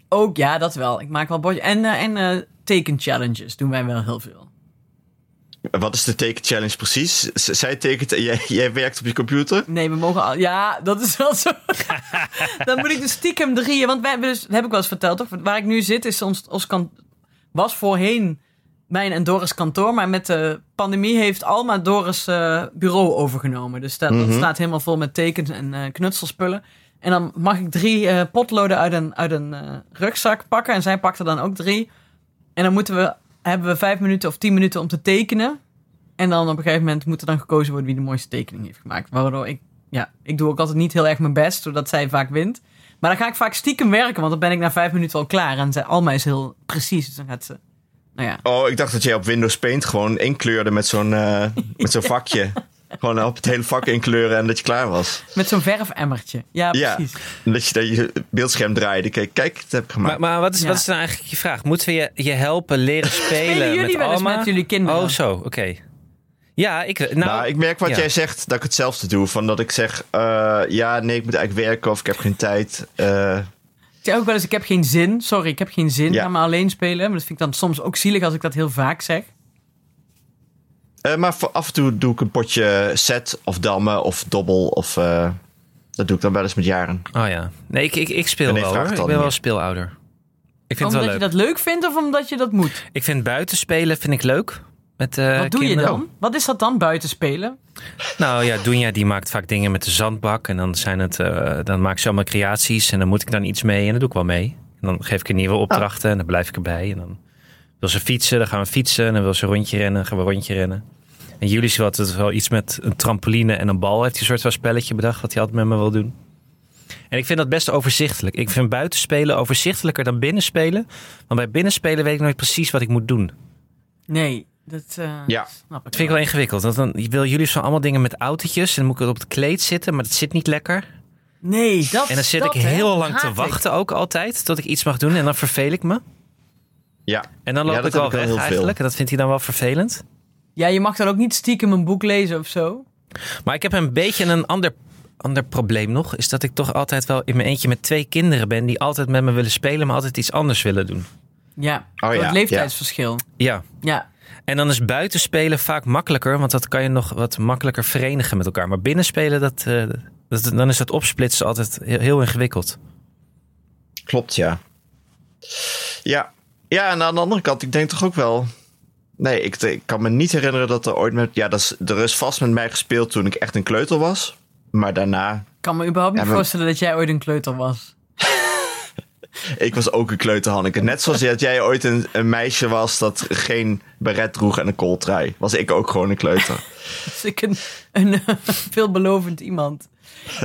[SPEAKER 2] Ook, ja, dat wel. Ik maak wel bordjes. En, eh, en eh, tekenchallenges doen wij wel heel veel.
[SPEAKER 1] Wat is de tekenchallenge precies? Z- zij tekent en jij, jij werkt op je computer.
[SPEAKER 2] Nee, we mogen al... Ja, dat is wel zo. [laughs] dan moet ik dus stiekem drieën. Want wij hebben dus, dat heb ik wel eens verteld, toch? Waar ik nu zit is ons, ons kan, was voorheen mijn en Doris kantoor. Maar met de pandemie heeft Alma Doris eh, bureau overgenomen. Dus dat, dat staat helemaal vol met tekens en eh, knutselspullen. En dan mag ik drie eh, potloden uit een, uit een eh, rugzak pakken. En zij pakt er dan ook drie. En dan moeten we, hebben we vijf minuten of tien minuten om te tekenen. En dan op een gegeven moment moet er dan gekozen worden wie de mooiste tekening heeft gemaakt. Waardoor ik ja, ik doe ook altijd niet heel erg mijn best, zodat zij vaak wint. Maar dan ga ik vaak stiekem werken, want dan ben ik na vijf minuten al klaar. En zij, Alma is heel precies, dus dan gaat ze... Nou ja,
[SPEAKER 1] Oh, ik dacht dat jij op Windows Paint gewoon inkleurde met zo'n eh, met
[SPEAKER 3] [laughs]
[SPEAKER 1] zo'n vakje. Gewoon op het hele vak inkleuren en dat je klaar was.
[SPEAKER 2] met zo'n verfemmertje. Ja,
[SPEAKER 1] Ja.
[SPEAKER 2] precies.
[SPEAKER 1] En dat je dat je beeldscherm draaide. Kijk, kijk, het heb ik gemaakt.
[SPEAKER 3] Maar, maar wat, is,
[SPEAKER 2] Ja.
[SPEAKER 3] wat is nou eigenlijk je vraag? Moeten we je, je helpen leren spelen,
[SPEAKER 2] [laughs] Spelen jullie
[SPEAKER 3] met
[SPEAKER 2] wel eens
[SPEAKER 3] Alma?
[SPEAKER 2] met jullie kinderen?
[SPEAKER 3] Oh, zo, oké. Ja, ik... Nou,
[SPEAKER 1] nou, ik merk wat
[SPEAKER 3] ja.
[SPEAKER 1] jij zegt dat ik hetzelfde doe. Van dat ik zeg, eh, ja, nee, ik moet eigenlijk werken of ik heb geen tijd. Eh,
[SPEAKER 2] Ik zeg ook wel eens, ik heb geen zin. Sorry, ik heb geen zin.
[SPEAKER 1] Ja.
[SPEAKER 2] Ga maar alleen spelen. Maar dat vind ik dan soms ook zielig als ik dat heel vaak zeg.
[SPEAKER 1] eh, maar voor af en toe doe ik een potje set of dammen of dobbel. Of, eh, dat doe ik dan wel eens met jaren.
[SPEAKER 3] Oh ja. Nee, ik, ik, ik speel
[SPEAKER 1] Nee,
[SPEAKER 3] wel
[SPEAKER 1] vraag
[SPEAKER 3] hoor.
[SPEAKER 1] het
[SPEAKER 3] Ik
[SPEAKER 1] al
[SPEAKER 3] ben
[SPEAKER 1] niet.
[SPEAKER 3] wel speelouder. Ik vind
[SPEAKER 2] Oh, omdat je
[SPEAKER 3] het wel
[SPEAKER 2] dat
[SPEAKER 3] leuk.
[SPEAKER 2] leuk vindt of omdat je dat moet.
[SPEAKER 3] Ik vind buitenspelen vind ik leuk. Met, eh,
[SPEAKER 2] Wat doe
[SPEAKER 3] kinderen.
[SPEAKER 2] je dan? Wat is dat dan, buitenspelen?
[SPEAKER 3] Nou ja, Dunja die maakt vaak dingen met de zandbak. En dan, zijn het, eh, dan maak ik zelf mijn creaties. En dan moet ik dan iets mee. En dat doe ik wel mee. En dan geef ik een nieuwe opdrachten. En dan blijf ik erbij. En dan wil ze fietsen. Dan gaan we fietsen. En dan wil ze een rondje rennen. Dan gaan we een rondje rennen. En Julius had het wel iets met een trampoline en een bal. Heeft hij een soort van spelletje bedacht. Wat hij altijd met me wil doen. En ik vind dat best overzichtelijk. Ik vind buitenspelen overzichtelijker dan binnenspelen. Want bij binnenspelen weet ik nooit precies wat ik moet doen.
[SPEAKER 2] Nee, dat eh,
[SPEAKER 1] Ja.
[SPEAKER 2] snap ik
[SPEAKER 3] Dat vind ik wel ingewikkeld. Want dan wil jullie zo allemaal dingen met autootjes. En dan moet ik het op het kleed zitten, maar dat zit niet lekker.
[SPEAKER 2] Nee, dat
[SPEAKER 3] En dan zit
[SPEAKER 2] dat,
[SPEAKER 3] ik
[SPEAKER 2] hè,
[SPEAKER 3] heel
[SPEAKER 2] dat
[SPEAKER 3] lang
[SPEAKER 2] haat
[SPEAKER 3] te
[SPEAKER 2] ik.
[SPEAKER 3] wachten ook altijd. Tot ik iets mag doen en dan vervel ik me.
[SPEAKER 1] Ja.
[SPEAKER 3] En dan
[SPEAKER 1] Ja,
[SPEAKER 3] loop
[SPEAKER 1] dat
[SPEAKER 3] ik
[SPEAKER 1] heb
[SPEAKER 3] wel
[SPEAKER 1] ik wel
[SPEAKER 3] weg
[SPEAKER 1] heel veel.
[SPEAKER 3] eigenlijk. En dat vindt hij dan wel vervelend.
[SPEAKER 2] Ja, je mag dan ook niet stiekem een boek lezen of zo.
[SPEAKER 3] Maar ik heb een beetje een ander, ander probleem nog. Is dat ik toch altijd wel in mijn eentje met twee kinderen ben. Die altijd met me willen spelen, maar altijd iets anders willen doen.
[SPEAKER 2] Ja, door
[SPEAKER 1] Oh ja,
[SPEAKER 2] het leeftijdsverschil.
[SPEAKER 3] Ja.
[SPEAKER 2] Ja.
[SPEAKER 3] En dan is buitenspelen vaak makkelijker. Want dat kan je nog wat makkelijker verenigen met elkaar. Maar binnenspelen, dat, eh, dat, dan is dat opsplitsen altijd heel, heel ingewikkeld.
[SPEAKER 1] Klopt, ja. Ja. Ja, en aan de andere kant, ik denk toch ook wel. Nee, ik, ik kan me niet herinneren dat er ooit met. Ja, dat is, er is vast met mij gespeeld toen ik echt een kleuter was. Maar daarna,
[SPEAKER 2] Ik kan me überhaupt niet
[SPEAKER 1] Ja, maar-
[SPEAKER 2] voorstellen dat jij ooit een kleuter was. [laughs]
[SPEAKER 1] ik was ook een kleuter, Hanneke. Net zoals dat jij ooit een, een meisje was dat geen beret droeg en een kooltrui. Was ik ook gewoon een kleuter.
[SPEAKER 2] Dus ik een, een eh, [laughs] veelbelovend iemand.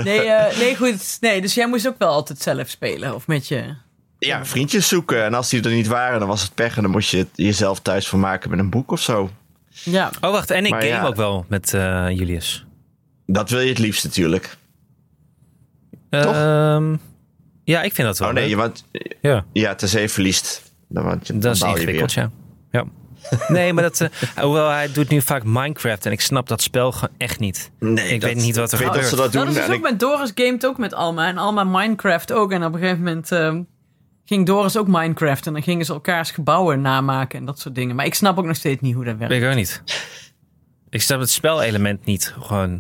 [SPEAKER 2] Nee, eh, nee, goed. Nee, dus jij moest ook wel altijd zelf spelen. Of met je...
[SPEAKER 1] Ja, vriendjes zoeken. En als die er niet waren, dan was het pech. En dan moest je het jezelf thuis van maken met een boek of zo.
[SPEAKER 2] Ja,
[SPEAKER 3] Oh, wacht. En ik
[SPEAKER 1] Maar
[SPEAKER 3] game
[SPEAKER 1] ja.
[SPEAKER 3] ook wel met eh, Julius.
[SPEAKER 1] Dat wil je het liefst natuurlijk. Oh, Toch?
[SPEAKER 3] Ehm, ja, ik vind dat wel.
[SPEAKER 1] Oh nee,
[SPEAKER 3] leuk.
[SPEAKER 1] je, want,
[SPEAKER 3] ja.
[SPEAKER 1] ja, tenzij je verliest. Dan, want, je-
[SPEAKER 3] Dat is
[SPEAKER 1] baal je weer.
[SPEAKER 3] ingewikkeld, ja. ja. Nee, maar dat, eh, hoewel hij doet nu vaak Minecraft en ik snap dat spel gewoon echt niet.
[SPEAKER 1] Nee,
[SPEAKER 3] Ik weet niet wat er
[SPEAKER 1] ik weet dat
[SPEAKER 3] gebeurt.
[SPEAKER 1] ze dat doen.
[SPEAKER 2] dat is dus
[SPEAKER 1] en
[SPEAKER 2] ook
[SPEAKER 1] ik-
[SPEAKER 2] met Doris gamet ook met Alma. En Alma Minecraft ook. En op een gegeven moment ehm, ging Doris ook Minecraft. En dan gingen ze elkaars gebouwen namaken en dat soort dingen. Maar ik snap ook nog steeds niet hoe dat werkt.
[SPEAKER 3] Weet ik ook niet. Ik snap het spelelement niet. Gewoon.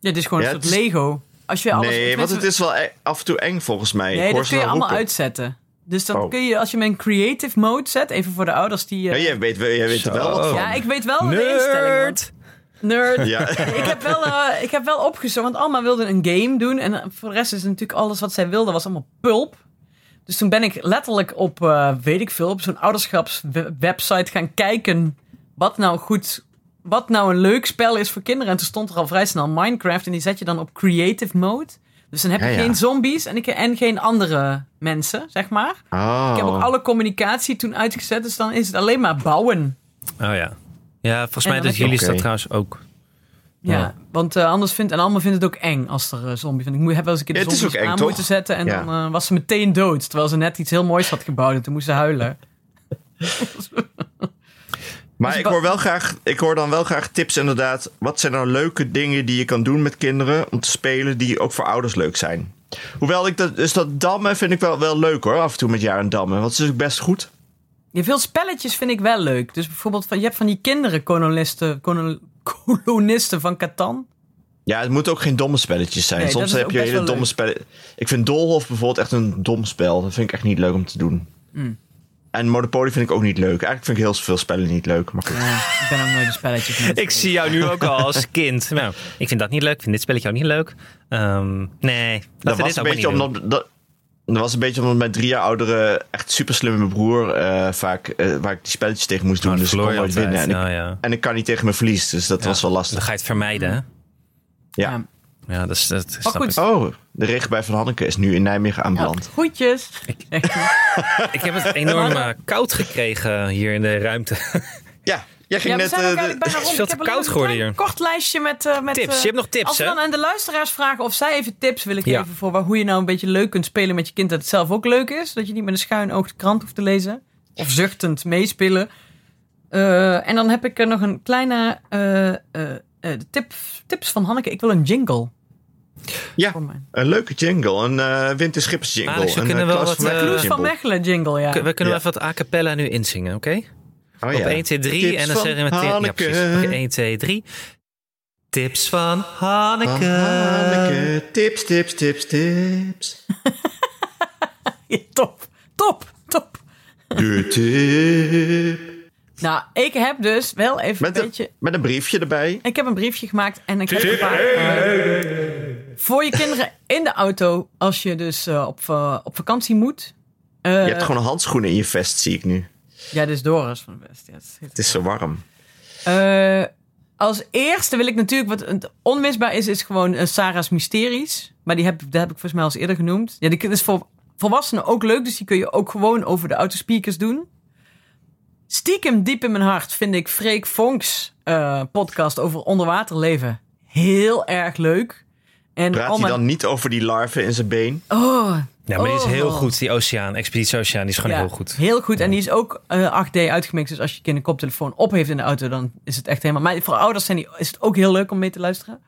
[SPEAKER 2] Ja, het is gewoon een
[SPEAKER 1] Ja,
[SPEAKER 2] soort
[SPEAKER 1] het is-
[SPEAKER 2] Lego. Als je alles,
[SPEAKER 1] nee, want
[SPEAKER 2] tenminste-
[SPEAKER 1] het is wel e- af en toe eng volgens mij. Ik
[SPEAKER 2] Nee,
[SPEAKER 1] hoor
[SPEAKER 2] dat
[SPEAKER 1] ze
[SPEAKER 2] kun je
[SPEAKER 1] wel
[SPEAKER 2] allemaal
[SPEAKER 1] roepen.
[SPEAKER 2] uitzetten. Dus dat
[SPEAKER 1] Oh.
[SPEAKER 2] kun je, als je hem in creative mode zet, even voor de ouders die... eh,
[SPEAKER 1] Ja, jij weet, jij weet er wel wat
[SPEAKER 3] Zo.
[SPEAKER 1] van.
[SPEAKER 2] ja, ik weet wel
[SPEAKER 3] Oh,
[SPEAKER 2] wat de instelling was.
[SPEAKER 3] Nerd!
[SPEAKER 2] Nerd.
[SPEAKER 1] Ja.
[SPEAKER 2] [laughs] Ik heb wel, eh, ik heb wel opgezocht, want Alma wilde een game doen. En eh, voor de rest is natuurlijk alles wat zij wilde, was allemaal pulp. Dus toen ben ik letterlijk op, eh, weet ik veel, op zo'n ouderschapswebsite gaan kijken. Wat nou goed, wat nou een leuk spel is voor kinderen. En toen stond er al vrij snel Minecraft. En die zet je dan op creative mode. Dus dan heb je
[SPEAKER 1] Ja, ja.
[SPEAKER 2] geen zombies en, ik, en geen andere mensen, zeg maar.
[SPEAKER 1] Oh.
[SPEAKER 2] Ik heb ook alle communicatie toen uitgezet. Dus dan is het alleen maar bouwen.
[SPEAKER 3] Oh ja. Ja, volgens
[SPEAKER 2] En
[SPEAKER 3] mij
[SPEAKER 2] dan
[SPEAKER 3] doet
[SPEAKER 2] heb je-
[SPEAKER 3] jullie dat
[SPEAKER 1] Oké.
[SPEAKER 3] trouwens ook.
[SPEAKER 2] Ja,
[SPEAKER 3] Ja.
[SPEAKER 2] want eh, anders vindt en allemaal vindt het ook eng als er eh, zombies zijn. Ik moet, heb wel eens een keer de
[SPEAKER 1] Ja, het is
[SPEAKER 2] zombies
[SPEAKER 1] ook eng,
[SPEAKER 2] aan
[SPEAKER 1] toch?
[SPEAKER 2] moeten zetten en
[SPEAKER 1] Ja.
[SPEAKER 2] dan eh, was ze meteen dood. Terwijl ze net iets heel moois had gebouwd en toen moest ze huilen. dus
[SPEAKER 1] Maar ik hoor, wel graag, ik hoor dan wel graag tips inderdaad. Wat zijn nou leuke dingen die je kan doen met kinderen om te spelen die ook voor ouders leuk zijn? Hoewel ik dat, dus dat dammen vind ik wel, wel leuk hoor, af en toe met jaren dammen. Want het is ook best goed.
[SPEAKER 2] Ja, veel spelletjes vind ik wel leuk. Dus bijvoorbeeld, van, je hebt van die kinderen kolonisten, kolon- kolonisten van Catan.
[SPEAKER 1] Ja, het moeten ook geen domme spelletjes zijn.
[SPEAKER 2] Nee, dat
[SPEAKER 1] Soms
[SPEAKER 2] is
[SPEAKER 1] heb
[SPEAKER 2] ook
[SPEAKER 1] je
[SPEAKER 2] best
[SPEAKER 1] hele
[SPEAKER 2] wel
[SPEAKER 1] domme
[SPEAKER 2] leuk.
[SPEAKER 1] spellen. Ik vind Doolhof bijvoorbeeld echt een dom spel. Dat vind ik echt niet leuk om te doen. En Monopoly vind ik ook niet leuk. Eigenlijk vind ik heel veel spellen niet leuk. Maar goed.
[SPEAKER 2] Ja, ik ben ook nooit de spelletjes mee.
[SPEAKER 3] Ik zie jou nu ook al als kind. Nou, ik vind dat niet leuk. Ik vind dit spelletje ook niet leuk. Ehm, nee,
[SPEAKER 1] Dat
[SPEAKER 3] laten we
[SPEAKER 1] was,
[SPEAKER 3] dit
[SPEAKER 1] een
[SPEAKER 3] ook maar niet
[SPEAKER 1] beetje
[SPEAKER 3] doen.
[SPEAKER 1] omdat, dat, dat was een beetje omdat mijn drie jaar oudere, echt super slimme broer eh, vaak, eh, waar ik die spelletjes tegen moest doen.
[SPEAKER 3] Oh, dat
[SPEAKER 1] dus ik kon
[SPEAKER 3] verloor je
[SPEAKER 1] nooit winnen. En,
[SPEAKER 3] altijd.
[SPEAKER 1] ik,
[SPEAKER 3] Oh, ja.
[SPEAKER 1] en ik kan niet tegen mijn verlies, dus dat was wel
[SPEAKER 3] Dan
[SPEAKER 1] lastig.
[SPEAKER 3] ga je het vermijden, hè?
[SPEAKER 1] Ja.
[SPEAKER 2] Ja.
[SPEAKER 3] Ja, dat, is- dat snap
[SPEAKER 2] goed.
[SPEAKER 3] ik.
[SPEAKER 1] Oh, de regen bij Van Hanneke is nu in Nijmegen aanbeland.
[SPEAKER 2] Groetjes.
[SPEAKER 3] Ik heb het enorm eh, koud gekregen hier in de ruimte.
[SPEAKER 1] Ja, jij ging
[SPEAKER 2] Ja, we
[SPEAKER 1] net...
[SPEAKER 2] zijn ook
[SPEAKER 1] eh,
[SPEAKER 2] eigenlijk
[SPEAKER 1] de- [laughs]
[SPEAKER 2] bijna rond.
[SPEAKER 3] veel
[SPEAKER 2] Ik
[SPEAKER 3] te
[SPEAKER 2] heb alleen
[SPEAKER 3] koud
[SPEAKER 2] een
[SPEAKER 3] geworden
[SPEAKER 2] klein
[SPEAKER 3] hier.
[SPEAKER 2] kort lijstje met... eh, met
[SPEAKER 3] Tips.
[SPEAKER 2] eh,
[SPEAKER 3] Je hebt nog tips,
[SPEAKER 2] Als we
[SPEAKER 3] hè?
[SPEAKER 2] dan aan de luisteraars vragen of zij even tips willen
[SPEAKER 3] Ja.
[SPEAKER 2] geven... voor waar- hoe je nou een beetje leuk kunt spelen met je kind... dat het zelf ook leuk is. Dat je niet met een schuin oog de krant hoeft te lezen. Of zuchtend meespelen. Eh, en dan heb ik er nog een kleine eh, eh, eh, tip, tips van Hanneke. Ik wil een jingle.
[SPEAKER 1] Ja.
[SPEAKER 2] Voor mij.
[SPEAKER 1] Een leuke jingle, een eh Winterschipps jingle.
[SPEAKER 3] Alex, we
[SPEAKER 1] een,
[SPEAKER 3] kunnen
[SPEAKER 1] eh,
[SPEAKER 3] wel
[SPEAKER 1] Klaus van
[SPEAKER 3] wat,
[SPEAKER 1] Mechelen
[SPEAKER 3] eh,
[SPEAKER 2] Kloes
[SPEAKER 1] jingle.
[SPEAKER 2] van Mechelen jingle, ja.
[SPEAKER 3] Kun- We kunnen
[SPEAKER 1] Ja.
[SPEAKER 3] even wat a cappella nu inzingen, oké?
[SPEAKER 1] Oh,
[SPEAKER 3] Op
[SPEAKER 1] ja.
[SPEAKER 3] 1, 2, 3
[SPEAKER 1] Tips
[SPEAKER 3] en dan
[SPEAKER 1] van
[SPEAKER 3] zeggen we meteen... Ja,
[SPEAKER 1] Hanneke.
[SPEAKER 3] precies. Oké, 1, 2, 3. Tips van Hanneke.
[SPEAKER 1] Van Hanneke. Tips, tips, tips, tips.
[SPEAKER 2] [laughs] Ja, top, top, top.
[SPEAKER 1] De tip.
[SPEAKER 2] Nou, ik heb dus wel even
[SPEAKER 1] Met
[SPEAKER 2] een
[SPEAKER 1] een,
[SPEAKER 2] beetje...
[SPEAKER 1] met een briefje erbij.
[SPEAKER 2] Ik heb een briefje gemaakt en ik heb een paar... eh, voor je kinderen in de auto, als je dus eh, op, va- op vakantie moet. Eh,
[SPEAKER 1] Je hebt gewoon handschoenen in je vest, zie ik nu.
[SPEAKER 2] Ja, dit is Doris van de West. Ja, dat is
[SPEAKER 1] Het is zo warm.
[SPEAKER 2] Eh, als eerste wil ik natuurlijk, wat het onmisbaar is, is gewoon eh, Sarah's Mysteries. Maar die heb, dat heb ik volgens mij al eens eerder genoemd. Ja, die is voor volwassenen ook leuk, dus die kun je ook gewoon over de autospeakers doen. Stiekem diep in mijn hart vind ik Freek Vonks eh, podcast over onderwaterleven heel erg leuk. En
[SPEAKER 1] Praat
[SPEAKER 2] al
[SPEAKER 1] hij
[SPEAKER 2] mijn-
[SPEAKER 1] dan niet over die larven in zijn been?
[SPEAKER 2] Oh,
[SPEAKER 3] Ja, maar die is heel
[SPEAKER 2] Oh.
[SPEAKER 3] goed. Die Oceaan, Expeditie Oceaan, die is gewoon
[SPEAKER 2] ja,
[SPEAKER 3] heel goed.
[SPEAKER 2] Heel goed. En die is ook eh, 8D uitgemixt. Dus als je kind een koptelefoon op heeft in de auto, dan is het echt helemaal. Maar voor ouders zijn die, is het ook heel leuk om mee te luisteren.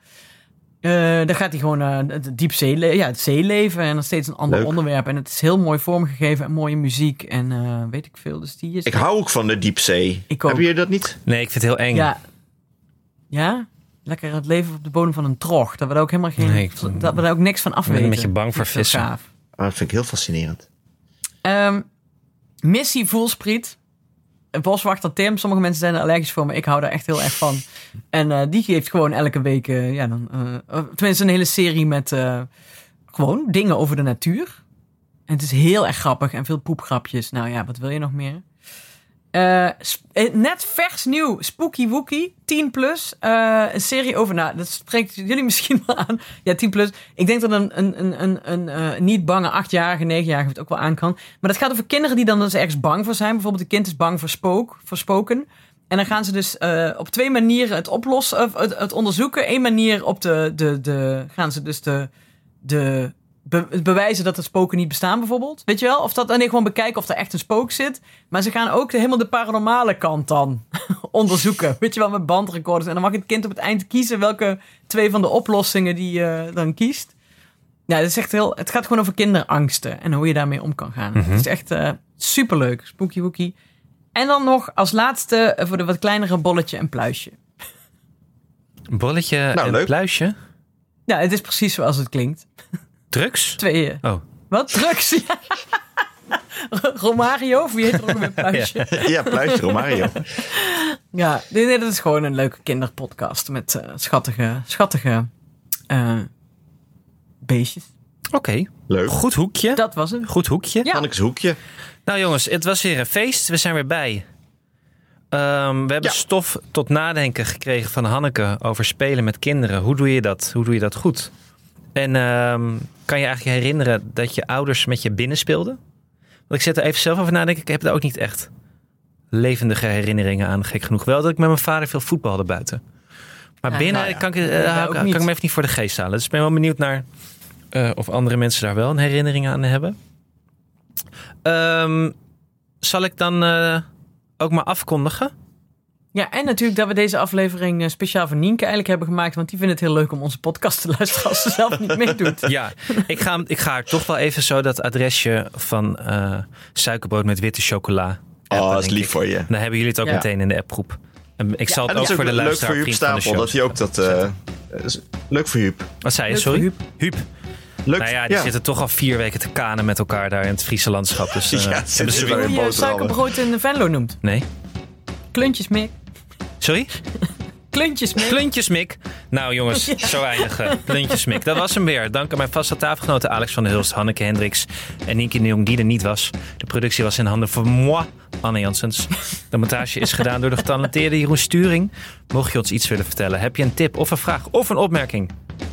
[SPEAKER 2] Eh dan gaat hij gewoon eh, naar het diepzee, ja, het zeeleven en dan steeds een ander
[SPEAKER 1] Leuk.
[SPEAKER 2] onderwerp. En het is heel mooi vormgegeven en mooie muziek en eh, weet ik veel. Dus die is.
[SPEAKER 1] Ik hou ook van de diepzee.
[SPEAKER 2] Ik ook.
[SPEAKER 1] Heb je dat niet?
[SPEAKER 3] Nee, ik vind het heel eng.
[SPEAKER 2] ja. ja, lekker het leven op de bodem van een trog. Dat we daar ook helemaal geen.
[SPEAKER 3] Nee, ik-
[SPEAKER 2] dat we daar ook niks van af
[SPEAKER 3] ben een
[SPEAKER 2] weten.
[SPEAKER 3] beetje bang voor
[SPEAKER 2] Zo
[SPEAKER 3] vissen.
[SPEAKER 2] gaaf.
[SPEAKER 1] Ah, dat vind ik heel fascinerend. [laughs]
[SPEAKER 2] Ehm, Missie Voelspriet. Een Boswachter Tim. Sommige mensen zijn er allergisch voor, maar ik hou daar echt heel erg van. En eh, die geeft gewoon elke week, eh, ja, dan, eh, eh, tenminste een hele serie met eh, gewoon dingen over de natuur. En het is heel erg grappig en veel poepgrapjes. Nou ja, wat wil je nog meer? Eh, sp- eh, net vers nieuw, Spooky Wookie, 10 plus. eh, een serie over, nou, dat spreekt jullie [laughs] misschien wel aan. Ja, 10 plus. Ik denk dat een, een, een, een, een eh, niet bange 8-jarige, 9-jarige het ook wel aan kan. Maar dat gaat over kinderen die dan dus ergens bang voor zijn. Bijvoorbeeld, een kind is bang voor, spook, voor spoken. En dan gaan ze dus eh, op twee manieren het oplossen, of het, het onderzoeken. Eén manier op de, de, de, gaan ze dus de, de be- het bewijzen dat het spoken niet bestaan, bijvoorbeeld. Weet je wel? Of dat, nee, gewoon bekijken of er echt een spook zit. Maar ze gaan ook de, helemaal de paranormale kant dan [laughs] onderzoeken. Weet je wel, met bandrecorders. En dan mag het kind op het eind kiezen welke twee van de oplossingen die je dan kiest. Ja, dat is echt heel, het gaat gewoon over kinderangsten en hoe je daarmee om kan gaan. Het is echt eh, superleuk. Spooky Wookie. En dan nog als laatste eh, voor de wat kleinere bolletje en pluisje.
[SPEAKER 3] Een Bolletje
[SPEAKER 1] Nou,
[SPEAKER 3] en
[SPEAKER 1] leuk.
[SPEAKER 3] pluisje.
[SPEAKER 2] Ja, het is precies zoals het klinkt.
[SPEAKER 3] Drugs?
[SPEAKER 2] Tweeën.
[SPEAKER 3] Oh,
[SPEAKER 2] Wat? Drugs? [laughs] Ja. Romario, of wie heet er
[SPEAKER 3] [laughs]
[SPEAKER 2] ook weer pluisje? Ja,
[SPEAKER 1] ja, pluisje Romario.
[SPEAKER 2] nee, nee, dat is gewoon een leuke kinderpodcast met eh, schattige, schattige eh, beestjes.
[SPEAKER 3] oké.
[SPEAKER 1] Leuk.
[SPEAKER 3] Goed hoekje.
[SPEAKER 2] Dat was het.
[SPEAKER 3] Goed hoekje.
[SPEAKER 2] Ja.
[SPEAKER 1] Anneke's hoekje.
[SPEAKER 3] Nou jongens, het was weer een feest. We zijn weer bij. Ehm, we
[SPEAKER 1] Ja.
[SPEAKER 3] hebben stof tot nadenken gekregen van Hanneke over spelen met kinderen. Hoe doe je dat? Hoe doe je dat goed? En ehm, kan je eigenlijk je herinneren dat je ouders met je binnen speelden? Want ik zit er even zelf over nadenken. Ik heb daar ook niet echt levendige herinneringen aan. Gek genoeg. Wel dat ik met mijn vader veel voetbalde buiten. Maar
[SPEAKER 2] Ja,
[SPEAKER 3] binnen
[SPEAKER 2] nou ja,
[SPEAKER 3] kan, ik, eh,
[SPEAKER 2] dat
[SPEAKER 3] kan,
[SPEAKER 2] ook
[SPEAKER 3] kan
[SPEAKER 2] niet.
[SPEAKER 3] ik me even niet voor de geest halen. Dus ik ben wel benieuwd naar eh, of andere mensen daar wel een herinnering aan hebben. Ehm, zal ik dan eh, ook maar afkondigen?
[SPEAKER 2] Ja, en natuurlijk dat we deze aflevering eh, speciaal voor Nienke eigenlijk hebben gemaakt. Want die vindt het heel leuk om onze podcast te luisteren als ze zelf niet meedoet.
[SPEAKER 3] Ja, [laughs] ik ga, ik ga haar toch wel even zo dat adresje van eh, suikerbrood met witte chocola. appen,
[SPEAKER 1] Oh, dat is
[SPEAKER 3] denk
[SPEAKER 1] lief
[SPEAKER 3] ik.
[SPEAKER 1] voor je.
[SPEAKER 3] Dan hebben jullie het ook
[SPEAKER 2] Ja.
[SPEAKER 3] meteen in de appgroep. En ik zal
[SPEAKER 1] En dat
[SPEAKER 3] het ook
[SPEAKER 1] is ook
[SPEAKER 3] voor de
[SPEAKER 1] leuk voor
[SPEAKER 3] luisteraar
[SPEAKER 1] Huub
[SPEAKER 3] vriend van de
[SPEAKER 1] Stapel, dat
[SPEAKER 3] show.
[SPEAKER 1] hij ook dat... eh, is- leuk voor Huub.
[SPEAKER 3] Wat zei je?
[SPEAKER 2] Leuk voor
[SPEAKER 3] Sorry?
[SPEAKER 2] Huub.
[SPEAKER 3] Huub.
[SPEAKER 1] Leuk
[SPEAKER 3] Nou ja,
[SPEAKER 1] voor-
[SPEAKER 3] die zitten toch al vier weken te kanen met elkaar daar in het Friese landschap. Dus
[SPEAKER 1] [laughs]
[SPEAKER 3] eh,
[SPEAKER 1] Ja,
[SPEAKER 3] hebben
[SPEAKER 1] zitten
[SPEAKER 3] ze
[SPEAKER 1] ze
[SPEAKER 3] weer...
[SPEAKER 1] wel.
[SPEAKER 2] Hoe je
[SPEAKER 1] boterhammen.
[SPEAKER 2] suikerbrood in Venlo noemt.
[SPEAKER 3] Nee?
[SPEAKER 2] Kluntjes mee.
[SPEAKER 3] Sorry?
[SPEAKER 2] Kluntjes
[SPEAKER 3] [laughs]
[SPEAKER 2] mee.
[SPEAKER 3] Kluntjesmik. Nou jongens, zo weinig. eh, Kluntjesmik. Dat was hem weer. Dank aan mijn vaste tafelgenoten Alex van der Hulst, Hanneke Hendricks en Nienke de Jong, die er niet was. De productie was in handen van moi, Anne Janssens. De montage is gedaan door de getalenteerde Jeroen Sturing. Mocht je ons iets willen vertellen, heb je een tip of een vraag of een opmerking?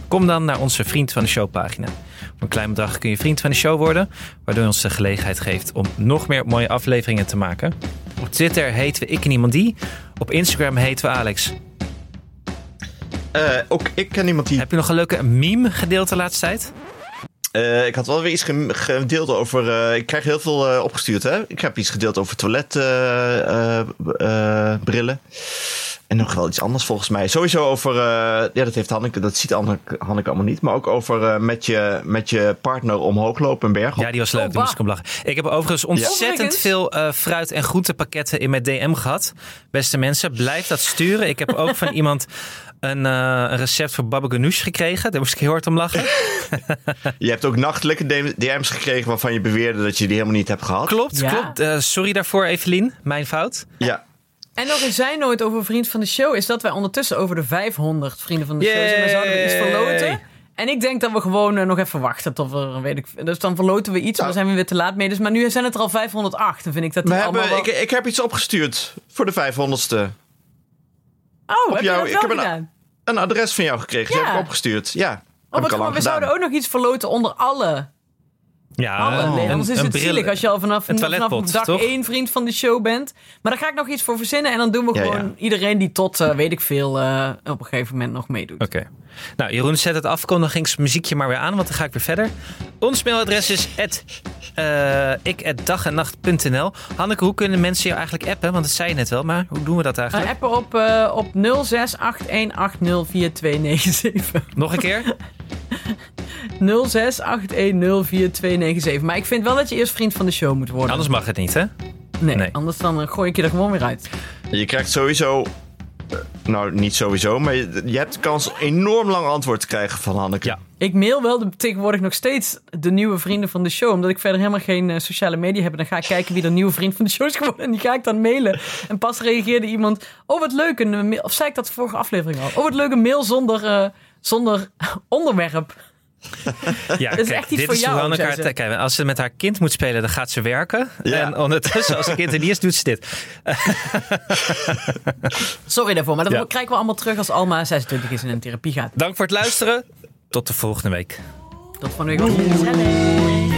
[SPEAKER 3] Kom dan naar onze Vriend van de Show pagina. Voor een klein bedrag kun je Vriend van de Show worden, waardoor je ons de gelegenheid geeft om nog meer mooie afleveringen te maken. Op Twitter heten we Ik en Iemand Die. Op Instagram heten we Alex.
[SPEAKER 1] Eh, ook ik ken iemand die...
[SPEAKER 3] Heb je nog een leuke meme gedeeld de laatste tijd?
[SPEAKER 2] Oh.
[SPEAKER 1] Eh, ik had wel weer iets gem- gedeeld over... eh, ik krijg heel veel eh, opgestuurd, hè? Ik heb iets gedeeld over toiletbrillen. en nog wel iets anders volgens mij. Sowieso over... eh, ja, dat, heeft Hanneke, dat ziet Hanneke, Hanneke allemaal niet. Maar ook over eh, met, je, met je partner omhoog lopen een berg op.
[SPEAKER 3] Ja, die was leuk.
[SPEAKER 2] Oh,
[SPEAKER 3] die moest ik
[SPEAKER 2] bah.
[SPEAKER 3] om lachen. Ik heb overigens ontzettend
[SPEAKER 2] Overigens.
[SPEAKER 3] veel eh, fruit- en groentepakketten in mijn DM gehad. Beste mensen, blijf dat sturen. Ik heb ook
[SPEAKER 2] [laughs]
[SPEAKER 3] van iemand een, eh, een recept voor baba ganoush gekregen. Daar moest ik heel hard om lachen.
[SPEAKER 1] Je hebt ook nachtelijke DM- DM's gekregen waarvan je beweerde dat je die helemaal niet hebt gehad.
[SPEAKER 3] Klopt,
[SPEAKER 2] Ja.
[SPEAKER 3] klopt. Eh, sorry daarvoor, Evelien. Mijn fout.
[SPEAKER 1] Ja.
[SPEAKER 2] En nog eens zij nooit over vriend van de show is dat wij ondertussen over de 500 vrienden van de show zijn. Maar zouden we iets
[SPEAKER 3] Yay.
[SPEAKER 2] verloten? En ik denk dat we gewoon eh, nog even wachten tot we, weet ik, dus dan verloten we iets, maar dan zijn we weer te laat mee. Dus, maar nu zijn het er al 508, dan vind ik dat
[SPEAKER 1] We
[SPEAKER 2] die
[SPEAKER 1] hebben,
[SPEAKER 2] allemaal wel...
[SPEAKER 1] ik, ik heb iets opgestuurd voor de 500ste.
[SPEAKER 2] oh, heb
[SPEAKER 1] jou-
[SPEAKER 2] je
[SPEAKER 1] ik
[SPEAKER 2] dat
[SPEAKER 1] heb
[SPEAKER 2] wel
[SPEAKER 1] een-
[SPEAKER 2] gedaan?
[SPEAKER 1] Een adres van jou gekregen. Die
[SPEAKER 2] Ja.
[SPEAKER 1] heb ik opgestuurd. Ja.
[SPEAKER 2] Oh,
[SPEAKER 1] Heb
[SPEAKER 2] wat
[SPEAKER 1] ik al
[SPEAKER 2] goed, maar
[SPEAKER 1] lang
[SPEAKER 2] we
[SPEAKER 1] gedaan. Ah,
[SPEAKER 2] zouden ook nog iets verloten onder alle.
[SPEAKER 3] Ja,
[SPEAKER 2] alle leden. Anders is Oh, het
[SPEAKER 3] bril-
[SPEAKER 2] zielig als je al vanaf,
[SPEAKER 3] een
[SPEAKER 2] vanaf
[SPEAKER 3] toiletpot,
[SPEAKER 2] dag
[SPEAKER 3] toch?
[SPEAKER 2] één vriend van de show bent. Maar daar ga ik nog iets voor verzinnen. En dan doen we
[SPEAKER 1] Ja,
[SPEAKER 2] gewoon
[SPEAKER 1] ja.
[SPEAKER 2] iedereen die tot, eh, weet ik veel, eh, op een gegeven moment nog meedoet.
[SPEAKER 3] Oké. Nou, Jeroen, zet het afkondigingsmuziekje maar weer aan, want dan ga ik weer verder. Ons mailadres is at, eh, ik at dag en nacht.nl. Hanneke, hoe kunnen mensen jou eigenlijk appen? Want dat zei je net wel, maar hoe doen we dat
[SPEAKER 2] Eh,
[SPEAKER 3] eigenlijk?
[SPEAKER 2] appen op, eh op 0681104297.
[SPEAKER 3] Nog een keer?
[SPEAKER 2] [laughs] 0681104297. Maar ik vind wel dat je eerst vriend van de show moet worden.
[SPEAKER 3] Anders mag het niet, hè?
[SPEAKER 2] nee,
[SPEAKER 3] nee.
[SPEAKER 2] anders dan eh, gooi ik je er gewoon weer uit.
[SPEAKER 1] Je krijgt sowieso. eh, Nou, niet sowieso, maar je, je hebt de kans enorm lang antwoord te krijgen van Hanneke.
[SPEAKER 3] Ja.
[SPEAKER 2] Ik mail wel de, tegenwoordig nog steeds de nieuwe vrienden van de show. Omdat ik verder helemaal geen eh, sociale media heb. En dan ga ik kijken wie de nieuwe vriend van de show is geworden. En die ga ik dan mailen. En pas reageerde iemand. Oh, wat leuk. Een, eh, mail- of zei ik dat de vorige aflevering al? Oh, wat leuk. Een mail zonder, eh, zonder [laughs] onderwerp.
[SPEAKER 3] Ja,
[SPEAKER 2] is
[SPEAKER 3] kijk,
[SPEAKER 2] echt iets
[SPEAKER 3] dit
[SPEAKER 2] voor
[SPEAKER 3] is
[SPEAKER 2] jou,
[SPEAKER 3] hoe Hanneke
[SPEAKER 2] zei
[SPEAKER 3] haar-
[SPEAKER 2] ze.
[SPEAKER 3] kijk, als ze met haar kind moet spelen, dan gaat ze werken.
[SPEAKER 1] Ja.
[SPEAKER 3] En ondertussen, als een kind er niet is, doet ze dit.
[SPEAKER 2] Sorry daarvoor. Maar dat
[SPEAKER 3] Ja.
[SPEAKER 2] krijgen we allemaal terug als Alma 26 is en in therapie gaat.
[SPEAKER 3] Dank voor het luisteren. Tot de volgende week.
[SPEAKER 2] Tot van week. Wat gezellig.